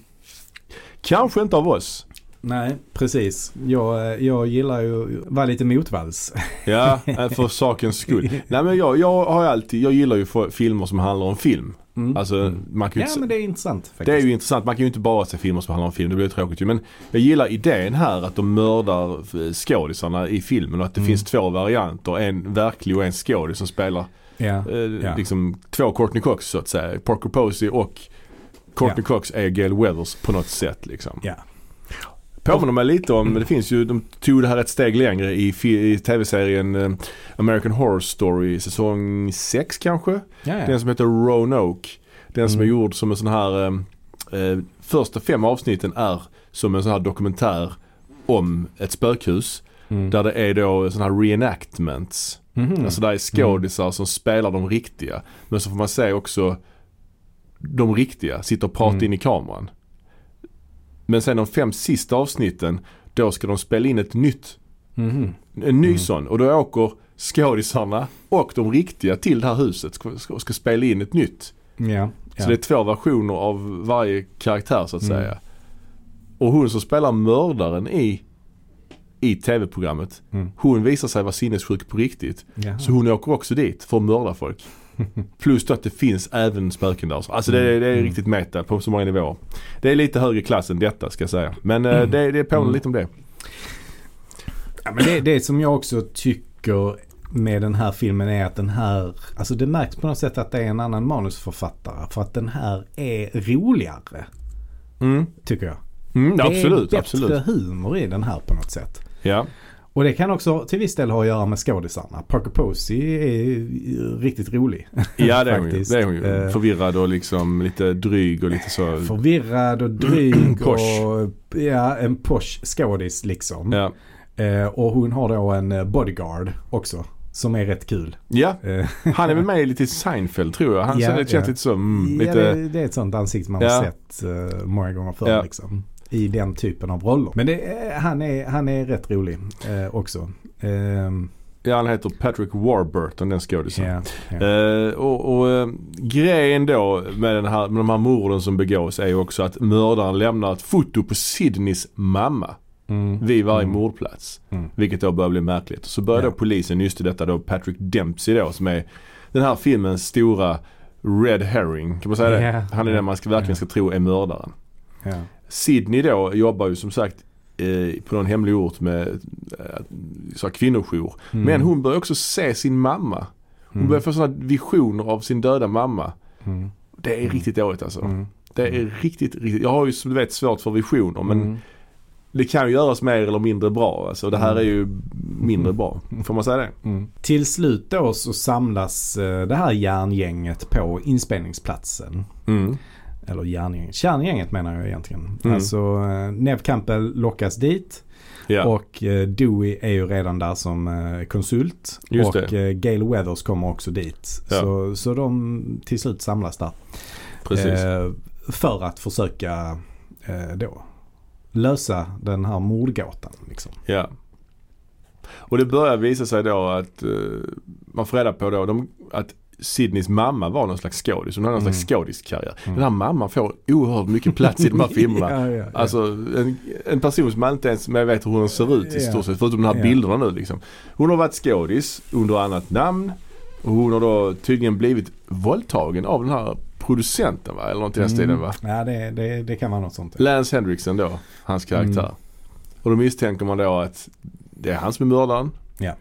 S1: Kanske inte av oss.
S2: Nej, precis. Jag, eh, jag gillar ju att vara lite motvalls.
S1: Ja, eh, för sakens skull. Nej men jag, jag har ju alltid, jag gillar ju fo- filmer som handlar om film.
S2: Mm.
S1: Alltså man kan ju
S2: ja,
S1: inte,
S2: men det är intressant faktiskt.
S1: det är ju intressant. Man kan ju inte bara se filmer som handlar om film. Det blir ju tråkigt ju. Men jag gillar idén här att de mördar eh, skådisarna i filmen och att det
S2: Mm.
S1: finns två varianter. En verklig och en skådis som spelar
S2: ja.
S1: eh,
S2: Ja.
S1: liksom två Courtney Cox så att säga. Parker Posey och Courtney Cox är Gail Weathers på något sätt liksom.
S2: Ja.
S1: Påminner mig lite om, det finns ju, de tog det här ett steg längre i, fi- i tv-serien eh, American Horror Story säsong 6 kanske.
S2: Ja, ja.
S1: Den som heter Roanoke. Den som
S2: Mm.
S1: är gjord som en sån här, eh, eh, första fem avsnitten är som en sån här dokumentär om ett spökhus.
S2: Mm.
S1: Där det är då sån här reenactments.
S2: Mhm.
S1: Alltså där är skådisar som spelar de riktiga. Men så får man se också de riktiga sitta och prata
S2: Mm.
S1: in i kameran. Men sen de fem sista avsnitten då ska de spela in ett nytt,
S2: Mhm.
S1: en ny sån. Och då åker skådisarna och de riktiga till det här huset ska, ska, ska spela in ett nytt.
S2: Ja.
S1: Så
S2: Ja.
S1: det är två versioner av varje karaktär så att
S2: Mm.
S1: säga. Och hon som spelar mördaren i, i tv-programmet.
S2: Mm.
S1: Hon visar sig vara sinnessjuk på riktigt.
S2: Jaha.
S1: Så hon åker också dit för att mörda folk. Plus då att det finns även spöken där. Alltså det,
S2: Mm.
S1: är- det är riktigt meta på så många nivåer. Det är lite högre klass än detta ska jag säga. Men
S2: Mm.
S1: eh, det, det påminner lite om det.
S2: Ja, men det, det som jag också tycker med den här filmen är att den här, alltså det märks på något sätt att det är en annan manusförfattare. För att den här är roligare,
S1: Mm.
S2: tycker jag.
S1: Mm, absolut,
S2: det är
S1: absolut.
S2: bättre humor i den här på något sätt.
S1: Ja.
S2: Och det kan också till viss del ha att göra med skådisarna. Parker Posey är eh, riktigt rolig.
S1: ja, det är hon ju.
S2: Faktiskt.
S1: Det är hon ju.
S2: Eh.
S1: Förvirrad och liksom lite dryg och lite så.
S2: Förvirrad och dryg
S1: Mm. Posh.
S2: och ja, en posh skådis liksom.
S1: Ja,
S2: Eh, och hon har då en eh, bodyguard också. Som är rätt kul.
S1: ja.
S2: Eh,
S1: han är väl med lite i Seinfeld tror jag. Han
S2: Ja,
S1: så det känns
S2: ja.
S1: lite så. Mm,
S2: ja,
S1: lite,
S2: det, det är ett sånt ansikte man har
S1: Ja.
S2: sett eh, många gånger förr.
S1: Ja.
S2: Liksom, I den typen av roller. Men det, eh, han, är, han är rätt rolig eh, också. Ehm,
S1: ja, han heter Patrick Warburton den skådisen.
S2: ja, ja.
S1: Eh, och och eh, grejen då med, den här, med de här morden som begås är ju också att mördaren lämnar ett foto på Sidneys mamma
S2: Mm.
S1: vid varje mordplats.
S2: Mm.
S1: Vilket då börjar bli märkligt. Så börjar
S2: Ja.
S1: då polisen nysta detta då Patrick Dempsey då som är den här filmens stora Red Herring. Kan man säga det?
S2: Ja.
S1: Han är den man ska, verkligen ska tro är mördaren.
S2: Ja. Mm,
S1: Sydney då jobbar ju som sagt eh, på någon hemlig ort med eh, så här kvinnojour.
S2: Mm.
S1: Men hon börjar också se sin mamma. Hon
S2: Mm.
S1: börjar få sådana visioner av sin döda mamma.
S2: Mm.
S1: Det är riktigt dåligt alltså.
S2: Mm.
S1: Det är riktigt, riktigt. Jag har ju som du vet svårt för visioner men
S2: Mm.
S1: det kan ju göras mer eller mindre bra. Alltså. Det här är ju mindre bra. Får man säga det?
S2: Mm. Till slut då så samlas eh, det här järngänget på inspelningsplatsen.
S1: Mm.
S2: Eller järngänget, kärngänget menar jag egentligen.
S1: Mm.
S2: Alltså eh, Nev Campbell lockas dit.
S1: Ja.
S2: Och eh, Dewey är ju redan där som eh, konsult.
S1: Just
S2: och eh, Gail Weathers kommer också dit.
S1: Ja.
S2: Så, så de till slut samlas där.
S1: precis.
S2: Eh, för att försöka eh, då lösa den här mordgåtan. Liksom.
S1: Ja. Och det börjar visa sig då att eh, man får reda på då de, att Sidneys mamma var någon slags skådis. Hon hade någon
S2: Mm.
S1: slags skådiskarriär. Den här mamman får oerhört mycket plats i de här filmerna.
S2: Ja, ja, ja.
S1: Alltså en, en person som man inte ens men jag vet hur hon ser ut i
S2: Ja.
S1: stort sett förutom de här
S2: Ja.
S1: bilderna nu liksom. Hon har varit skådis under annat namn och hon har då tydligen blivit våldtagen av den här producenten va? Eller något i
S2: Mm.
S1: den stilen va?
S2: Ja, det, det, det kan vara något sånt.
S1: Lance Henriksen då, hans
S2: Mm.
S1: karaktär. Och då misstänker man då att det är han som är mördaren.
S2: Ja.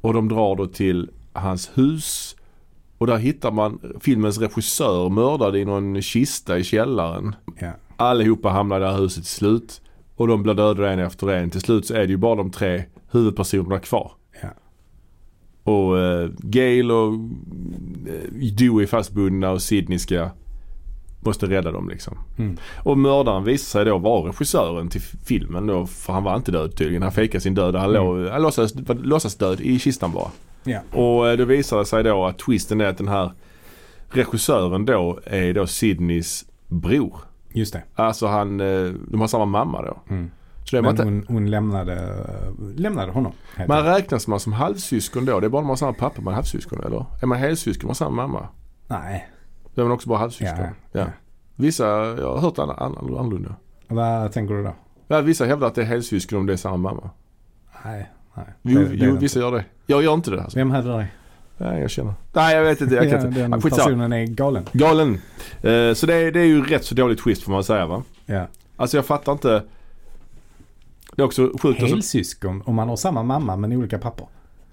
S1: Och de drar då till hans hus. Och där hittar man filmens regissör mördad i någon kista i källaren.
S2: Ja.
S1: Allihopa hamnar i det här huset till slut. Och de blir dödade en efter en. Till slut så är det ju bara de tre huvudpersonerna kvar.
S2: Ja.
S1: Och eh, Gail och eh, Dewey är fastbundna och Sidney ska, måste rädda dem liksom.
S2: Mm.
S1: Och mördaren visar sig då vara regissören till filmen då. För han var inte död tydligen. Han fejkade sin död. och Han, låg, han låtsas, var- låtsas död i kistan bara.
S2: Ja.
S1: Och eh, det visar sig då att twisten är att den här regissören då är då Sidneys bror.
S2: Just det.
S1: Alltså han, eh, de har samma mamma då.
S2: Mm.
S1: Så det är man,
S2: Men
S1: inte,
S2: hon, hon lämnade, lämnade honom. helt
S1: man
S2: enkelt.
S1: räknas man som halvsyskon då? Det är bara om man har samma pappa man är halvsyskon eller? Är man helsyskon man har samma mamma?
S2: Nej.
S1: Då är man också bara halvsyskon.
S2: Ja,
S1: Ja.
S2: ja.
S1: Vissa, jag har hört an- an- annorlunda.
S2: Vad tänker du då?
S1: Ja, vissa hävdar att det är helsyskon om det är samma mamma.
S2: Nej. nej.
S1: Jo,
S2: Det- det är
S1: jo
S2: det
S1: vissa gör det. Jag gör inte det
S2: inte.
S1: alltså.
S2: Vem hade det?
S1: Nej, jag känner. Nej, jag vet inte. Jag kan
S2: Ja,
S1: inte.
S2: den
S1: Ah, skitsamma.
S2: personen är galen.
S1: Galen. Eh, så det är, det är ju rätt så dålig twist får man säga va?
S2: Ja.
S1: Alltså jag fattar inte. Det är också sjukt. Alltså,
S2: Helsyskon om man har samma mamma men olika pappor.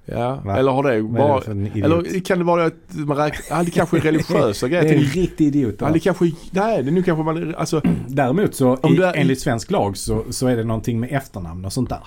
S1: ja.
S2: Va?
S1: Eller har det
S2: Vad är
S1: bara...
S2: det för en idiot?
S1: Eller kan det vara att man räknar... Ja, det kanske är religiösa
S2: det
S1: grejer.
S2: är en
S1: Tänk-
S2: riktig idiot.
S1: Ja,
S2: va?
S1: det kanske... Nej, det nu kanske man... Alltså,
S2: Däremot så
S1: Om
S2: i,
S1: du är-
S2: enligt svensk lag så, så är det någonting med efternamn och sånt där.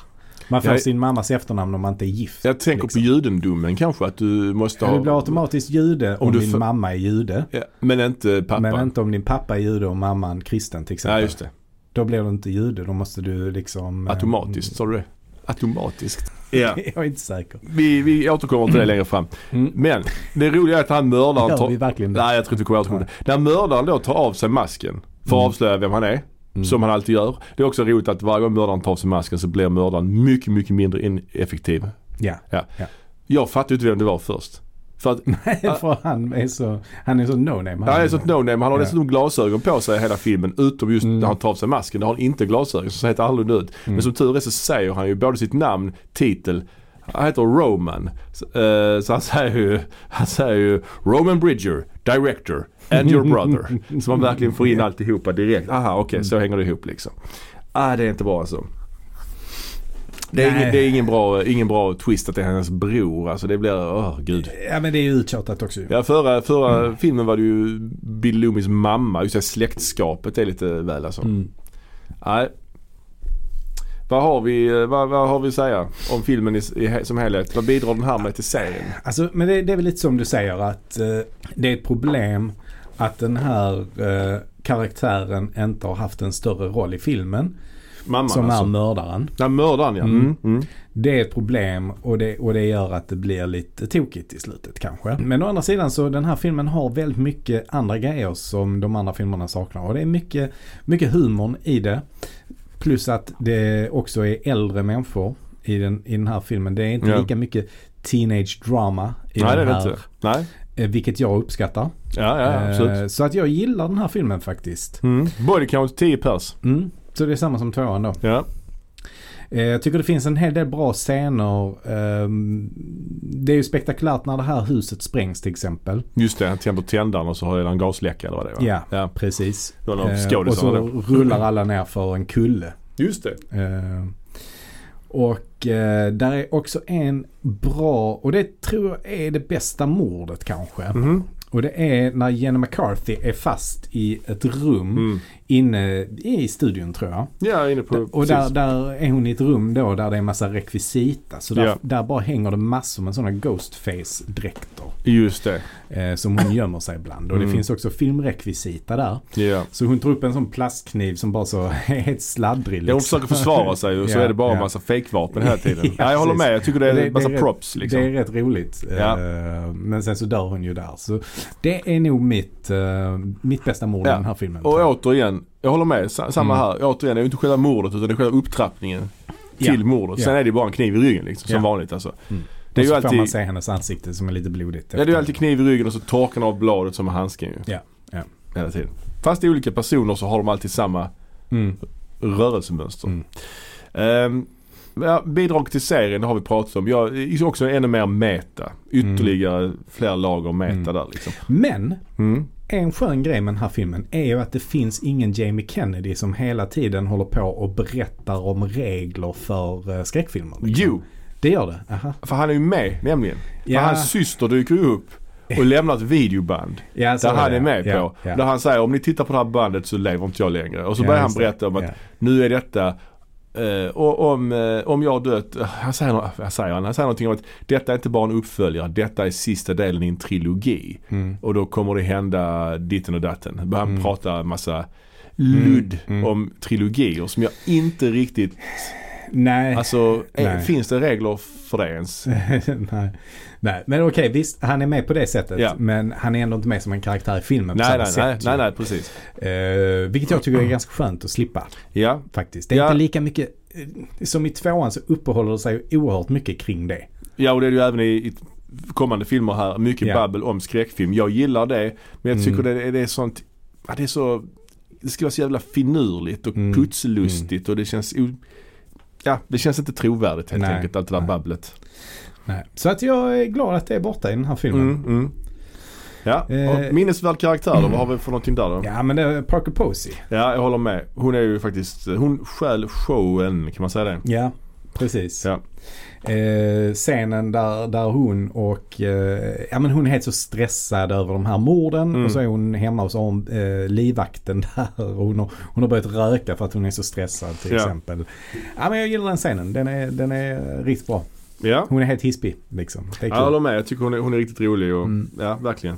S2: Man får
S1: Jag-
S2: sin mammas efternamn om man inte är gift.
S1: jag tänker
S2: liksom.
S1: på judendomen kanske att du måste
S2: Ja,
S1: ha...
S2: Du blir automatiskt jude om,
S1: Om du
S2: din
S1: för-
S2: mamma är jude.
S1: ja, men inte pappa.
S2: Men inte om din pappa är jude och mamman kristen till exempel.
S1: Nej, just det.
S2: Då blir du inte jude, då måste du liksom... eh,
S1: Automatiskt, sa du det? Automatiskt. Ja.
S2: Jag är inte säker.
S1: Vi, vi återkommer till det längre fram.
S2: Mm.
S1: Men det roliga är att han mördaren
S2: Gör
S1: tar...
S2: vi verkligen det?
S1: Nej, jag tror inte vi kommer återkomma till det. När mördaren då tar av sig masken för
S2: Mm.
S1: att avslöja vem han är. Som han alltid gör. Det är också roligt att varje gång mördaren tar av sig masken så blir mördaren mycket, mycket mindre ineffektiv.
S2: Ja.
S1: Ja.
S2: Ja.
S1: Jag fattade inte vem det var först. För att
S2: För han är så, han är så no-name.
S1: han är ett sånt no-name. Han har
S2: Ja. Mm.
S1: dessutom glasögon på sig i hela filmen. Utom just när han tar av sig masken. Där har han inte glasögon. Så ser helt annorlunda ut. Men som tur är så säger han ju både sitt namn, titel. Han heter Roman. Så, eh, så han säger ju, han säger ju Roman Bridger, director, and your brother. så man verkligen får in alltihopa direkt. Aha, okej
S2: Mm.
S1: så hänger det ihop liksom. Ah, det är inte bra alltså. Det är,
S2: Nej.
S1: ingen, det är ingen, bra, ingen bra twist att det är hennes bror. Alltså det blir, åh gud.
S2: Ja men det är ju uttjatat också ju.
S1: Ja förra, förra
S2: Mm.
S1: filmen var det ju Bill Loomis mamma. Just det släktskapet är lite väl alltså.
S2: Mm.
S1: Nej. Vad har vi, vad, vad har vi att säga om filmen i, i, som helhet? Vad bidrar den här med till serien?
S2: Alltså, men det, det är väl lite som du säger att eh, det är ett problem att den här eh, karaktären inte har haft en större roll i filmen
S1: Mamman
S2: som är
S1: alltså.
S2: mördaren.
S1: Ja mördaren ja. Mm. Mm.
S2: Det är ett problem och det, och det gör att det blir lite tokigt i slutet kanske. Men å andra sidan så den här filmen har väldigt mycket andra grejer som de andra filmerna saknar. Och det är mycket, mycket humorn i det. Plus att det också är äldre människor i den, i den här filmen. Det är inte
S1: Ja.
S2: lika mycket teenage drama i
S1: Nej det är
S2: den
S1: det
S2: här.
S1: inte. Nej.
S2: Eh, Vilket jag uppskattar.
S1: Ja, ja absolut.
S2: Eh, Så att jag gillar den här filmen faktiskt.
S1: Mm. Body count 10 pers.
S2: Mm. Så det är samma som tvåan då.
S1: Ja.
S2: Eh, Jag tycker det finns en hel del bra scener. Ehm, Det är ju spektakulärt när det här huset sprängs till exempel.
S1: Just det, han tänder tändaren och så har han gasläcka eller vad det var.
S2: Ja.
S1: ja.
S2: Precis.
S1: Det var någon
S2: Eh, Och
S1: skådis
S2: så
S1: eller något.
S2: rullar alla ner för en kulle.
S1: Just det.
S2: Eh, Och eh, där är också en bra, och det tror jag är det bästa mordet kanske.
S1: Mhm.
S2: Och det är när Jenny McCarthy är fast i ett rum
S1: Mm.
S2: inne i studion tror jag.
S1: Ja, inne på...
S2: Och
S1: precis.
S2: där, där är hon i ett rum då där det är massa rekvisita. Så där,
S1: Ja.
S2: där bara hänger det massor med sådana Ghostface-dräkter.
S1: Just det.
S2: Eh, som hon gömmer sig bland. Och det
S1: Mm.
S2: finns också filmrekvisita där.
S1: Ja.
S2: Så hon tar upp en sån plastkniv som bara så är helt sladdrig.
S1: Ja, hon
S2: liksom.
S1: försöker försvara sig och så
S2: Ja,
S1: är det bara en
S2: ja.
S1: massa fejkvapen hela tiden.
S2: Ja,
S1: ja, jag håller
S2: precis.
S1: med. Jag tycker det är en massa
S2: rätt-
S1: props liksom.
S2: Det är rätt roligt.
S1: Ja.
S2: Eh, men sen så dör hon ju där. Så det är nog mitt, eh, mitt bästa mord i
S1: Ja.
S2: den här filmen.
S1: Och återigen, jag håller med. sa- Samma
S2: Mm.
S1: här. Återigen, det är ju inte själva mordet utan det är själva upptrappningen
S2: Ja.
S1: till mordet. Sen
S2: Ja.
S1: är det bara en kniv i ryggen liksom, som
S2: Ja.
S1: vanligt alltså.
S2: Mm.
S1: Det är ju
S2: och så får man
S1: alltid,
S2: se hennes ansikte som är lite blodigt.
S1: ja, det är ju alltid kniv i ryggen och så torkar man av bladet som med handsken ju.
S2: Ja, ja.
S1: Hela tiden. Fast det är olika personer så har de alltid samma
S2: Mm.
S1: rörelsemönster.
S2: Mm.
S1: Ehm, ja, bidrag till serien det har vi pratat om. Jag är också ännu mer meta. Ytterligare fler lager meta
S2: Mm.
S1: där liksom.
S2: Men
S1: Mm.
S2: En skön grej med den här filmen är ju att det finns ingen Jamie Kennedy som hela tiden håller på och berättar om regler för eh, skräckfilmer. liksom.
S1: Jo,
S2: Det gör det? Aha.
S1: För han är ju med nämligen.
S2: Ja.
S1: För hans syster dyker ju upp och lämnar ett videoband.
S2: Ja, så
S1: Där han
S2: det.
S1: är med
S2: ja,
S1: på.
S2: Ja,
S1: Där han säger om ni tittar på det här bandet så lever inte jag längre. Och så
S2: Ja,
S1: börjar han
S2: just det.
S1: berätta om att
S2: Ja.
S1: nu är detta Eh, och om, eh, om jag har dött, eh, han säger, nå- vad säger han, han säger någonting om att detta är inte bara en uppföljare, detta är sista delen i en trilogi. Och då kommer det hända ditten och datten. Han
S2: Mm.
S1: pratar massa ludd
S2: Mm, mm.
S1: om trilogier som jag inte riktigt,
S2: Nej.
S1: alltså eh,
S2: Nej.
S1: finns det regler för det ens?
S2: nej. nej. Men okej, visst han är med på det sättet.
S1: Ja.
S2: Men han är ändå inte med som en karaktär i filmen på
S1: Nej
S2: samma
S1: nej, nej,
S2: sätt.
S1: nej, nej, precis.
S2: Eh, vilket jag tycker är ganska skönt att slippa
S1: Ja,
S2: faktiskt. Det är
S1: Ja.
S2: inte lika mycket, eh, som i tvåan så uppehåller det sig oerhört mycket kring det.
S1: ja och det är det ju även i, i kommande filmer här, mycket
S2: Ja. Mm.
S1: babbel om skräckfilm. Jag gillar det, men jag tycker det, är- det är sånt, ja, det är så, det ska vara så jävla finurligt och
S2: Mm.
S1: putslustigt och det känns, o, ja det känns inte trovärdigt helt
S2: Nej.
S1: enkelt allt det där
S2: Nej.
S1: babblet.
S2: Nej. Så att jag är glad att det är borta i den här filmen.
S1: Mm, mm. Ja,
S2: Eh.
S1: och minnesvärd karaktär då, vad har vi för någonting där då? Ja.
S2: Ja men det är Parker Posey.
S1: jag håller med. Hon är ju faktiskt, hon stjäl showen, kan man säga det?
S2: Ja, precis.
S1: Ja.
S2: Eh, scenen där, där hon och, eh, ja men hon är helt så stressad över de här morden
S1: Mm.
S2: och så är hon hemma hos hon, eh, livvakten där och hon har, hon har börjat röka för att hon är så stressad till
S1: Ja.
S2: exempel. Ja men jag gillar den scenen, den är, den är riktigt bra.
S1: Ja.
S2: Hon är helt hispig liksom. Det är
S1: Ja, jag
S2: kul. Mm.
S1: håller med. Jag tycker hon är, hon är riktigt rolig och ja, verkligen.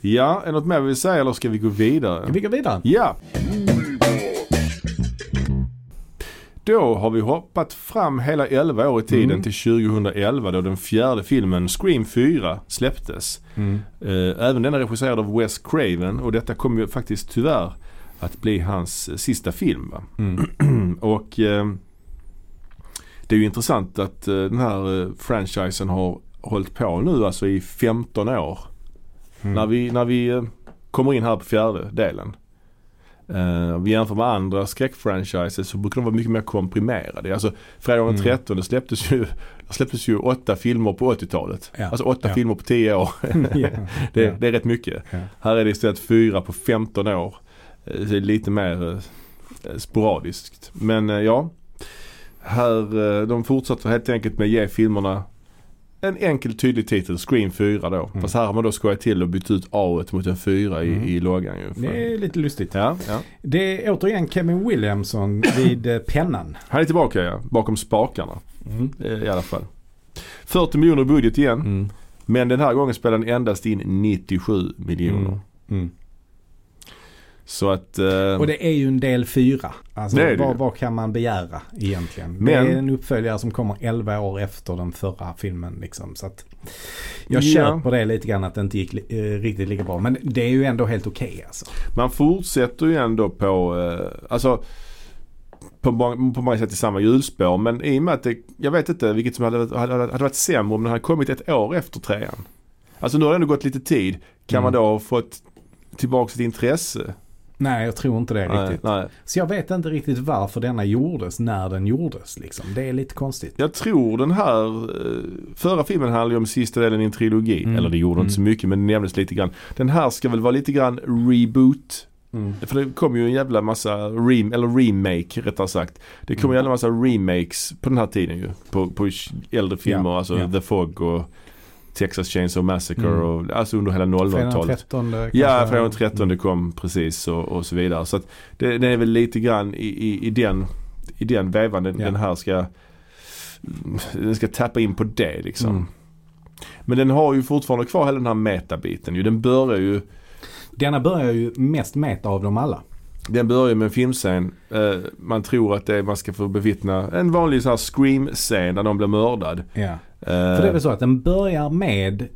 S1: Ja, är det något mer vi vill säga eller ska vi gå vidare?
S2: Vi går vidare.
S1: Ja! Då har vi hoppat fram hela 11 år i tiden
S2: Mm.
S1: till 2011 då den fjärde filmen Scream 4 släpptes.
S2: Mm.
S1: Eh, Även den är regisserad av Wes Craven och detta kommer ju faktiskt tyvärr att bli hans eh, sista film. Va?
S2: Mm.
S1: Och eh, det är ju intressant att eh, den här eh, franchisen har hållit på nu alltså i 15 år.
S2: Mm.
S1: När vi, när vi eh, kommer in här på fjärde delen. Eh, om vi jämför med andra skräckfranchises så brukar de vara mycket mer komprimerade. Alltså Fredagen den
S2: Mm.
S1: 13 släpptes ju, släpptes ju åtta filmer på 80-talet.
S2: Ja.
S1: Alltså åtta
S2: Ja.
S1: filmer på 10 år.
S2: ja.
S1: Mm. Det,
S2: ja.
S1: det är rätt mycket.
S2: Ja.
S1: Här är det istället fyra på 15 år. Eh, så Det är lite mer eh, sporadiskt. Men eh, ja. Här, eh, de fortsätter helt enkelt med att ge filmerna en enkel tydlig titel, Scream 4 då.
S2: Mm.
S1: Fast här har man då skojat till och bytt ut A mot en 4 i, i loggan ju.
S2: Det är lite lustigt.
S1: Ja, ja.
S2: Det är återigen Kevin Williamson vid eh, pennan.
S1: Han är tillbaka ja, bakom spakarna eh, i alla fall. 40 miljoner budget igen.
S2: Mm.
S1: Men den här gången spelar den endast in 97 miljoner.
S2: Mm. Mm.
S1: Så att... eh,
S2: Och det är ju en del fyra. Alltså
S1: Det är det ju.
S2: vad, vad kan man begära egentligen?
S1: Men-
S2: det är en uppföljare som kommer 11 år efter den förra filmen liksom. Så att jag
S1: Ja.
S2: köper det lite grann att det inte gick li- eh, riktigt lika bra. Men det är ju ändå helt okej alltså.
S1: Man fortsätter ju ändå på, eh, alltså på, mång- på många sätt i samma hjulspår. Men i och med att det, jag vet inte vilket som hade, varit- hade, hade varit sämre om den hade kommit ett år efter trean. Alltså nu har det ändå gått lite tid. Kan
S2: Mm.
S1: man då ha fått tillbaka sitt intresse?
S2: Nej, jag tror inte det riktigt.
S1: nej.
S2: Så jag vet inte riktigt varför denna gjordes när den gjordes liksom. Det är lite konstigt.
S1: Jag tror den här, eh, förra filmen handlade ju om sista delen i en trilogi.
S2: Mm.
S1: Eller det gjorde inte så mycket men det nämndes lite grann. Den här ska väl vara lite grann reboot För det kom ju en jävla massa, rem, eller remake rättare sagt. Det kom
S2: Mm.
S1: en jävla massa remakes på den här tiden ju. På, på äldre filmer,
S2: Ja,
S1: alltså
S2: ja.
S1: The Fog och Texas Chainsaw Massacre
S2: Mm.
S1: och alltså under hela
S2: Fredag den
S1: 00-talet.
S2: 13 kanske? Mm.
S1: Ja, från 13 det kom precis och, och så vidare. Så att det, det är väl lite grann i, i, i den, i den vevan den,
S2: Ja.
S1: den här ska, den ska tappa in på det liksom.
S2: Mm.
S1: Men den har ju fortfarande kvar hela den här metabiten ju. Den börjar ju
S2: Denna börjar ju mest meta av dem alla.
S1: Den börjar med en filmscen. Eh, man tror att det är, man ska få bevittna en vanlig så här scream-scen där någon blir mördad. Eh,
S2: Ja. För det är väl så att den börjar med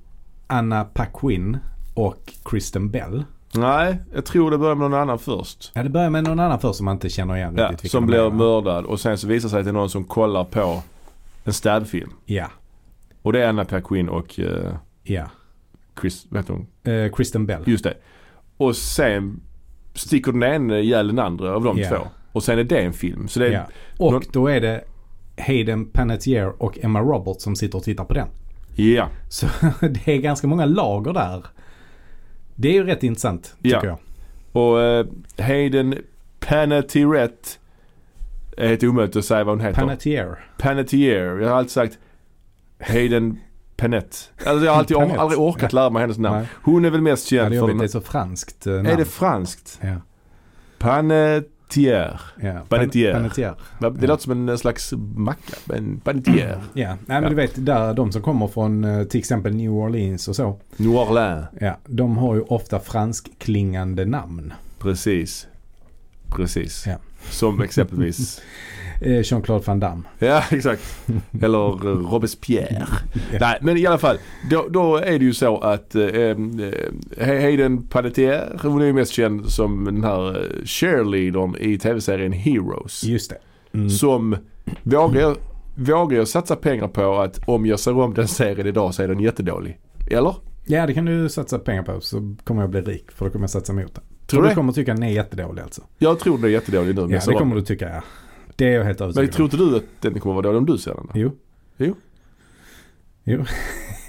S2: Anna Paquin och Kristen Bell.
S1: Nej, jag tror det börjar med någon annan först.
S2: Ja, det börjar med någon annan först som man inte känner igen
S1: Ja,
S2: riktigt. vilka
S1: som
S2: de
S1: blir
S2: är, va?
S1: mördad och sen så visar det sig att det är någon som kollar på en stabfilm.
S2: Ja,
S1: Och det är Anna Paquin och eh,
S2: ja.
S1: Chris, vad heter hon?
S2: Eh, Kristen Bell.
S1: Just det. Och sen sticker den ene ihjäl den andra av de
S2: Ja.
S1: två. Och sen är det en film. Så det är,
S2: Ja. Och
S1: någon-
S2: då är det Hayden Panettiere och Emma Roberts som sitter och tittar på den.
S1: ja.
S2: Så det är ganska många lager där. Det är ju rätt intressant tycker
S1: Ja.
S2: jag.
S1: Och eh, Hayden Panettiere är helt omöjligt att säga vad hon heter.
S2: Panettiere.
S1: Panettiere. Jag har alltid sagt Hayden Panet. Alltså jag har alltid,
S2: Panett.
S1: aldrig orkat lära mig hennes namn.
S2: Nej.
S1: Hon är väl mest
S2: Ja,
S1: känd
S2: det är
S1: för
S2: jobbigt. Det är
S1: den.
S2: så franskt eh, namn.
S1: Är det franskt?
S2: ja.
S1: Panet... Panettiere.
S2: Ja.
S1: Panettiere.
S2: Pan- Panettiere.
S1: Va? Det
S2: Ja. Mm.
S1: låter som en slack macka. En panettiere.
S2: Ja, Nej, men
S1: Ja.
S2: du vet där de som kommer från eh, till exempel New Orleans och så.
S1: New Orleans.
S2: Ja, de har ju ofta franskklingande namn.
S1: Precis. Precis.
S2: Ja.
S1: Som exempelvis.
S2: Eh, Jean-Claude Van Damme.
S1: ja, exakt. Eller eh, Robespierre. Nej, men i alla fall. Då, då är det ju så att eh, eh, Hayden Panettiere, hon är ju mest känd som den här eh, cheerleadern i tv-serien Heroes.
S2: Just det. Mm.
S1: Som vågar jag, vågar jag satsa pengar på att om jag ser om den serien idag så är den jättedålig. Eller?
S2: Ja, det kan du satsa pengar på så kommer jag bli rik för då kommer jag satsa mot det.
S1: Tror du
S2: du? Du
S1: det?
S2: kommer tycka den är jättedålig alltså.
S1: Jag tror den är jättedålig nu. men
S2: Ja,
S1: jag ser
S2: det
S1: om
S2: kommer
S1: den.
S2: du tycka ja. Det är jag helt
S1: Men
S2: övertygad
S1: tror inte du att den kommer vara dålig om du ser den? då?
S2: Jo.
S1: Jo.
S2: Jo.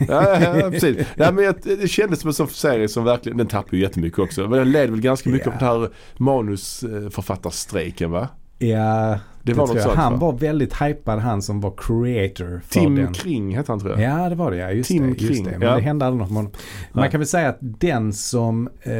S1: Ja, ja, ja, precis. Nej, men jag, det kändes som en sån serie som verkligen, den tappar ju jättemycket också. Men den led väl ganska mycket
S2: Ja.
S1: av den här manusförfattarstrejken va?
S2: Ja,
S1: Det var
S2: tror
S1: något
S2: jag.
S1: sånt
S2: Han
S1: va?
S2: var väldigt hypad han som var creator för
S1: Tim
S2: den.
S1: Kring hette han tror jag.
S2: Ja, det var det. Ja, just
S1: Tim
S2: det. Just
S1: Kring,
S2: det. Men
S1: ja.
S2: det hände aldrig något med honom. Man
S1: Nej.
S2: kan väl säga att den som eh,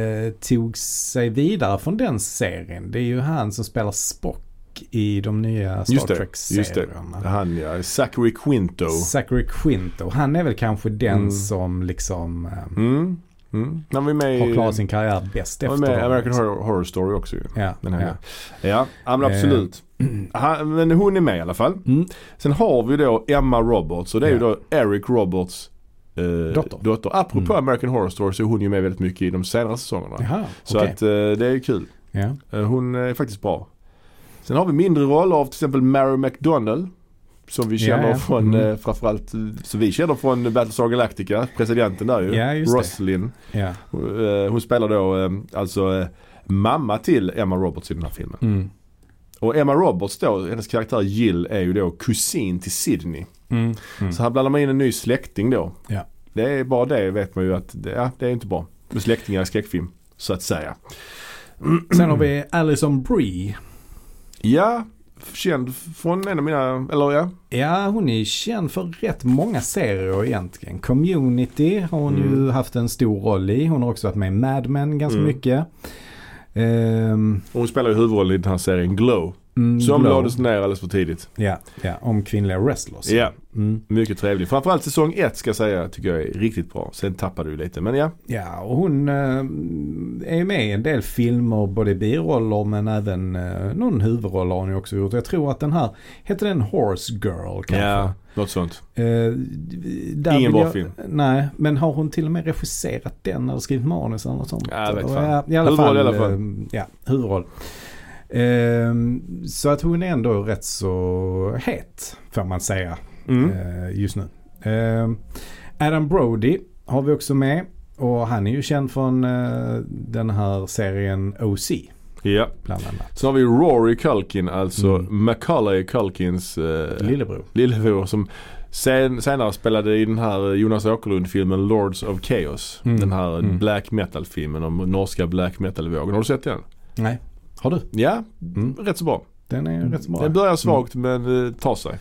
S2: tog sig vidare från den serien, det är ju han som spelar Spock i de nya Star
S1: Just det, just det.
S2: Trek-serierna.
S1: Han ja, Zachary Quinto.
S2: Zachary Quinto, han är väl kanske den
S1: Mm.
S2: som liksom eh,
S1: Mm. Mm. Han var ju med
S2: har
S1: i,
S2: klarat sin karriär bäst
S1: han var
S2: efter
S1: med i
S2: dem.
S1: American Horror, Horror Story också ju.
S2: Ja,
S1: Den här
S2: ja. Eh.
S1: ja. ja, ja men absolut. Han, men hon är med i alla fall.
S2: Mm.
S1: Sen har vi då Emma Roberts och det är ju
S2: Ja.
S1: då Eric Roberts eh,
S2: Dotter. Mm.
S1: dotter. Apropå American Horror Story så är hon ju med väldigt mycket i de senare säsongerna.
S2: Jaha,
S1: Så
S2: okej.
S1: att eh, det är kul.
S2: Ja.
S1: Eh, hon är faktiskt bra. Sen har vi mindre roller av till exempel Mary McDonnell. Som vi
S2: Ja,
S1: känner
S2: ja.
S1: från
S2: Mm.
S1: eh, framförallt, eh, så vi känner från Battlestar Galactica, presidenten där ju.
S2: Ja, just det.
S1: Roslin.
S2: ja.
S1: Eh, Hon spelar då eh, alltså eh, mamma till Emma Roberts i den här filmen.
S2: Mm.
S1: Och Emma Roberts då, hennes karaktär Jill är ju då kusin till Sidney.
S2: Mm. Mm.
S1: Så här blandar man in en ny släkting då.
S2: Ja.
S1: Det är bara det vet man ju att det, ja, det är inte bra. Med släktingar i skräckfilm, så att säga.
S2: Sen har vi Alison Brie.
S1: Ja, känd från en av mina, eller ja.
S2: Ja, hon är känd för rätt många serier egentligen. Community har hon ju haft en stor roll i. Hon har också varit med i Mad Men ganska
S1: Mm.
S2: mycket. Ehm,
S1: Hon spelar ju huvudrollen i den här serien Glow.
S2: mm,
S1: Som
S2: Glow.
S1: lades ner alldeles för tidigt.
S2: Ja, ja, om kvinnliga wrestlers.
S1: Ja,
S2: Mm.
S1: mycket trevlig. Framförallt säsong ett ska jag säga tycker jag är riktigt bra. Sen tappade du lite, men ja.
S2: ja, och hon eh, är ju med i en del filmer, både i biroller men även eh, någon huvudroll har hon ju också gjort. Jag tror att den här, heter den Horse Girl kanske?
S1: ja. Något sånt.
S2: Eh, där
S1: Ingen
S2: vill
S1: bra
S2: jag,
S1: film.
S2: Nej, men har hon till och med regisserat den eller skrivit manus eller något sånt?
S1: Ja, jag vet
S2: Eller,
S1: fan.
S2: ja, i alla
S1: Huvudroll
S2: fall,
S1: i alla fall.
S2: eh, Ja, huvudroll. Eh, så att hon är ändå rätt så het, får man säga,
S1: Mm.
S2: eh, just nu. Eh, Adam Brody har vi också med. Och han är ju känd från eh, den här serien OC,
S1: Ja.
S2: bland annat.
S1: Sen har vi Rory Culkin, alltså
S2: Mm.
S1: Macaulay Culkins eh,
S2: Lillebror.
S1: lillebror som sen, senare spelade i den här eh, Jonas Åkerlund-filmen Lords of Chaos.
S2: Mm.
S1: Den här eh,
S2: Mm.
S1: black metal-filmen om norska black metal-vågen. Har du sett den?
S2: Nej. Har du?
S1: Ja,
S2: Mm.
S1: rätt så bra.
S2: Den är rätt så bra.
S1: Den börjar svagt
S2: Mm.
S1: men eh, tar sig.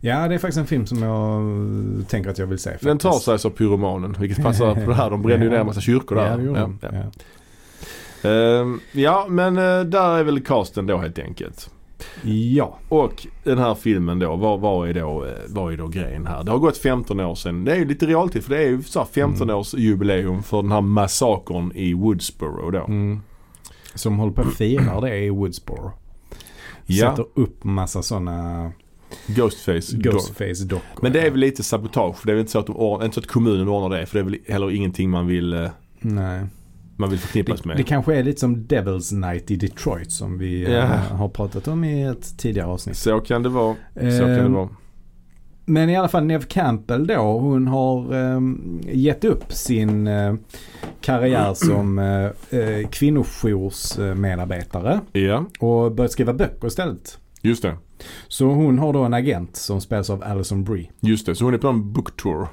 S2: Ja, det är faktiskt en film som jag eh, tänker att jag vill se. Faktiskt.
S1: Den tar sig sa pyromanen vilket passar på det här. De brände ju ner en massa kyrkor
S2: Ja,
S1: där.
S2: det gjorde
S1: Ja,
S2: den.
S1: ja.
S2: Ja.
S1: Ehm, ja men eh, där är väl casten då helt enkelt.
S2: ja.
S1: Och den här filmen då, vad, vad, är då, eh, vad är då grejen här? Det har gått 15 år sedan. Det är ju lite realtid för det är ju så här
S2: Mm.
S1: 15 års jubileum för den här massakern i Woodsboro då.
S2: Mm. Som håller på att fira det i Woodsboro.
S1: Ja.
S2: Sätter upp massa sådana
S1: Ghostface. Door.
S2: Ghostface-dockor.
S1: Men det är väl lite sabotage. Det är väl inte så att, de or- inte så att kommunen ordnar det för det är väl heller ingenting man vill, eh,
S2: Nej.
S1: man vill förknippas
S2: Det,
S1: med.
S2: det kanske är lite som Devil's Night i Detroit som vi eh,
S1: Ja.
S2: har pratat om i ett tidigare avsnitt.
S1: Så kan det vara. Så kan det
S2: Ehm,
S1: vara.
S2: Men i alla fall Nev Campbell då, hon har eh, gett upp sin eh, karriär som eh, eh, kvinnojoursmedarbetare
S1: Ja,
S2: och börjat skriva böcker istället.
S1: just det.
S2: Så hon har då en agent som spelas av Alison Brie.
S1: Just det, så hon är på en book tour.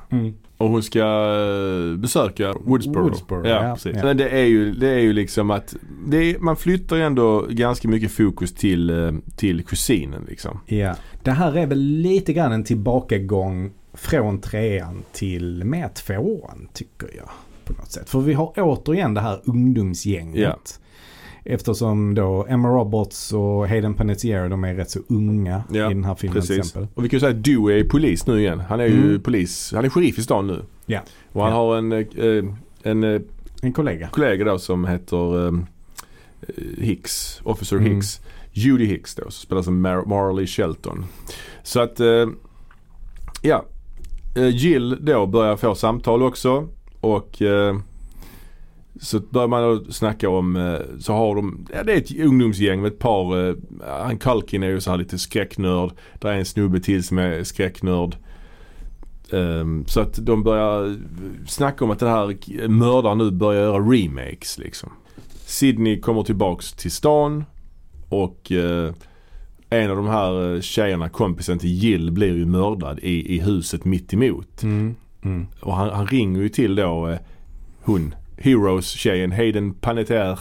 S1: Och hon ska eh, besöka Woodsboro.
S2: Woodsboro,
S1: ja,
S2: ja,
S1: precis.
S2: ja.
S1: Men det är, ju, det är ju liksom att det är, man flyttar ju ändå ganska mycket fokus till, eh, till kusinen liksom.
S2: Ja. Det här är väl lite grann en tillbakagång från trean till med tvåan tycker jag. På något sätt. För vi har återigen det här ungdomsgänget.
S1: Ja.
S2: Eftersom då Emma Roberts och Hayden Panettiere de är rätt så unga
S1: Ja,
S2: i den här filmen till
S1: Precis.
S2: exempel.
S1: Och vi kan ju säga att du är polis nu igen. Han är ju
S2: Mm.
S1: polis. Han är sheriff i stan nu.
S2: Ja.
S1: Och han
S2: Ja.
S1: har en, eh, en eh,
S2: En kollega.
S1: kollega då som heter eh, Hicks. Officer
S2: Mm.
S1: Hicks. Judy Hicks då som spelas av Mar- Marley Shelton. Så att eh, ja. Eh, Jill då börjar få samtal också. Och eh, så börjar man då snacka om, eh, så har de, ja, det är ett ungdomsgäng med ett par, eh, han Kalkin är ju så här lite skräcknörd. Där är en snubbe till som är skräcknörd. Ehm, så att de börjar snacka om att den här mördaren nu börjar göra remakes liksom. Sydney kommer tillbaks till stan och eh, en av de här eh, tjejerna, kompisen till Jill, blir ju mördad i, i huset mitt emot.
S2: Mm. Mm.
S1: Och han, han ringer ju till då eh, hon, Heroes-tjejen Hayden Panettiere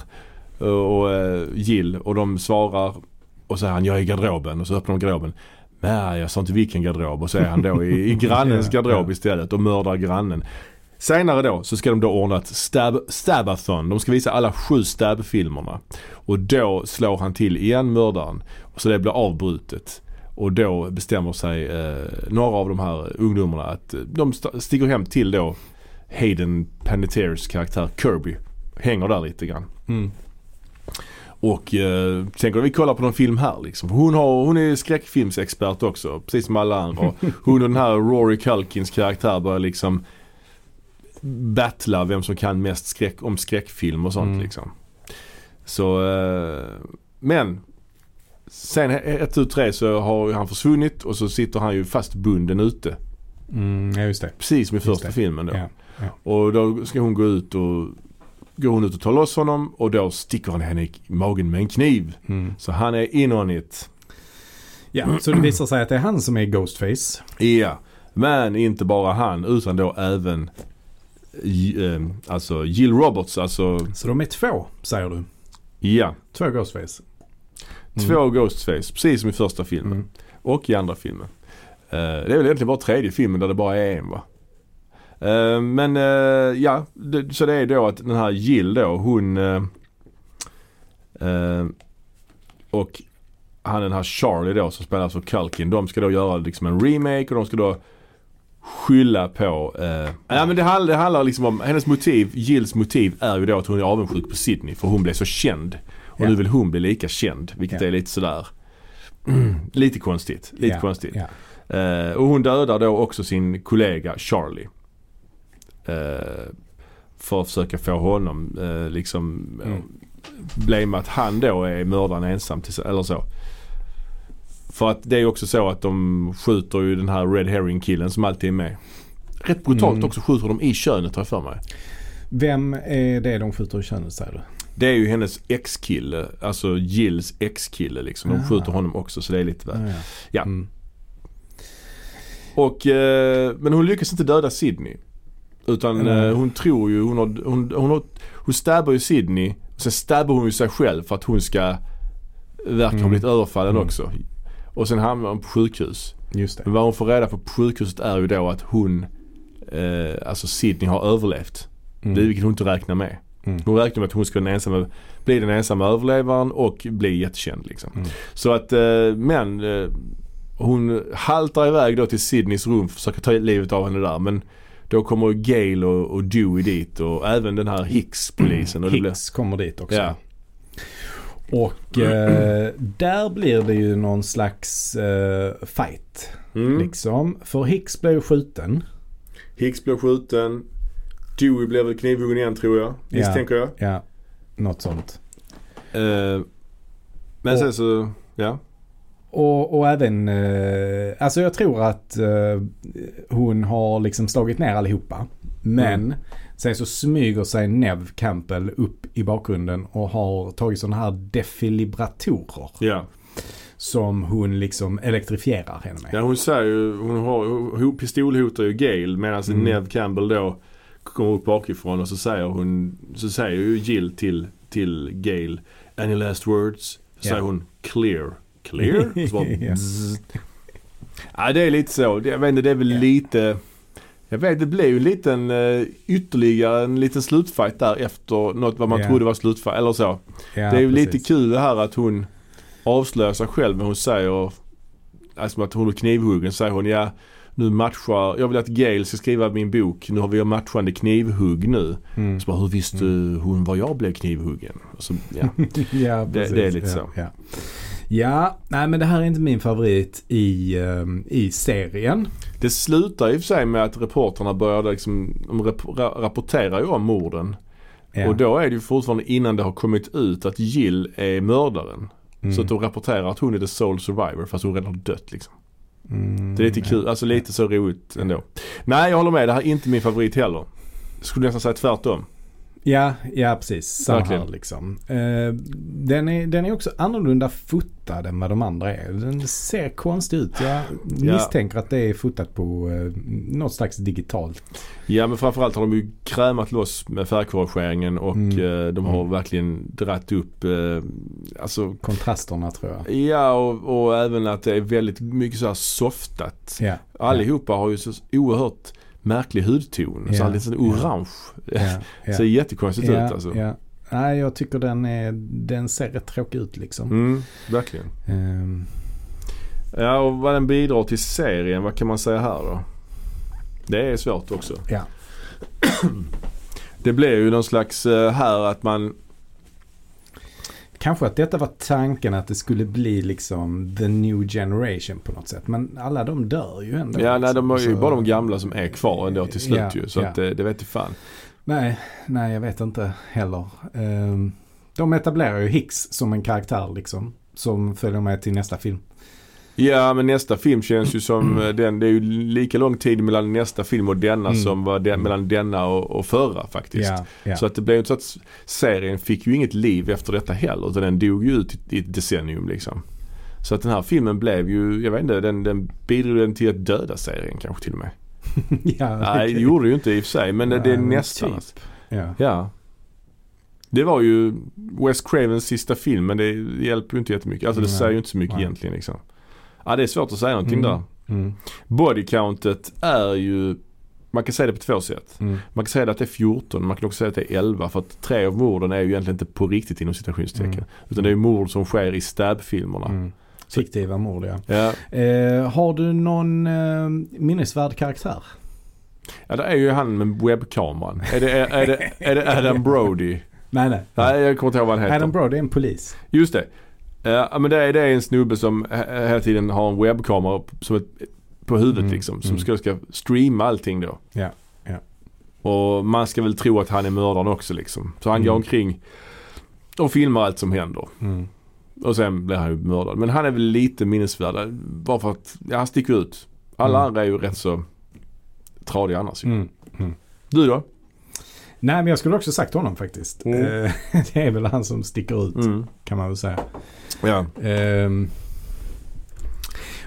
S1: eh, och eh, Jill och de svarar och säger han jag är i garderoben och så öppnar de garderoben. Nej jag sa inte vilken garderob och så är han då i, i grannens
S2: Ja,
S1: garderob
S2: ja.
S1: istället och mördar grannen. Senare då så ska de då ordna ett stab, stabathon. De ska visa alla sju stab-filmerna. Och då slår han till igen mördaren. Och så det blir avbrutet. Och då bestämmer sig eh, några av de här ungdomarna att eh, de st- stiger hem till då Hayden Panettieres karaktär Kirby. Hänger där lite grann.
S2: Mm.
S1: Och eh, tänker vi kollar på någon film här liksom. Hon, har, hon är skräckfilmsexpert också, precis som alla andra. Hon och den här Rory Culkins karaktär börjar liksom battla vem som kan mest skräck, om skräckfilm och sånt
S2: Mm.
S1: liksom. Så, eh, men. Sen ett ut tre så har ju han försvunnit och så sitter han ju fastbunden ute.
S2: Mm. Ja, just det.
S1: Precis som i
S2: Just
S1: första
S2: det.
S1: filmen då.
S2: Ja.
S1: Och då ska hon gå ut och går hon ut och tar loss honom och då sticker han henne i magen med en kniv.
S2: Mm.
S1: Så han är in on it.
S2: ja, så det visar sig att det är han som är Ghostface.
S1: Ja. Men inte bara han utan då även J- eh, alltså Jill Roberts. Alltså
S2: Så de är två, säger du.
S1: ja.
S2: Två Ghostface.
S1: Två Ghostface. Precis som i första filmen.
S2: Mm.
S1: Och i andra filmen. Eh, det är väl egentligen bara tredje filmen där det bara är en va? Eh, men eh, ja, det, så det är då att den här Jill då hon eh, eh, och han den här Charlie då som spelas av Culkin. De ska då göra liksom en remake och de ska då skylla på... Eh, ja men det, handlar, det handlar liksom om, hennes motiv, Jills motiv är ju då att hon är avundsjuk på Sydney för hon blev så känd. Och
S2: Ja.
S1: nu vill hon bli lika känd vilket
S2: Ja.
S1: är lite sådär... Mm. lite konstigt. Lite
S2: Ja,
S1: konstigt.
S2: Ja.
S1: Eh, och hon dödar då också sin kollega Charlie. Eh, för att försöka få honom eh, liksom mm.
S2: Mm.
S1: blame att han då är mördaren ensam till, eller så. För att det är ju också så att de skjuter ju den här Red Herring killen som alltid är med. Rätt brutalt
S2: Mm.
S1: också skjuter de i könet har jag för mig.
S2: Vem är det de skjuter i könet, säger du?
S1: Det är ju hennes ex-kille, alltså Jills ex-kille liksom. De
S2: Ah.
S1: skjuter honom också så det är lite väl.
S2: Ja.
S1: Ja.
S2: Mm.
S1: Och, eh, men hon lyckas inte döda Sydney. Utan
S2: Nej.
S1: eh, hon tror ju, hon, har, hon, hon, har, hon stabbar ju Sydney. Och sen stabbar hon ju sig själv för att hon ska verka ha
S2: Mm.
S1: blivit överfallen
S2: Mm.
S1: också. Och sen hamnar hon på sjukhus.
S2: Just det.
S1: Men vad hon får reda på på sjukhuset är ju då att hon, eh, alltså Sydney har överlevt.
S2: Mm.
S1: Det vilket hon inte räknar med.
S2: Mm.
S1: Hon räknar med att hon ska den ensamma, bli den ensamma överlevaren och bli jättekänd liksom.
S2: Mm.
S1: Så att, eh, men eh, hon haltar iväg då till Sydneys rum för att försöka ta livet av henne där. Men då kommer Gail och, och Dewey dit och även den här Hicks-polisen. Och det blir,
S2: Hicks kommer dit också.
S1: ja,
S2: Och eh, där blir det ju någon slags eh, fight.
S1: mm.
S2: Liksom. För Hicks blev ju skjuten.
S1: Hicks blir skjuten. Dewey blir väl knivhuggen igen tror jag.
S2: Ja.
S1: Misstänker jag.
S2: Ja, något sånt.
S1: Eh, men
S2: Och-
S1: sen så, ja.
S2: Och, och även, eh, alltså jag tror att eh, hon har liksom slagit ner allihopa. Men
S1: Mm.
S2: sen så smyger sig Nev Campbell upp i bakgrunden och har tagit sådana här defilibratorer.
S1: Ja.
S2: Som hon liksom elektrifierar henne med.
S1: Ja hon säger ju, hon har, hon pistolhotar ju Gail medan
S2: Mm.
S1: Nev Campbell då kommer upp bakifrån och så säger hon, så säger ju Jill till, till Gail Any last words? Så
S2: Ja.
S1: säger hon clear. Clear? Så bara,
S2: Ja.
S1: bzzz. ja det är lite så, Det- jag vet inte det är väl
S2: Ja.
S1: lite Jag vet, det blev ju en liten, eh, ytterligare en liten slutfight där efter något vad man
S2: Ja.
S1: trodde var slutfight eller så.
S2: Ja,
S1: det är ju lite
S2: precis.
S1: kul det här att hon avslöjar sig själv men hon säger, alltså att hon är knivhuggen, säger hon ja nu matchar, jag vill att Gail ska skriva min bok, nu har vi matchande knivhugg nu.
S2: Mm.
S1: Så bara, hur visste hon var jag blev knivhuggen? Och Så, ja.
S2: ja,
S1: Det-
S2: precis.
S1: det är lite
S2: ja,
S1: så.
S2: Ja. ja, nej men det här är inte min favorit i, ehm, i serien.
S1: Det slutar i och för sig med att reportrarna började liksom, de rap- ra- rapporterar ju om morden.
S2: Ja.
S1: Och då är det ju fortfarande innan det har kommit ut att Jill är mördaren.
S2: Mm.
S1: Så att de rapporterar att hon är the sole survivor fast hon redan har dött liksom.
S2: Mm.
S1: Det är lite kul, alltså lite så roligt ändå. Nej jag håller med, det här är inte min favorit heller. Skulle nästan säga tvärtom.
S2: Ja, ja precis. Samma här
S1: Verkligen.
S2: liksom. Eh, den, är, den är också annorlunda fotad än vad de andra är. Den ser konstig ut. Jag misstänker att det är fotat på eh, något slags digitalt.
S1: Ja men framförallt har de ju krämat loss med färgkorrigeringen och
S2: Mm.
S1: eh, de har
S2: Mm.
S1: verkligen dratt upp, eh, alltså
S2: Kontrasterna tror jag.
S1: Ja och, och även att det är väldigt mycket så här softat.
S2: Ja,
S1: Allihopa har ju så oerhört märklig hudton. Så
S2: Ja.
S1: här lite sån orange.
S2: ja, ja.
S1: Ser jättekonstigt
S2: Ja,
S1: ut alltså.
S2: ja. Nej, jag tycker den, är, den ser rätt tråkig ut liksom.
S1: Mm, verkligen.
S2: Ehm,
S1: Ja och vad den bidrar till serien, vad kan man säga här då? Det är svårt också.
S2: Ja.
S1: Det blir ju någon slags eh, här att man,
S2: kanske att detta var tanken att det skulle bli liksom the new generation på något sätt. Men alla de dör ju ändå.
S1: ja nej
S2: liksom.
S1: de är ju
S2: Så-
S1: bara de gamla som är kvar ändå till slut
S2: Ja,
S1: ju. Så
S2: ja.
S1: att eh, det, det vet jag fan.
S2: Nej, nej jag vet inte heller. Ehm, de etablerar ju Hicks som en karaktär liksom. Som följer med till nästa film.
S1: Ja men nästa film känns ju som eh, den. Det är ju lika lång tid mellan nästa film och denna
S2: Mm.
S1: som var den, mellan denna och, och förra faktiskt.
S2: ja.
S1: Så att det blev ju inte så att s- serien fick ju inget liv efter detta heller utan den dog ju ut i, i ett decennium liksom. Så att den här filmen blev ju, jag vet inte, den, den bidrog den till att döda serien kanske till och med.
S2: ja,
S1: Nej det
S2: okej.
S1: gjorde det ju inte i och för sig men det, det är
S2: Nej, men
S1: nästan.
S2: typ.
S1: alltså.
S2: ja.
S1: Ja. Det var ju Wes Cravens sista film men det hjälper ju inte jättemycket. Alltså det
S2: Nej.
S1: säger ju inte så mycket
S2: Nej.
S1: egentligen liksom. Ja det är svårt att säga någonting
S2: Mm.
S1: där.
S2: Mm.
S1: Bodycountet är ju, man kan säga det på två sätt.
S2: Mm.
S1: Man kan säga att det är 14, man kan också säga att det är 11 för att tre av morden är ju egentligen inte på riktigt inom citationstecken.
S2: Mm.
S1: Utan det är ju mord som sker i stab-filmerna.
S2: Mm. Fiktiva mord ja.
S1: Ja.
S2: Eh, har du någon eh, minnesvärd karaktär?
S1: ja, det är ju han med webbkameran. Är det, är, är det, är det Adam Brody?
S2: Nej, nej.
S1: Nej, jag kommer inte ihåg vad han heter.
S2: Adam Brody är en polis.
S1: Just det. Eh, Ja, men det är, det är en snubbe som he- hela tiden har en webbkamera p- som ett, på huvudet
S2: Mm,
S1: liksom. Som
S2: mm.
S1: ska, ska streama allting då.
S2: Ja, ja.
S1: Och man ska väl tro att han är mördaren också liksom. Så han
S2: Mm.
S1: går omkring och filmar allt som händer.
S2: Mm.
S1: Och sen blir han ju mördad. Men han är väl lite minnesvärd. Bara för att, ja han sticker ut. Alla
S2: Mm.
S1: andra är ju rätt så tradiga annars ju.
S2: Mm.
S1: Du då?
S2: Nej, men jag skulle också sagt honom faktiskt.
S1: Mm.
S2: Eh, det är väl han som sticker ut kan man väl säga.
S1: Ja.
S2: Ehm,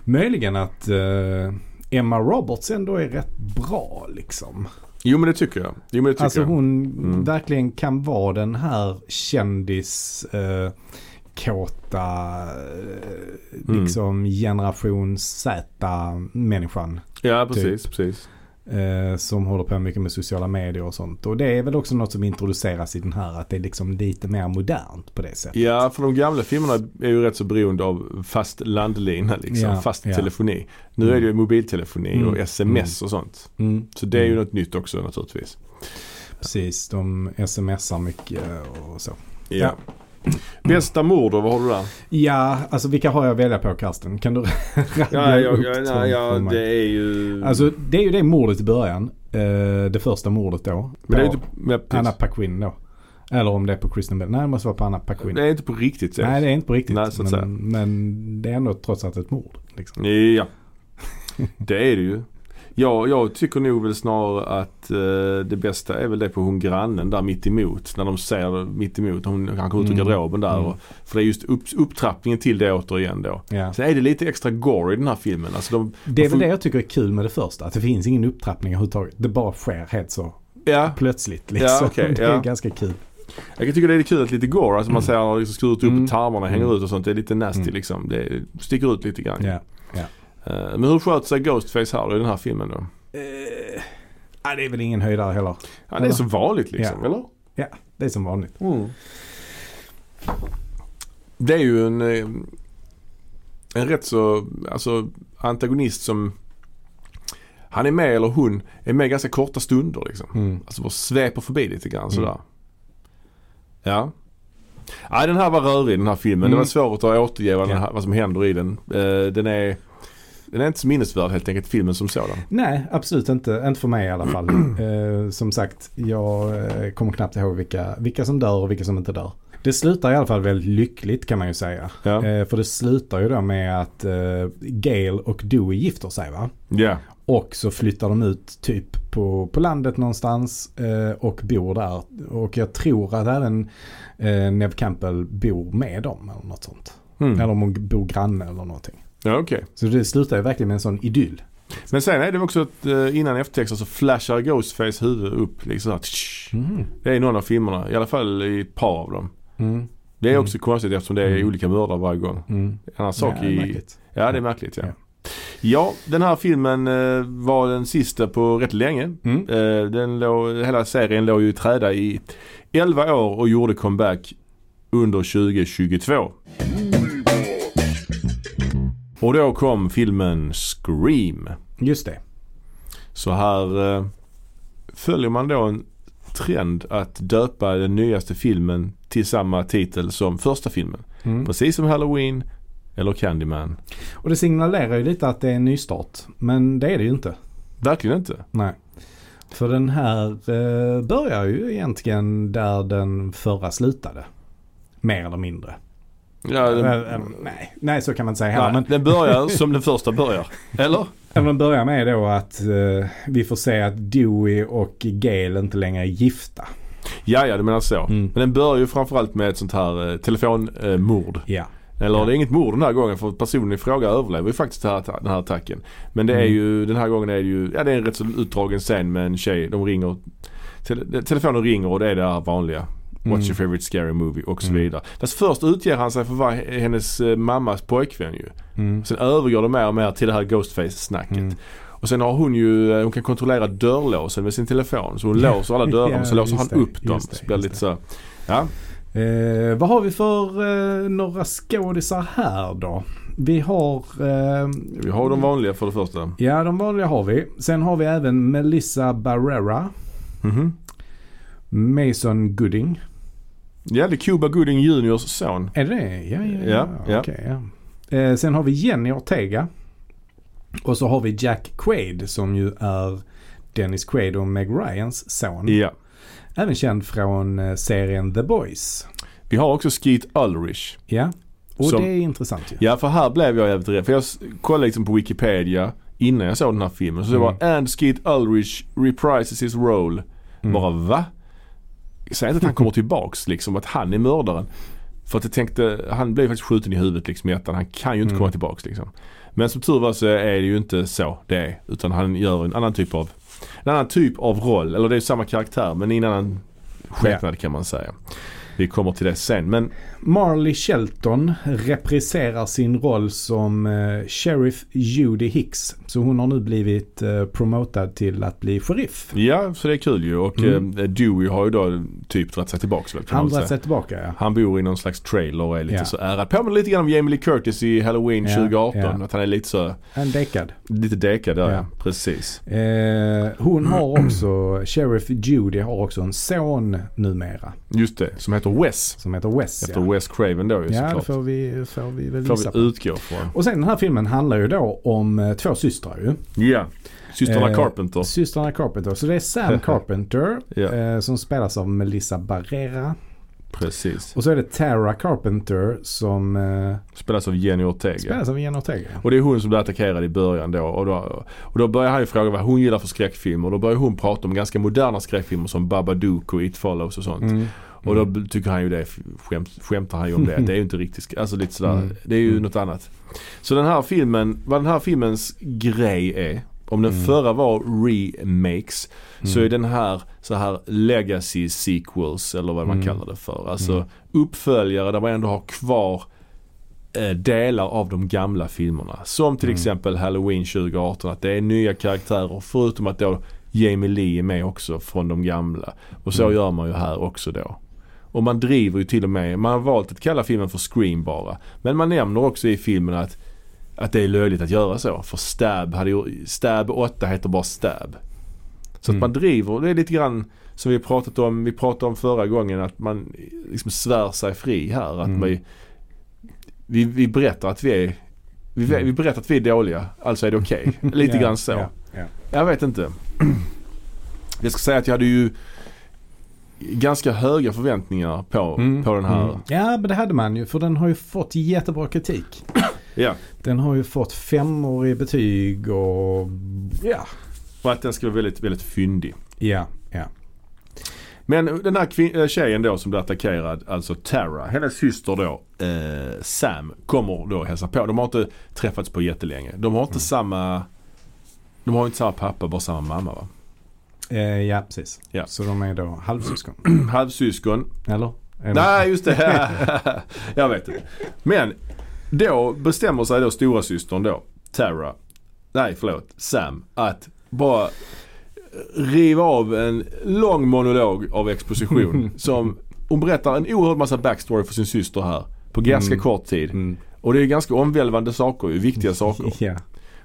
S2: möjligen att eh, Emma Roberts ändå är rätt bra liksom.
S1: Jo men det tycker jag. Jo men det tycker
S2: Alltså
S1: jag.
S2: hon
S1: Mm.
S2: verkligen kan vara den här kändis eh, kåta eh,
S1: Mm.
S2: liksom generation Z människan.
S1: Ja precis,
S2: Typ.
S1: precis.
S2: Eh, som håller på mycket med sociala medier och sånt. Och det är väl också något som introduceras i den här att det är liksom lite mer modernt på det sättet.
S1: Ja för de gamla filmerna är ju rätt så beroende av fast landlina liksom.
S2: Ja,
S1: fast
S2: ja.
S1: telefoni. Nu är det ju mobiltelefoni
S2: Mm.
S1: och sms och sånt.
S2: Mm.
S1: Så det är ju
S2: Mm.
S1: något nytt också naturligtvis.
S2: Precis, de smsar mycket och så.
S1: Ja.
S2: Ja.
S1: Bästa mord då, vad har du där?
S2: Ja, alltså vilka har jag att välja på Karsten? Kan du rabbla upp dem för mig?
S1: är ju...
S2: Alltså det är ju det mordet i början. Eh, det första mordet då. På
S1: men det är ju inte... ja, precis.
S2: Anna Paquin då. Eller om det är på Kristen Bell. Nej, det måste vara på Anna Paquin.
S1: det är inte på riktigt så.
S2: Nej, det är inte på riktigt.
S1: Nej, så att säga.
S2: men, men det är ändå trots allt ett mord. Liksom.
S1: Ja, det är det ju. Ja, jag tycker nog väl snarare att eh, det bästa är väl det på hon grannen där mitt emot När de ser mitt emot hon han kommer ut ur
S2: Mm.
S1: garderoben där.
S2: Mm.
S1: Och, för det är just upp, upptrappningen till det återigen då.
S2: Ja.
S1: Sen är det lite extra gore i den här filmen. Alltså de,
S2: Det är
S1: får-
S2: väl det jag tycker är kul med det första. Att det finns ingen upptrappning överhuvudtaget. Det bara sker helt så
S1: ja,
S2: plötsligt. Liksom.
S1: okej,
S2: det är
S1: ja.
S2: ganska kul.
S1: jag kan tycka det är kul att lite gore. Alltså man ser han har liksom skurit upp
S2: Mm.
S1: och tarmarna hänger
S2: Mm.
S1: ut och sånt. Det är lite nasty
S2: Mm.
S1: liksom. Det sticker ut lite grann.
S2: Ja.
S1: Eh, men hur sköter sig Ghostface här då i den här filmen då?
S2: Eh, Ja, det är väl ingen höjdare heller.
S1: Ja, det är
S2: Eller?
S1: som vanligt liksom,
S2: Alltså- Ja.
S1: eller?
S2: Det är som vanligt.
S1: Mm. Det är ju en, eh, en rätt så, alltså antagonist som han är med eller hon är med ganska korta stunder liksom.
S2: Mm.
S1: Alltså bara sveper förbi lite grann sådär. Ja. Nej den här var rörig den här filmen. Det
S2: Mm.
S1: var svårt att återge vad, den
S2: Ja.
S1: här, vad som händer i den. Eh, den är den är inte så minnesvärd helt enkelt filmen som sådan.
S2: Nej, absolut inte. Inte för mig i alla fall. eh, som sagt, jag eh, kommer knappt ihåg vilka, vilka som dör och vilka som inte dör. Det slutar i alla fall väldigt lyckligt kan man ju säga.
S1: Ja.
S2: Eh, för det slutar ju då med att eh, Gail och Dewey gifter sig va?
S1: Ja.
S2: Och så flyttar de ut typ på, på landet någonstans eh, och bor där. Och jag tror att även eh, Nev Campbell bor med dem eller något sånt. Eller
S1: Mm.
S2: om hon bor granne eller någonting.
S1: Ja, okej.
S2: Så det slutar ju verkligen med en sån idyll.
S1: Men sen är det också att eh, innan eftertexter så flashar Ghostface huvud upp liksom såhär. tsch. Det är i någon av filmerna, i alla fall i ett par av dem.
S2: Mm.
S1: Det är också konstigt eftersom det är olika mördare varje gång.
S2: Mm.
S1: En annan sak
S2: Ja,
S1: i...
S2: märkligt.
S1: Ja, det är märkligt ja. ja.
S2: Ja.
S1: den här filmen eh, var den sista på rätt länge.
S2: Mm.
S1: Eh, den låg, hela serien låg ju i träda i 11 år och gjorde comeback under 2022. Och då kom filmen Scream.
S2: Just det.
S1: Så här eh, följer man då en trend att döpa den nyaste filmen till samma titel som första filmen.
S2: Mm.
S1: Precis som Halloween eller Candyman.
S2: Och det signalerar ju lite att det är en nystart. Men det är det ju inte.
S1: Verkligen inte.
S2: Nej. För den här eh, börjar ju egentligen där den förra slutade. Mer eller mindre.
S1: Ja, den,
S2: Eh, eh, nej, nej, så kan man inte säga
S1: nej,
S2: heller. Men
S1: den börjar som den första börjar. Eller?
S2: Ja, men börjar med då att eh, vi får se att Dewey och Gail inte längre är gifta.
S1: Ja, ja du menar så.
S2: Mm.
S1: Men den börjar ju framförallt med ett sånt här eh, telefonmord.
S2: Ja.
S1: Eller
S2: Ja.
S1: det är inget mord den här gången för personen i fråga överlever ju faktiskt den här, den här attacken. Men det är
S2: Mm.
S1: ju, den här gången är det ju, ja det är en rätt så utdragen scen med en tjej. De ringer, tele, telefonen ringer och det är det här vanliga. What's
S2: Mm.
S1: your favorite scary movie och så
S2: Mm.
S1: vidare. Fast först utger han sig för att vara he- hennes eh, mammas pojkvän ju.
S2: Mm.
S1: Sen övergår det mer och mer till det här Ghostface-snacket.
S2: Mm.
S1: Och sen har hon ju, eh, hon kan kontrollera dörrlåsen med sin telefon. Så hon låser alla dörrar
S2: Ja,
S1: så låser han
S2: just det,
S1: upp dem.
S2: just det,
S1: så blir det lite
S2: just
S1: så. Ja.
S2: Eh, vad har vi för eh, några skådisar här då? Vi har... Eh,
S1: Vi har de vanliga för det första.
S2: Ja, de vanliga har vi. Sen har vi även Melissa Barrera,
S1: Mhm.
S2: Mason Gooding.
S1: Ja, det är Cuba Gooding Juniors son.
S2: Är det Ja, ja,
S1: Ja,
S2: ja.
S1: ja.
S2: Okej, ja. Eh, sen har vi Jenny Ortega. Och så har vi Jack Quaid som ju är Dennis Quaid och Meg Ryans son.
S1: Ja.
S2: Även känd från eh, serien The Boys.
S1: Vi har också Skeet Ulrich.
S2: Ja. Och
S1: Som-
S2: det är intressant ju.
S1: Ja, för här blev jag jävligt rädd. För jag s- kollade liksom på Wikipedia innan jag såg den här filmen. Så det var And Skeet Ulrich reprises his role. Bara va? Säg inte att han kommer tillbaks liksom, att han är mördaren. För att jag tänkte, han blev faktiskt skjuten i huvudet liksom i ettan. Han kan ju inte komma tillbaks liksom. Men som tur var så är det ju inte så det är. Utan han gör en annan typ av, en annan typ av roll. Eller det är samma karaktär men i en annan skepnad kan man säga. Vi kommer till det sen. Men
S2: Marley Shelton repriserar sin roll som eh, Sheriff Judy Hicks. Så hon har nu blivit eh, promotad till att bli sheriff.
S1: Ja, så det är kul ju. Och
S2: Mm.
S1: eh, Dewey har ju då typ dragit sig tillbaka. Väl, kan man
S2: Han
S1: väl
S2: drar
S1: säga.
S2: sig tillbaka ja.
S1: Han bor i någon slags trailer och är lite
S2: Ja.
S1: så ärrad. Påminner lite grann om Jamie Lee Curtis i Halloween
S2: Ja,
S1: 2018.
S2: ja.
S1: Att han är lite så,
S2: Han däckad.
S1: lite dekad där.
S2: Ja.
S1: Ja. Precis.
S2: Eh, hon har också, Sheriff Judy har också en son numera.
S1: Just det, som heter Wes.
S2: Som heter Wes.
S1: Efter
S2: ja,
S1: Wes Craven då ju
S2: ja det
S1: såklart.
S2: får vi, får vi väl gissa
S1: Får
S2: på.
S1: vi utgå från.
S2: Och sen den här filmen handlar ju då om eh, två systrar ju.
S1: Ja. Systrarna
S2: Eh,
S1: Carpenter.
S2: Systrarna Carpenter. Så det är Sam Carpenter
S1: Ja.
S2: eh, som spelas av Melissa Barrera.
S1: Precis.
S2: Och så är det Tara Carpenter som eh,
S1: Spelas av Jenny Ortega.
S2: spelas av Jenny Ortega.
S1: Och det är hon som blir attackerad i början då. Och då, och då börjar han ju fråga vad hon gillar för skräckfilmer. Och då börjar hon prata om ganska moderna skräckfilmer som Babadook och It Follows och sånt.
S2: Mm.
S1: Och då b- tycker han ju det, f- skämt, skämtar han ju om det. Det är ju inte riktigt, sk- alltså lite sådär, det är ju något annat. Så den här filmen, vad den här filmens grej är, om den förra var remakes, så är den här så här legacy sequels eller vad man kallar det för. Alltså uppföljare där man ändå har kvar eh, delar av de gamla filmerna. Som till exempel Halloween 2018. Att det är nya karaktärer förutom att då Jamie Lee är med också från de gamla. Och så
S2: Mm.
S1: gör man ju här också då. Och man driver ju till och med, man har valt att kalla filmen för Scream bara. Men man nämner också i filmen att, att det är löjligt att göra så. För Stab, hade ju, Stab 8 heter bara Stab. Så
S2: Mm.
S1: att man driver, det är lite grann som vi pratat om, vi pratade om förra gången att man liksom svär sig fri här. Att
S2: Mm.
S1: vi, vi, vi berättar att vi är vi,
S2: Mm.
S1: vi berättar att vi är dåliga, alltså är det okej. Lite
S2: Ja,
S1: grann så.
S2: ja, ja.
S1: Jag vet inte. Jag ska säga att jag hade ju ganska höga förväntningar på,
S2: Mm,
S1: på den här.
S2: mm.
S4: Ja, men det hade man ju. För den har ju fått jättebra kritik.
S1: Ja.
S4: Den har ju fått femmor i betyg och... Ja.
S1: Och att den ska vara väldigt, väldigt fyndig.
S2: Ja, ja.
S1: Men den här kvin- eh, tjejen då som blir attackerad, alltså Tara, hennes syster då, eh, Sam, kommer då och hälsar på. De har inte träffats på jättelänge. De har inte samma, de har inte samma pappa, bara samma mamma va?
S2: Eh, ja, precis.
S1: Ja.
S2: Så de är då halvsyskon.
S1: Halvsyskon,
S2: Eller? Är de-
S1: Nej, just det. jag vet inte. Men då bestämmer sig då stora systern då, Tara, nej förlåt, Sam, att bara riva av en lång monolog av exposition. som hon berättar en oerhörd massa backstory för sin syster här. På ganska
S2: Mm.
S1: kort tid.
S2: Mm.
S1: Och det är ganska omvälvande saker ju, viktiga saker.
S2: Ja.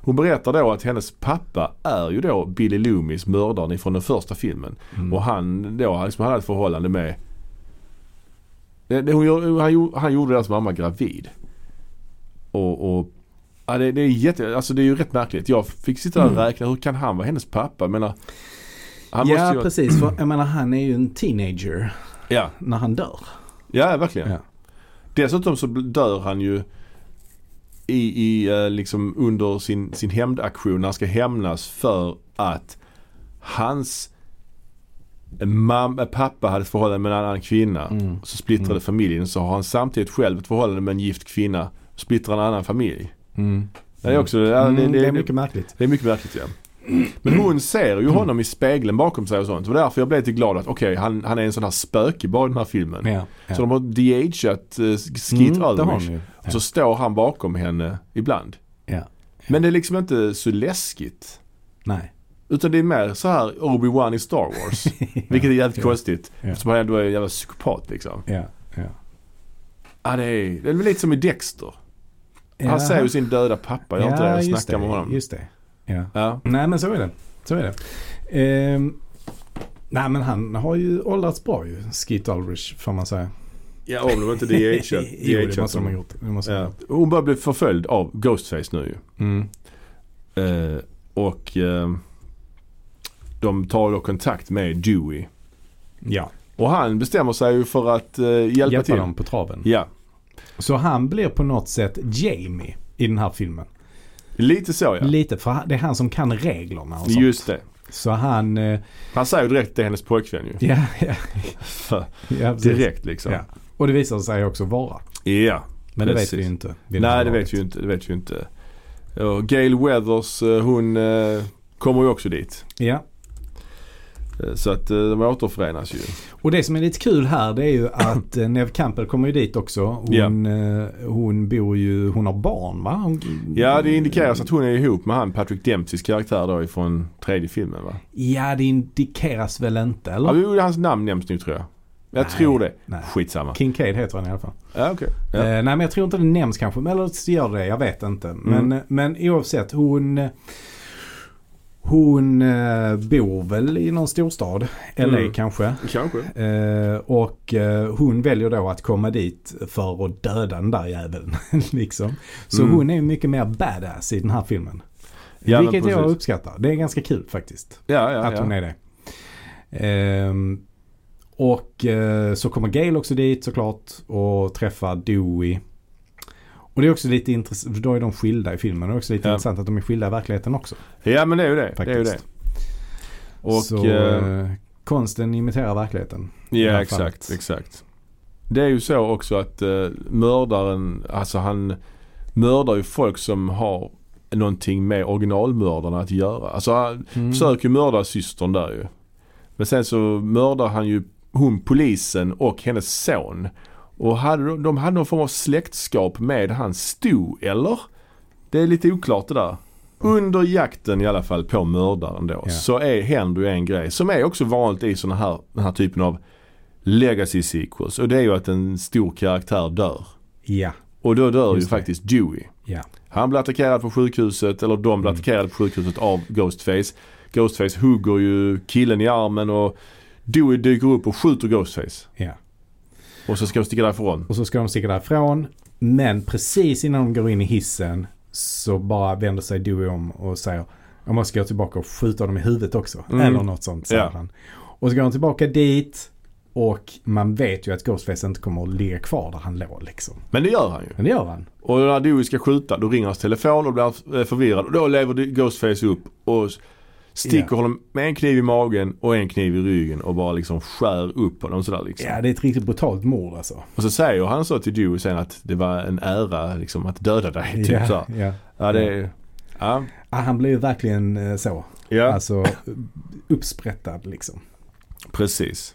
S1: Hon berättar då att hennes pappa är ju då Billy Loomis, mördaren från den första filmen.
S2: Mm.
S1: Och han då, han liksom hade ett förhållande med... Det, det, hon, gör- han, gjorde- han gjorde deras mamma gravid. Och... och ja, det, det, är jätte, alltså det är ju rätt märkligt. Jag fick sitta där och räkna. Hur kan han vara hennes pappa? Jag menar, han
S4: Mm. ja,
S1: måste ju...
S4: precis. För jag menar, han är ju en teenager
S1: Ja,
S4: när han dör.
S1: ja verkligen.
S4: Ja.
S1: Dessutom så bl- dör han ju i, i eh, liksom under sin, sin hämndaktion när han ska hämnas för att hans mam- eh, pappa hade ett förhållande med en annan kvinna.
S4: Mm.
S1: Så splittrade
S2: Mm.
S1: familjen. Så har han samtidigt själv ett förhållande med en gift kvinna. Splittrar en annan familj.
S2: Mm.
S1: Det är också, ja,
S2: Mm, Mm.
S1: det, det,
S2: det är
S1: det,
S2: mycket märkligt.
S1: det är mycket märkligt ja. Men hon ser ju honom i spegeln bakom sig och sånt. Och därför jag blev lite glad att okej, han, han är en sån här spöke bara i den här filmen.
S2: Ja, ja.
S1: Så de har de-ageat eh, Skeet
S2: Mm, det har
S1: Ulrich.
S2: de ju.
S1: Och Så står han bakom henne ibland.
S2: Ja.
S1: Men det är liksom inte så läskigt.
S2: Nej.
S1: Utan det är mer så här Obi-Wan i Star Wars. Vilket är jävligt
S2: Ja.
S1: konstigt.
S2: Ja.
S1: Eftersom han ändå är en jävla psykopat liksom.
S2: Ja, ja.
S1: Ja det är, det är väl lite som i Dexter. Han ser ju sin döda pappa. Jag har inte det. Jag
S2: just
S1: snackar med
S2: det,
S1: honom.
S2: Just det. Ja.
S1: Ja.
S2: Nej, men så är det. Så är det. Ehm, nej, men han har ju åldrats bra ju. Skeet Ulrich får man säga.
S1: ja om de inte DH-at.
S2: jo, det måste de ha gjort. Det måste de ha
S1: ja.
S2: gjort.
S1: Hon börjar bli förföljd av Ghostface nu ju.
S2: Mm.
S1: Eh, och eh, de tar då kontakt med Dewey.
S2: Ja,
S1: Och han bestämmer sig ju för att eh, hjälpa,
S2: hjälpa
S1: till.
S2: dem på traven.
S1: Ja,
S2: Så han blir på något sätt Jamie i den här filmen.
S1: lite så ja.
S2: Lite, för han- det är han som kan reglerna och sånt.
S1: Just det.
S2: Så han... eh,
S1: Han säger ju direkt att det är hennes pojkvän ju.
S2: Ja, ja, ja precis.
S1: direkt liksom.
S2: Ja. Och det visar sig också vara.
S1: Ja.
S2: Men det vet
S1: Precis.
S2: vi ju inte.
S1: Nej det vet vi ju inte. Det vet vi ju inte. Och Gail Weathers eh, hon eh, kommer ju också dit.
S2: Ja.
S1: Eh, Så att eh, de återförenas ju.
S2: Och det som är lite kul här det är ju att eh, Neve Campbell kommer ju dit också. Hon, eh, hon bor ju, hon har barn va? Hon,
S1: Ja det indikeras att hon är ihop med han Patrick Dempseys karaktär då ifrån tredje filmen va?
S2: Ja det indikeras väl inte
S1: Ja,
S2: eller?
S1: jo, hans namn nämns nu tror jag. Jag
S2: Nej.
S1: tror det.
S2: Nej.
S1: Skitsamma.
S2: Kincaid heter han i alla fall.
S1: Ja okej.
S2: Eh,
S1: Ja.
S2: nej men jag tror inte det nämns kanske. Men Eller så gör det, jag vet inte.
S1: Mm.
S2: Men, men oavsett, hon... Hon eh, bor väl i någon storstad. LA
S1: Mm.
S2: kanske.
S1: Kanske.
S2: Eh, och eh, hon väljer då att komma dit för att döda den där jäveln. liksom. Så
S1: Mm.
S2: hon är ju mycket mer badass i den här filmen.
S1: Ja, men
S2: Vilket jag
S1: precis.
S2: uppskattar. Det är ganska kul faktiskt.
S1: Ja, ja,
S2: att hon
S1: ja.
S2: är det. Ehm, och eh, så kommer Gail också dit såklart och träffar Dewey. Och det är också lite intressant, då är de skilda i filmen. Det är också lite
S1: Ja.
S2: intressant att de är skilda i verkligheten också.
S1: Ja men det är ju det. Det är ju det.
S2: Faktiskt.
S1: Och
S2: så
S1: eh,
S2: eh, konsten imiterar verkligheten. i det
S1: Ja
S2: här
S1: exakt,
S2: fallet.
S1: exakt. Det är ju så också att eh, mördaren, alltså han mördar ju folk som har någonting med originalmördarna att göra. Alltså han
S2: Mm.
S1: försöker ju mörda systern där ju. Men sen så mördar han ju hon polisen och hennes son. Och hade, de- de hade någon form av släktskap med han Stu, eller? Det är lite oklart det där. Under jakten i alla fall på mördaren då
S2: Ja.
S1: så är, händer ju en grej som är också vanligt i såna här, den här typen av legacy sequels. Och det är ju att en stor karaktär dör.
S2: Ja,
S1: Och då dör
S2: Just
S1: ju
S2: det.
S1: faktiskt Dewey.
S2: ja.
S1: Han blir attackerad på sjukhuset, eller de blir
S2: Mm.
S1: attackerade på sjukhuset av Ghostface. Ghostface hugger ju killen i armen och Dewey dyker upp och skjuter Ghostface.
S2: Ja.
S1: Och så ska de sticka därifrån.
S2: Och så ska de sticka därifrån. Men precis innan de går in i hissen så bara vänder sig Dewey om och säger jag måste gå tillbaka och skjuta dem i huvudet också.
S1: Mm.
S2: Eller något sånt säger
S1: Ja.
S2: han. Och så går han tillbaka dit och man vet ju att Ghostface inte kommer att ligga kvar där han låg liksom.
S1: Men det gör han ju.
S2: Men det gör han.
S1: Och när Dewey ska skjuta då ringer hans telefon och blir han, eh, förvirrad. Och då lever Ghostface upp och s- sticker
S2: Ja.
S1: honom med en kniv i magen och en kniv i ryggen och bara liksom skär upp honom sådär liksom.
S2: Ja, det är ett riktigt brutalt mord alltså.
S1: Och så säger han så till Dewey sen att det var en ära liksom att döda dig. Typ
S2: ja,
S1: så.
S2: ja.
S1: Ja det är... Ja.
S2: Ah, Han blir ju verkligen eh, så.
S1: ja.
S2: Alltså uppsprättad liksom.
S1: Precis.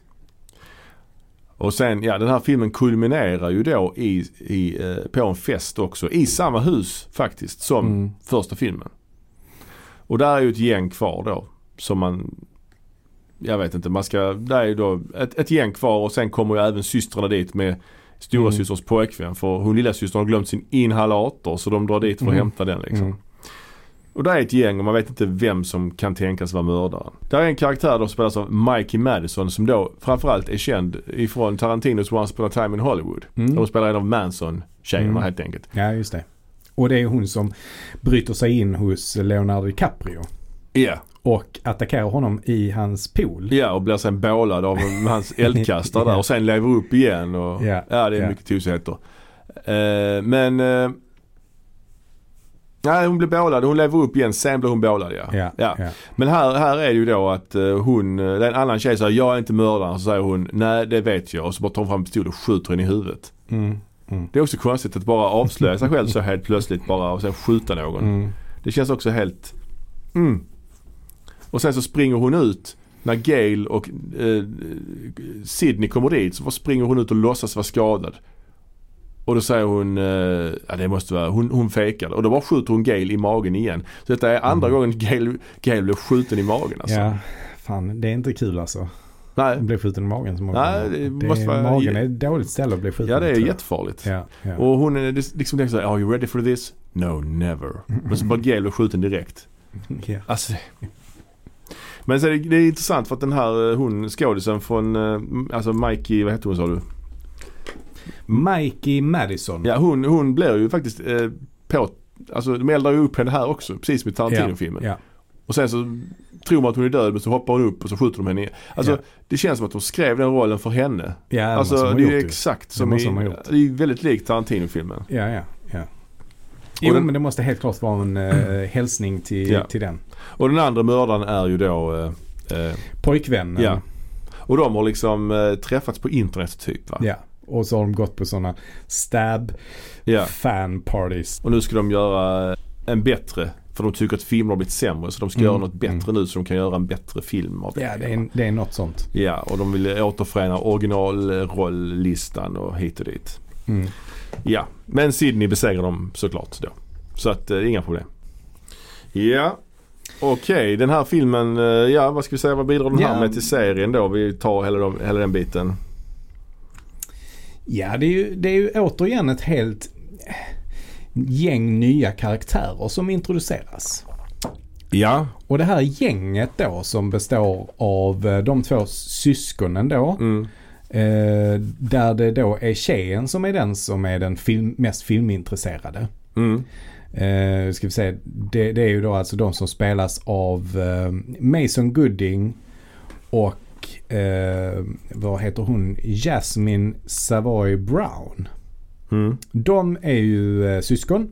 S1: Och sen, ja den här filmen kulminerar ju då i, i, eh, på en fest också. I samma hus faktiskt som
S2: Mm.
S1: första filmen. Och där är ju ett gäng kvar då. Som man... Jag vet inte, man ska... Där är ju då ett, ett gäng kvar och sen kommer ju även systrarna dit med stora
S2: Mm.
S1: systerns pojkvän. För hon lilla systern har glömt sin inhalator så de drar dit för att
S2: Mm.
S1: hämta den liksom.
S2: Mm.
S1: Och där är ett gäng och man vet inte vem som kan tänkas vara mördaren. Där är en karaktär då som spelas av Mikey Madison som då framförallt är känd ifrån Tarantinos Once upon a time in Hollywood.
S2: Mm.
S1: Där hon spelar en av Manson-tjejerna
S2: Mm.
S1: helt enkelt.
S2: Ja, just det. Och det är hon som bryter sig in hos Leonardo DiCaprio
S1: Ja,
S2: och attackerar honom i hans pool.
S1: ja och blir sen bålad av hans eldkastare där och sen lever upp igen. Och,
S2: Ja.
S1: Ja, det är
S2: Ja.
S1: mycket tusigheter. Eh, men... eh, nej, hon blir bålad. Hon lever upp igen. Sen blir hon bålad ja.
S2: Ja,
S1: ja.
S2: ja.
S1: Men här, här är det ju då att eh, hon, eh, det är en annan tjej säger jag är inte mördaren. Så säger hon nej det vet jag. Och så bara tar hon fram en pistol och skjuter henne i huvudet.
S2: Mm.
S1: Det är också konstigt att bara avslöja sig själv så helt plötsligt bara och sen skjuta någon.
S2: Mm.
S1: Det känns också helt... Mm. Och sen så springer hon ut. När Gail och eh, Sydney kommer dit så springer hon ut och låtsas vara skadad. Och då säger hon, eh, ja det måste vara, hon, hon fejkade. Och då bara skjuter hon Gail i magen igen. Så detta är andra gången Gail, Gail blev skjuten i magen alltså.
S2: mm. Ja, fan det är inte kul alltså.
S1: Nej,
S2: Att bli skjuten i magen så många
S1: Nej,
S2: gånger.
S1: det måste
S2: är,
S1: vara-
S2: Magen är ett dåligt ställe att bli skjuten
S1: ja det är
S2: tror jag.
S1: jättefarligt.
S2: Ja, ja.
S1: Och hon är dis- liksom tänker såhär, are you ready for this? No, never. Men så bara Gail blev skjuten direkt.
S2: ja.
S1: Alltså det- Men så är det, det är intressant för att den här eh, hon skådisen från, eh, alltså Mikey, vad hette hon
S2: Mm.
S1: sa du?
S2: Mikey Madison.
S1: Ja hon, hon blir ju faktiskt eh, på, alltså de eldar ju upp henne här också, precis som i Tarantino-filmen.
S2: Ja.
S1: Och sen så tror man att hon är död men så hoppar hon upp och så skjuter de henne i. Alltså
S2: Ja.
S1: det känns som att de skrev den rollen för henne.
S2: Ja, det måste
S1: alltså
S2: de ha
S1: det är ju
S2: gjort ju.
S1: exakt som
S2: måste
S1: i,
S2: de ha gjort.
S1: det är ju väldigt likt Tarantino-filmen.
S2: Ja, ja, ja. Jo,
S1: den-
S2: men det måste helt klart vara en äh, hälsning till,
S1: Ja.
S2: till den.
S1: Och den andra mördaren är ju då eh, eh,
S2: Pojkvännen.
S1: Ja. Och de har liksom eh, träffats på internet typ va?
S2: ja. Och så har de gått på sådana stab
S1: Ja.
S2: fan parties.
S1: Och nu ska de göra eh, en bättre. För de tycker att filmer har blivit sämre så de ska
S2: Mm.
S1: göra något bättre nu så de kan göra en bättre film av det.
S2: Ja, det är, det är något sånt.
S1: Ja, och de vill återförena originalrolllistan och hit och dit.
S2: Mm.
S1: Ja, men Sydney besegrar dem såklart då. Så att eh, inga problem. Ja, okej den här filmen, eh, ja vad ska vi säga, vad bidrar den här
S2: Ja.
S1: med till serien då? Vi tar hela, de, hela den biten.
S2: Ja, det är, ju, det är ju återigen ett helt eh, gäng nya karaktärer som introduceras.
S1: Ja.
S2: Och det här gänget då som består av eh, de två syskonen då.
S1: Mm.
S2: Eh, där det då är tjejen som är den som är den film, mest filmintresserade.
S1: Mm.
S2: Eh, ska vi säga, det, det är ju då alltså de som spelas av eh, Mason Gooding och eh, vad heter hon? Jasmine Savoy Brown.
S1: Mm.
S2: De är ju eh, syskon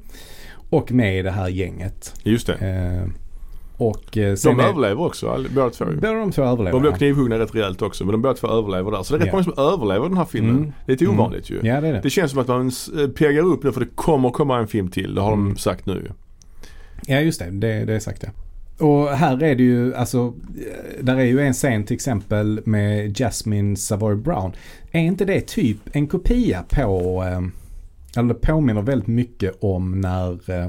S2: och med i det här gänget.
S1: Just det.
S2: Eh, och eh,
S1: De
S2: är-
S1: överlever också, all- båda två ju.
S2: Båda de två
S1: De
S2: överlever.
S1: blev knivhuggna rätt rejält också men de båda två överlever där. Så det är rätt
S2: Ja.
S1: många som överlever den här filmen.
S2: Mm.
S1: Det är lite ovanligt ju.
S2: Ja, det är det.
S1: Det känns som att man s- eh, peggar upp nu för det kommer komma en film till. Det har
S2: Mm.
S1: de sagt nu.
S2: Ja, just det. Det, det är sagt det. Och här är det ju, alltså, eh, där är ju en scen till exempel med Jasmine Savoy Brown. Är inte det typ en kopia på, eh, eller det påminner väldigt mycket om när eh,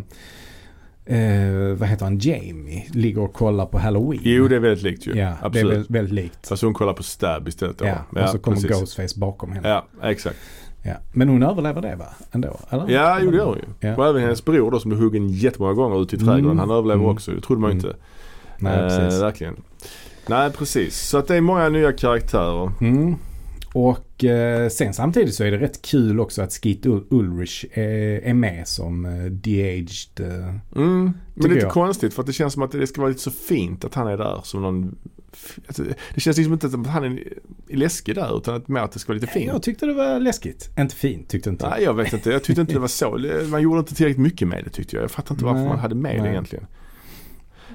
S2: eh, vad heter han, Jamie ligger och kollar på Halloween.
S1: Jo, det är väldigt likt ju.
S2: Ja, det är
S1: Absolut.
S2: väldigt, väldigt likt.
S1: Fast hon kollar på Stab istället då.
S2: Ja, och så kommer Ghostface bakom henne.
S1: Ja, exakt.
S2: Ja. Men hon överlever det va? Ändå? Eller?
S1: Ja, jo det gör hon ju.
S2: Ja.
S1: Och även hennes bror då som blev huggen jättemånga gånger ute i trädgården.
S2: Mm.
S1: Han överlever
S2: Mm.
S1: också. Det trodde man ju
S2: Mm.
S1: inte.
S2: Nej, precis.
S1: Eh, verkligen. Nej, precis. Så att det är många nya karaktärer.
S2: Mm. Och eh, sen samtidigt så är det rätt kul också att Skeet Ul- Ulrich eh, är med som eh, de-aged. Eh.
S1: Mm. Men det
S2: Tycker
S1: är lite
S2: jag.
S1: konstigt för att det känns som att det ska vara lite så fint att han är där som någon... att det- Det känns liksom inte att han är läskig där utan att mer att det ska vara lite fint.
S2: Jag tyckte det var läskigt. Inte fint tyckte inte.
S1: Nej, jag vet inte. Jag tyckte inte det var så. Man gjorde inte tillräckligt mycket med det tyckte jag. Jag fattar inte varför
S2: Nej,
S1: man hade med det
S2: nej.
S1: egentligen.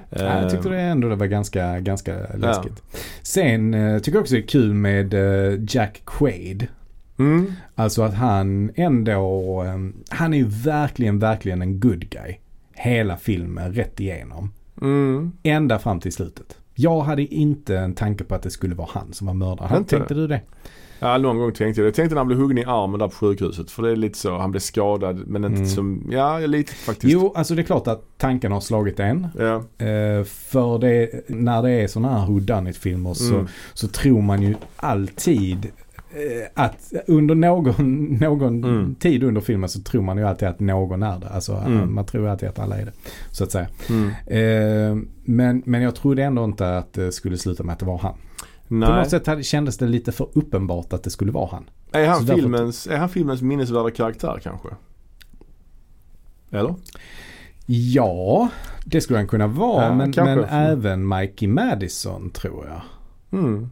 S2: Nej, jag tyckte det ändå det var ganska, ganska läskigt. Sen eh, tycker jag också det är kul med eh, Jack Quaid.
S1: Mm.
S2: Alltså att han ändå, eh, han är ju verkligen, verkligen en good guy. Hela filmen, rätt igenom.
S1: Mm.
S2: Ända fram till slutet. Jag hade inte en tanke på att det skulle vara han som var mördaren. Han,
S1: Inte?
S2: tänkte du det?
S1: Ja, någon gång tänkte jag det. Jag tänkte när han blev huggen i armen där på sjukhuset. För det är lite så. Han blev skadad men inte
S2: Mm.
S1: som... Ja, lite faktiskt.
S2: Jo, alltså det är klart att tanken har slagit en.
S1: Ja.
S2: Eh, för det, när det är sådana här whodunit-filmer så,
S1: Mm.
S2: så tror man ju alltid eh, att under någon, någon
S1: Mm.
S2: tid under filmen så tror man ju alltid att någon är det. Alltså
S1: Mm.
S2: man tror alltid att alla är det. Så att säga.
S1: Mm.
S2: Eh, men, men jag trodde ändå inte att det skulle sluta med att det var han. På
S1: Nej.
S2: något sätt hade, kändes det lite för uppenbart att det skulle vara han.
S1: Är han,
S2: Så därför-
S1: filmens, är han filmens minnesvärda karaktär kanske? Eller?
S2: Ja, det skulle han kunna vara.
S1: Ja,
S2: men
S1: kanske.
S2: men även Mikey Madison tror jag.
S1: Mm.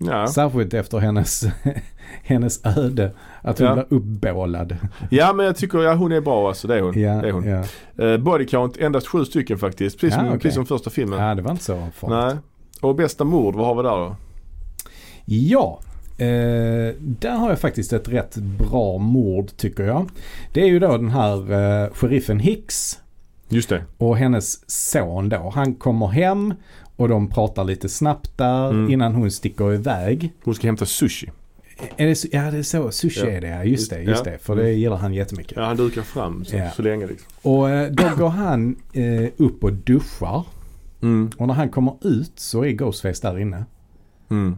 S1: Ja.
S2: Särskilt efter hennes, hennes öde. Att hon
S1: Ja.
S2: blev uppbålad.
S1: ja men jag tycker ja, hon är bra alltså. Det är hon.
S2: Ja,
S1: det är hon.
S2: ja.
S1: Eh, body count endast sju stycken faktiskt. Precis,
S2: Ja,
S1: som,
S2: okej.
S1: precis som första filmen.
S2: ja, det var inte så farligt.
S1: Nej. Och bästa mord, vad har vi där då?
S2: Ja, eh, där har jag faktiskt ett rätt bra mord tycker jag. Det är ju då den här eh, sheriffen Hicks
S1: Just det.
S2: och hennes son då. Han kommer hem och de pratar lite snabbt där
S1: Mm.
S2: innan hon sticker iväg.
S1: Hon ska hämta sushi.
S2: Är det, så- ja, det är så. Sushi
S1: Ja.
S2: är det, ja. Just det, just
S1: Ja.
S2: det. För det gillar han jättemycket.
S1: Ja, han dukar fram så,
S2: Ja.
S1: så länge liksom.
S2: Och eh, då går han eh, upp och duschar.
S1: Mm.
S2: Och när han kommer ut så är Ghostface där inne.
S1: Mm.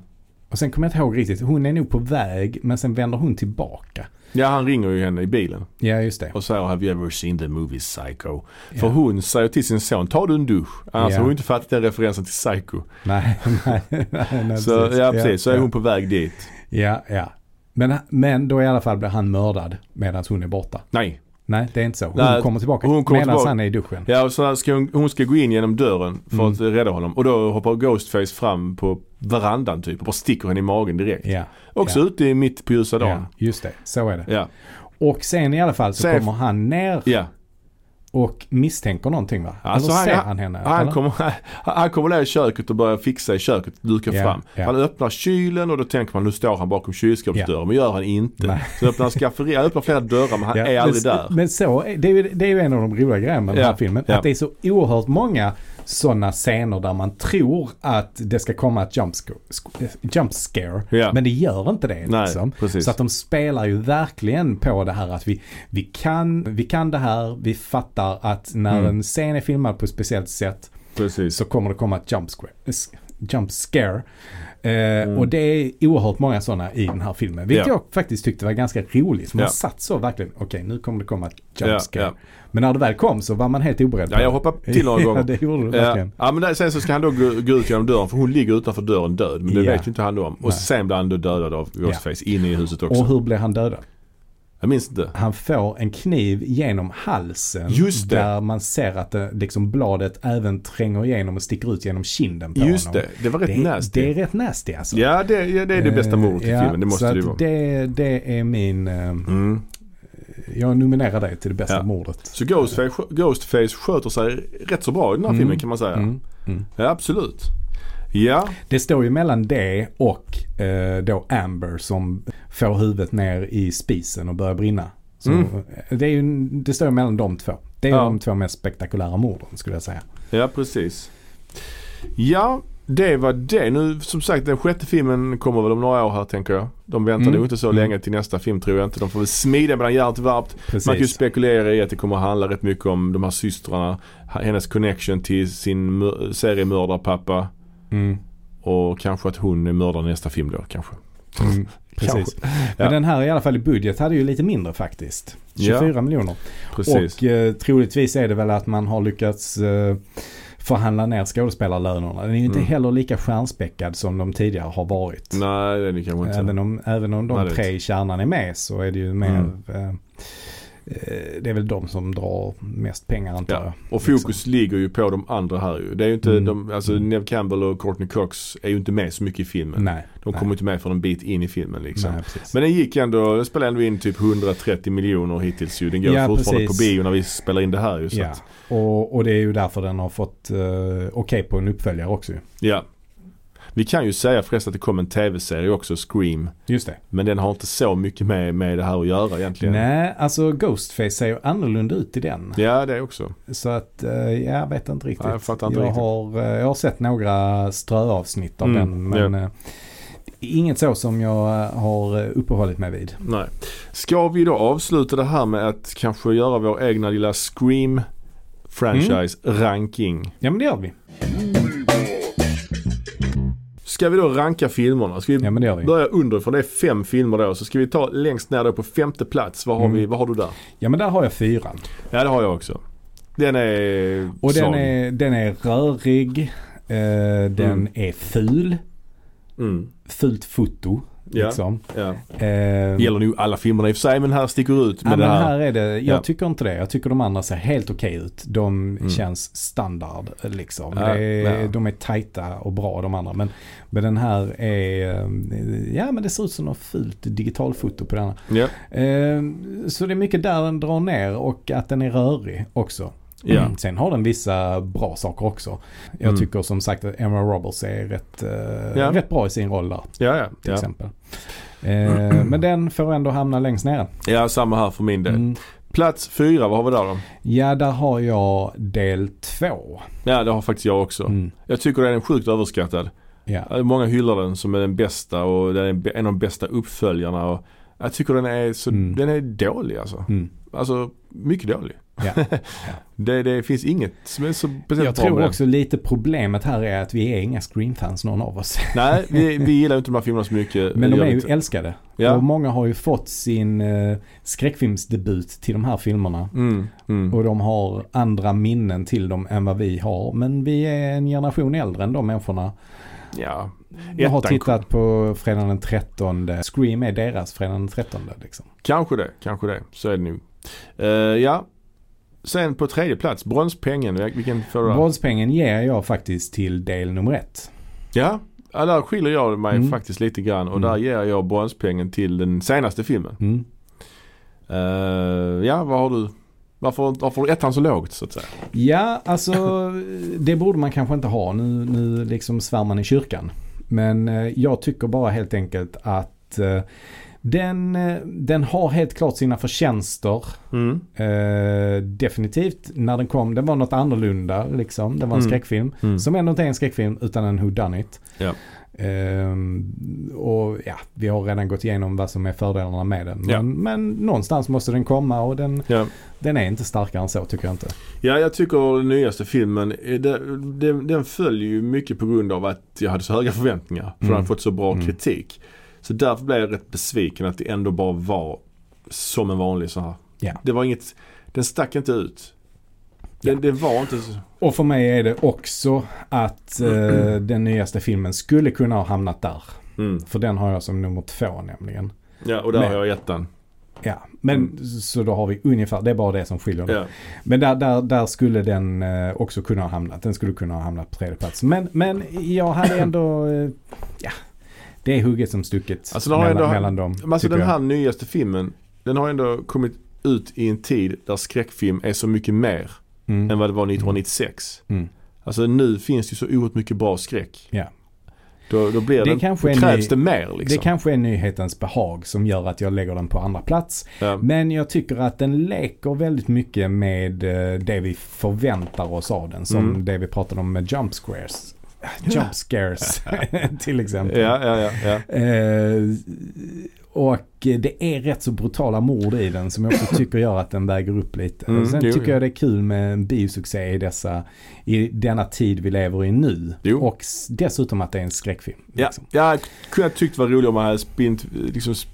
S2: Och sen kommer jag inte ihåg riktigt. Hon är nog på väg men sen vänder hon tillbaka.
S1: Ja, han ringer ju henne i bilen
S2: Ja just det.
S1: och säger Have you ever seen the movie Psycho? För
S2: Ja.
S1: hon säger till sin son, ta du en dusch. Annars
S2: Ja.
S1: har hon inte fattat den referensen till Psycho.
S2: Nej, nej, nej, nej
S1: Så, ja, precis. så är hon på väg dit.
S2: Ja, ja. Men, men då i alla fall blir han mördad medan hon är borta.
S1: Nej.
S2: Nej, det är inte så. Hon
S1: Nej,
S2: kommer tillbaka
S1: hon kommer
S2: medan
S1: tillbaka.
S2: han är i duschen.
S1: Ja, och så här ska hon, hon ska gå in genom dörren för att rädda honom. Och då hoppar Ghostface fram på verandan typ och bara sticker henne i magen direkt.
S2: Ja,
S1: Också
S2: ja.
S1: ute i mitt på ljusa dagen.
S2: ja, just det. Så är det.
S1: Ja.
S2: Och sen i alla fall så
S1: Sen-
S2: kommer han ner
S1: ja.
S2: och misstänker någonting va?
S1: Alltså,
S2: Eller
S1: han-
S2: ser
S1: han-
S2: han henne?
S1: Han
S2: eller?
S1: kommer, han kommer ner i köket och börjar fixa i köket, dukar
S2: Ja,
S1: fram.
S2: ja.
S1: Han öppnar kylen och då tänker man nu står han bakom kylskåpsdörren. Men gör han inte.
S2: Nej.
S1: Så öppnar han skafferiet, han öppnar flera dörrar men han
S2: Ja,
S1: är aldrig
S2: men,
S1: där.
S2: Men så, är- det är, ju, det är ju en av de roliga grejerna med den
S1: Ja,
S2: här filmen.
S1: ja.
S2: Att det är så oerhört många sådana scener där man tror att det ska komma ett jump sco- sc- eh, jump scare.
S1: Ja.
S2: Men det gör inte det.
S1: Nej,
S2: Liksom.
S1: precis.
S2: så att de spelar ju verkligen på det här att vi, vi, kan, vi kan det här, vi fattar att när
S1: Mm.
S2: en scen är filmad på ett speciellt sätt
S1: Precis.
S2: så kommer det komma ett jump scare. Jump scare. Eh, Och det är oerhört många sådana i den här filmen. Vilket
S1: Mm. Ja.
S2: jag faktiskt tyckte var ganska roligt. För man
S1: Ja.
S2: satt så verkligen, okej nu kommer det komma ett
S1: Ja,
S2: jump scare.
S1: ja.
S2: Men när det väl kom så var man helt oberedd. på
S1: Ja, jag
S2: det.
S1: hoppade till några
S2: ja,
S1: gånger.
S2: det gjorde du
S1: Ja,
S2: verkligen.
S1: ja men där, sen så ska han då gå, gå ut genom dörren för hon ligger utanför dörren död. Men det
S2: Ja.
S1: vet ju inte han om. Och
S2: Nej.
S1: sen blir han då dödad av Ghostface inne i huset också.
S2: Och hur blir han dödad?
S1: Jag minns inte.
S2: Han får en kniv genom halsen.
S1: Just det.
S2: Där man ser att det, liksom, bladet även tränger igenom och sticker ut genom kinden på
S1: Just
S2: honom.
S1: det, det var rätt
S2: Det, är-
S1: nasty.
S2: det är rätt nasty alltså.
S1: Ja, det, ja, det är det bästa
S2: Eh,
S1: mordet i
S2: ja,
S1: filmen. Det
S2: så
S1: måste det ju
S2: att
S1: vara.
S2: Det, det är min... eh,
S1: Mm.
S2: Jag nominerar dig till det bästa
S1: Ja.
S2: mordet.
S1: Så Ghostface, Ghostface sköter sig rätt så bra i den här filmen kan man säga.
S2: Mm, mm.
S1: Ja, absolut. Ja,
S2: Det står ju mellan det och eh, då Amber som får huvudet ner i spisen och börjar brinna. Så,
S1: Mm.
S2: eh, det, är ju, det står ju mellan de två. Det är
S1: Ja.
S2: de två mest spektakulära morden skulle jag säga.
S1: ja precis. Ja, det var det. Nu som sagt den sjätte filmen kommer väl om några år här tänker jag. De väntar
S2: Mm.
S1: nog inte så
S2: Mm.
S1: länge till nästa film tror jag inte. De får väl smida mellan järnet och varmt. Man kan ju
S2: Precis.
S1: spekulera i att det kommer att handla rätt mycket om de här systrarna. Hennes connection till sin mör- seriemördarpappa.
S2: Mm.
S1: Och kanske att hon är mördaren i nästa film då kanske.
S2: Mm. Precis. Men
S1: Ja.
S2: den här i alla fall i budget hade ju lite mindre faktiskt. 24 miljoner.
S1: Precis.
S2: Och eh, troligtvis är det väl att man har lyckats eh, förhandla ner skådespelarlönerna. Den är ju inte
S1: Mm.
S2: heller lika stjärnspäckad som de tidigare har varit.
S1: Nej det är det kanske inte.
S2: Även om, även om de
S1: Nej, det
S2: tre
S1: vet.
S2: i kärnan är med så är det ju mer...
S1: Mm.
S2: Eh, eh, det är väl de som drar mest pengar antar jag.
S1: Ja. Och fokus
S2: liksom.
S1: ligger ju på de andra här ju. Det är ju inte
S2: Mm.
S1: de, alltså
S2: Mm.
S1: Neve Campbell och Courtney Cox är ju inte med så mycket i filmen.
S2: Nej,
S1: De
S2: nej,
S1: kommer inte med för en bit in i filmen liksom.
S2: nej, precis.
S1: Men den gick ändå, den spelade ändå in typ 130 miljoner hittills ju. Den går
S2: Ja,
S1: fortfarande
S2: precis.
S1: på bio när vi spelar in det här ju. Så
S2: ja.
S1: att,
S2: och, och det är ju därför den har fått eh, okej på en uppföljare också. ju.
S1: ja. Vi kan ju säga förresten att det kom en tv-serie också, Scream.
S2: Just det.
S1: Men den har inte så mycket med, med det här att göra egentligen.
S2: Nej, alltså Ghostface ser ju annorlunda ut i den.
S1: Ja, det också.
S2: Så att eh, jag vet inte riktigt.
S1: Nej, jag fattar inte
S2: jag,
S1: riktigt.
S2: Har, eh, jag har sett några ströavsnitt av
S1: Mm,
S2: den. Men eh, inget så som jag eh, har eh, uppehållit mig vid.
S1: Nej. Ska vi då avsluta det här med att kanske göra vår egna lilla Scream franchise ranking.
S2: Ja men det gör vi.
S1: Ska vi då ranka filmerna? Ska vi
S2: Ja men det gör vi.
S1: börja underifrån? Det är fem filmer då. Så ska vi ta längst ner då på femte plats. Vad har,
S2: Mm.
S1: vi, vad har du där?
S2: Ja men där har jag fyran.
S1: Ja det har jag också. Den är
S2: Och den
S1: svag.
S2: är, den är rörig. Eh, den
S1: Mm.
S2: är ful.
S1: Mm.
S2: Fult foto.
S1: Ja.
S2: Liksom.
S1: Ja.
S2: Eh,
S1: Det gäller nog alla filmerna i och för sig men här sticker ut med
S2: Ja,
S1: det
S2: men
S1: här.
S2: här är det, jag
S1: Ja.
S2: tycker inte det. Jag tycker de andra ser helt okej ut. De
S1: Mm.
S2: känns standard liksom.
S1: Ja,
S2: det är,
S1: ja.
S2: De är tajta och bra de andra. Men, men den här är, eh, ja men det ser ut som något fult digitalfoto på den här.
S1: Ja.
S2: Eh, så det är mycket där den drar ner och att den är rörig också. Mm.
S1: Ja.
S2: Sen har den vissa bra saker också. Jag
S1: Mm.
S2: tycker som sagt att Emma Roberts är rätt, eh,
S1: Ja.
S2: rätt bra i sin roll där
S1: Ja, ja,
S2: till
S1: ja.
S2: exempel. Eh, men den får ändå hamna längst ner.
S1: ja, samma här för min del.
S2: Mm.
S1: Plats fyra, vad har vi där då?
S2: Ja, där har jag del två.
S1: Ja, det har faktiskt jag också.
S2: Mm.
S1: Jag tycker den är sjukt överskattad.
S2: Ja.
S1: Många hyllar den som är den bästa och den är en- en av de bästa uppföljarna. Och jag tycker den är, så,
S2: Mm.
S1: den är dålig alltså.
S2: Mm.
S1: Alltså mycket dålig.
S2: Ja.
S1: Det, det finns inget som är så speciellt
S2: Jag
S1: bra med
S2: tror
S1: den.
S2: också lite problemet här är att vi är inga Scream-fans någon av oss.
S1: Nej, vi, vi gillar ju inte de här filmerna så mycket.
S2: Men
S1: Det
S2: de
S1: gör
S2: är
S1: vi
S2: ju
S1: inte.
S2: älskade. Och
S1: ja.
S2: många har ju fått sin eh, skräckfilmsdebut till de här filmerna.
S1: mm, mm.
S2: Och de har andra minnen till dem än vad vi har. Men vi är en generation äldre än de människorna.
S1: Ja.
S2: Jag har
S1: Ettan
S2: tittat på Fredagen den 13. Scream är deras Fredagen den 13. Liksom.
S1: Kanske det, kanske det. Så är det nu. Eh, ja. Sen på tredje plats, Bronspengen. Vilken får du där?
S2: Våldspengen ger jag faktiskt till del nummer ett.
S1: Ja, ja, där skiljer jag mig
S2: Mm.
S1: faktiskt lite grann. Och
S2: Mm.
S1: där ger jag Bronspengen till den senaste filmen.
S2: Mm.
S1: Eh, ja, vad har du? Varför, varför har du ettan så lågt så att säga?
S2: Ja, alltså det borde man kanske inte ha. Nu, nu liksom svär man i kyrkan. Men eh, jag tycker bara helt enkelt att eh, den, eh, den har helt klart sina förtjänster.
S1: Mm.
S2: Eh, definitivt när den kom, den var något annorlunda liksom. Det var en
S1: Mm.
S2: skräckfilm.
S1: Mm.
S2: Som ändå inte är en skräckfilm utan en whodunit.
S1: Ja.
S2: Ehm, och ja, vi har redan gått igenom vad som är fördelarna med den. Men,
S1: Ja.
S2: men någonstans måste den komma och den,
S1: Ja.
S2: den är inte starkare än så tycker jag inte.
S1: ja, jag tycker den nyaste filmen, eh, den, den, den följer ju mycket på grund av att jag hade så höga förväntningar. För
S2: Mm.
S1: den har fått så bra
S2: Mm.
S1: kritik. Så därför blev jag rätt besviken att det ändå bara var som en vanlig så här.
S2: Ja.
S1: Det var inget, den stack inte ut. Den, den var inte så...
S2: Och för mig är det också att eh, den nyaste filmen skulle kunna ha hamnat där.
S1: Mm.
S2: För den har jag som nummer två nämligen.
S1: Ja, och där
S2: Men-
S1: har jag ettan.
S2: Ja, men
S1: Mm.
S2: så då har vi ungefär, det är bara det som skiljer dem.
S1: Ja.
S2: Men där, där, där skulle den eh, också kunna ha hamnat. Den skulle kunna ha hamnat på tredje plats. Men, men jag hade ändå, eh, ja, det är hugget som stucket
S1: Alltså, den har
S2: mellan,
S1: ändå-
S2: mellan dem.
S1: Men alltså
S2: tycker
S1: den
S2: jag.
S1: här nyaste filmen, den har ändå kommit ut i en tid där skräckfilm är så mycket mer
S2: Mm.
S1: än vad det var 1996.
S2: Mm.
S1: Alltså nu finns det ju så oerhört mycket bra skräck.
S2: Ja.
S1: Då, då blir
S2: Det
S1: det,
S2: kanske är
S1: då krävs
S2: ny-
S1: det mer liksom.
S2: Det kanske är nyhetens behag som gör att jag lägger den på andra plats.
S1: Ja.
S2: Men jag tycker att den leker väldigt mycket med eh, det vi förväntar oss av den. Som
S1: Mm.
S2: det vi pratade om med jump squares. jump scares till exempel.
S1: Ja, ja, ja. ja.
S2: Eh, och det är rätt så brutala mord i den som jag också tycker gör att den väger upp lite.
S1: Mm,
S2: och sen
S1: jo,
S2: tycker
S1: jo.
S2: jag det är kul med en biosuccé i, dessa, i denna tid vi lever i nu.
S1: Jo.
S2: Och s- dessutom att det är en skräckfilm.
S1: Ja,
S2: liksom.
S1: jag kunde ha tyckt det var roligt om man hade spint, liksom, sp-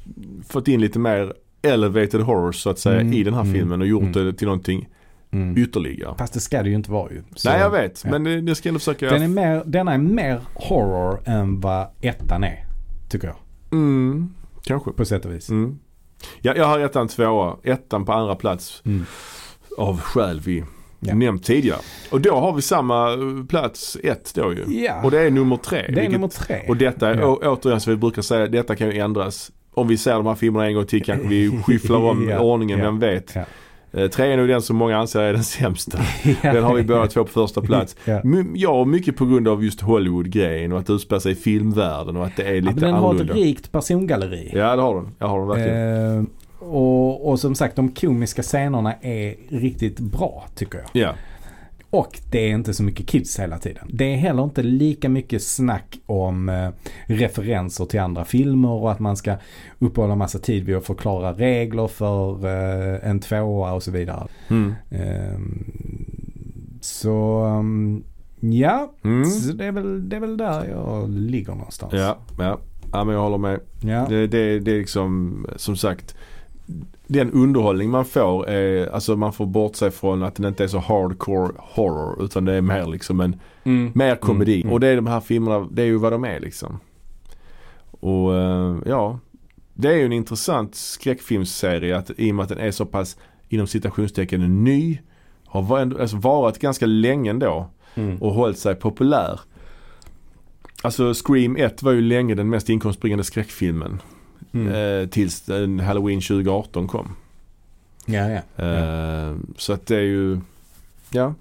S1: fått in lite mer elevated horror så att säga
S2: Mm,
S1: i den här
S2: mm,
S1: filmen och gjort
S2: mm.
S1: det till någonting
S2: Mm.
S1: ytterligare.
S2: Fast det ska det ju inte vara ju. Så-
S1: Nej jag vet,
S2: ja.
S1: men eh, jag ska ändå försöka...
S2: Den är mer, denna är mer horror än vad ettan är. Tycker jag.
S1: mm, kanske.
S2: På sätt och vis.
S1: Mm. Ja, jag har ettan tvåa, ettan på andra plats
S2: Mm.
S1: av skäl vi
S2: Ja.
S1: nämnt tidigare. Och då har vi samma eh, plats ett då ju.
S2: Ja,
S1: Och det är nummer tre.
S2: det är
S1: vilket-
S2: nummer tre.
S1: Och detta, är
S2: Ja.
S1: å- återigen som vi brukar säga, detta kan ju ändras. Om vi ser de här filmerna en gång till kanske vi skyfflar om
S2: Ja,
S1: ordningen,
S2: ja,
S1: vem vet.
S2: ja.
S1: Eh, Tre är nog den som många anser är den sämsta.
S2: Ja.
S1: Den har vi båda två på första plats.
S2: Ja.
S1: My- Ja, mycket på grund av just Hollywood-grejen och att det utspelar sig i filmvärlden och att det är
S2: Ja,
S1: lite
S2: men den har ett
S1: annorlunda.
S2: rikt persongalleri.
S1: Ja, det har den. Jag har den verkligen.
S2: Eh, och, och som sagt, de komiska scenerna är riktigt bra tycker jag.
S1: Ja.
S2: Och det är inte så mycket kids hela tiden. Det är heller inte lika mycket snack om eh, referenser till andra filmer och att man ska uppehålla massa tid vid att förklara regler för eh, en tvåa och så vidare.
S1: Mm.
S2: Eh, så um, ja,
S1: Mm.
S2: så det, är väl, det är väl där jag ligger någonstans.
S1: Ja, ja. ja, men jag håller med.
S2: Ja.
S1: Det, det, det är liksom, som sagt, den underhållning man får är, alltså man får bortse från att den inte är så hardcore horror utan det är mer liksom en,
S2: Mm.
S1: mer komedi.
S2: Mm, mm.
S1: Och det är de här filmerna, det är ju vad de är liksom. Och eh, ja, det är ju en intressant skräckfilmsserie att, i och med att den är så pass inom citationstecken ny. Har var- ändå- alltså varit ganska länge ändå
S2: Mm.
S1: och hållit sig populär. Alltså Scream 1 var ju länge den mest inkomstbringande skräckfilmen.
S2: Mm.
S1: Eh, tills den Halloween 2018 kom.
S2: ja, ja.
S1: Eh, Så att det är ju, ja.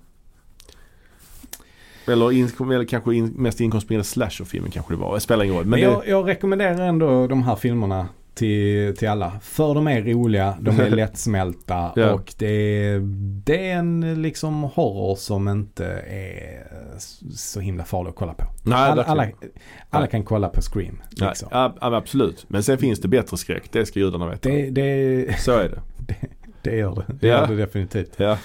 S1: Eller, in, eller kanske in, mest inkomstbringande slasherfilmen kanske det var. Det spelar ingen roll. Men
S2: Men
S1: det,
S2: jag, jag rekommenderar ändå de här filmerna till, till alla. För de är roliga, de är lättsmälta
S1: Ja.
S2: och det är, det är en liksom horror som inte är så himla farlig att kolla på.
S1: nej,
S2: Alla,
S1: verkligen.
S2: alla, alla
S1: Nej.
S2: kan kolla på Scream.
S1: nej,
S2: Liksom.
S1: ja, ja, absolut. Men sen finns det bättre skräck. Det ska gudarna veta.
S2: Det, det,
S1: Så är det.
S2: det gör det. Det
S1: Ja.
S2: gör det definitivt.
S1: Ja,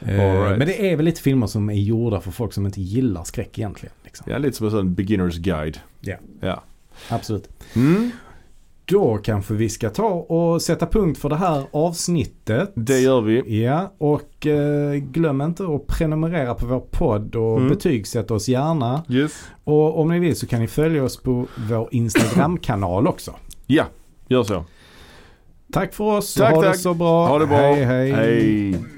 S2: Eh,
S1: right.
S2: Men det är väl lite filmer som är gjorda för folk som inte gillar skräck egentligen. Liksom.
S1: ja lite som en sån beginner's guide.
S2: Ja.
S1: ja.
S2: Absolut.
S1: Mm.
S2: Då kanske vi ska ta och sätta punkt för det här avsnittet.
S1: Det gör vi.
S2: Ja, och eh, glöm inte att prenumerera på vår podd och
S1: Mm.
S2: betygsätta oss gärna.
S1: Yes.
S2: Och om ni vill så kan ni följa oss på vår Instagram-kanal också.
S1: Ja, gör så.
S2: Tack för oss,
S1: Tack,
S2: ha det
S1: tack.
S2: så bra.
S1: Ha det bra.
S2: Hej, hej.
S1: hej.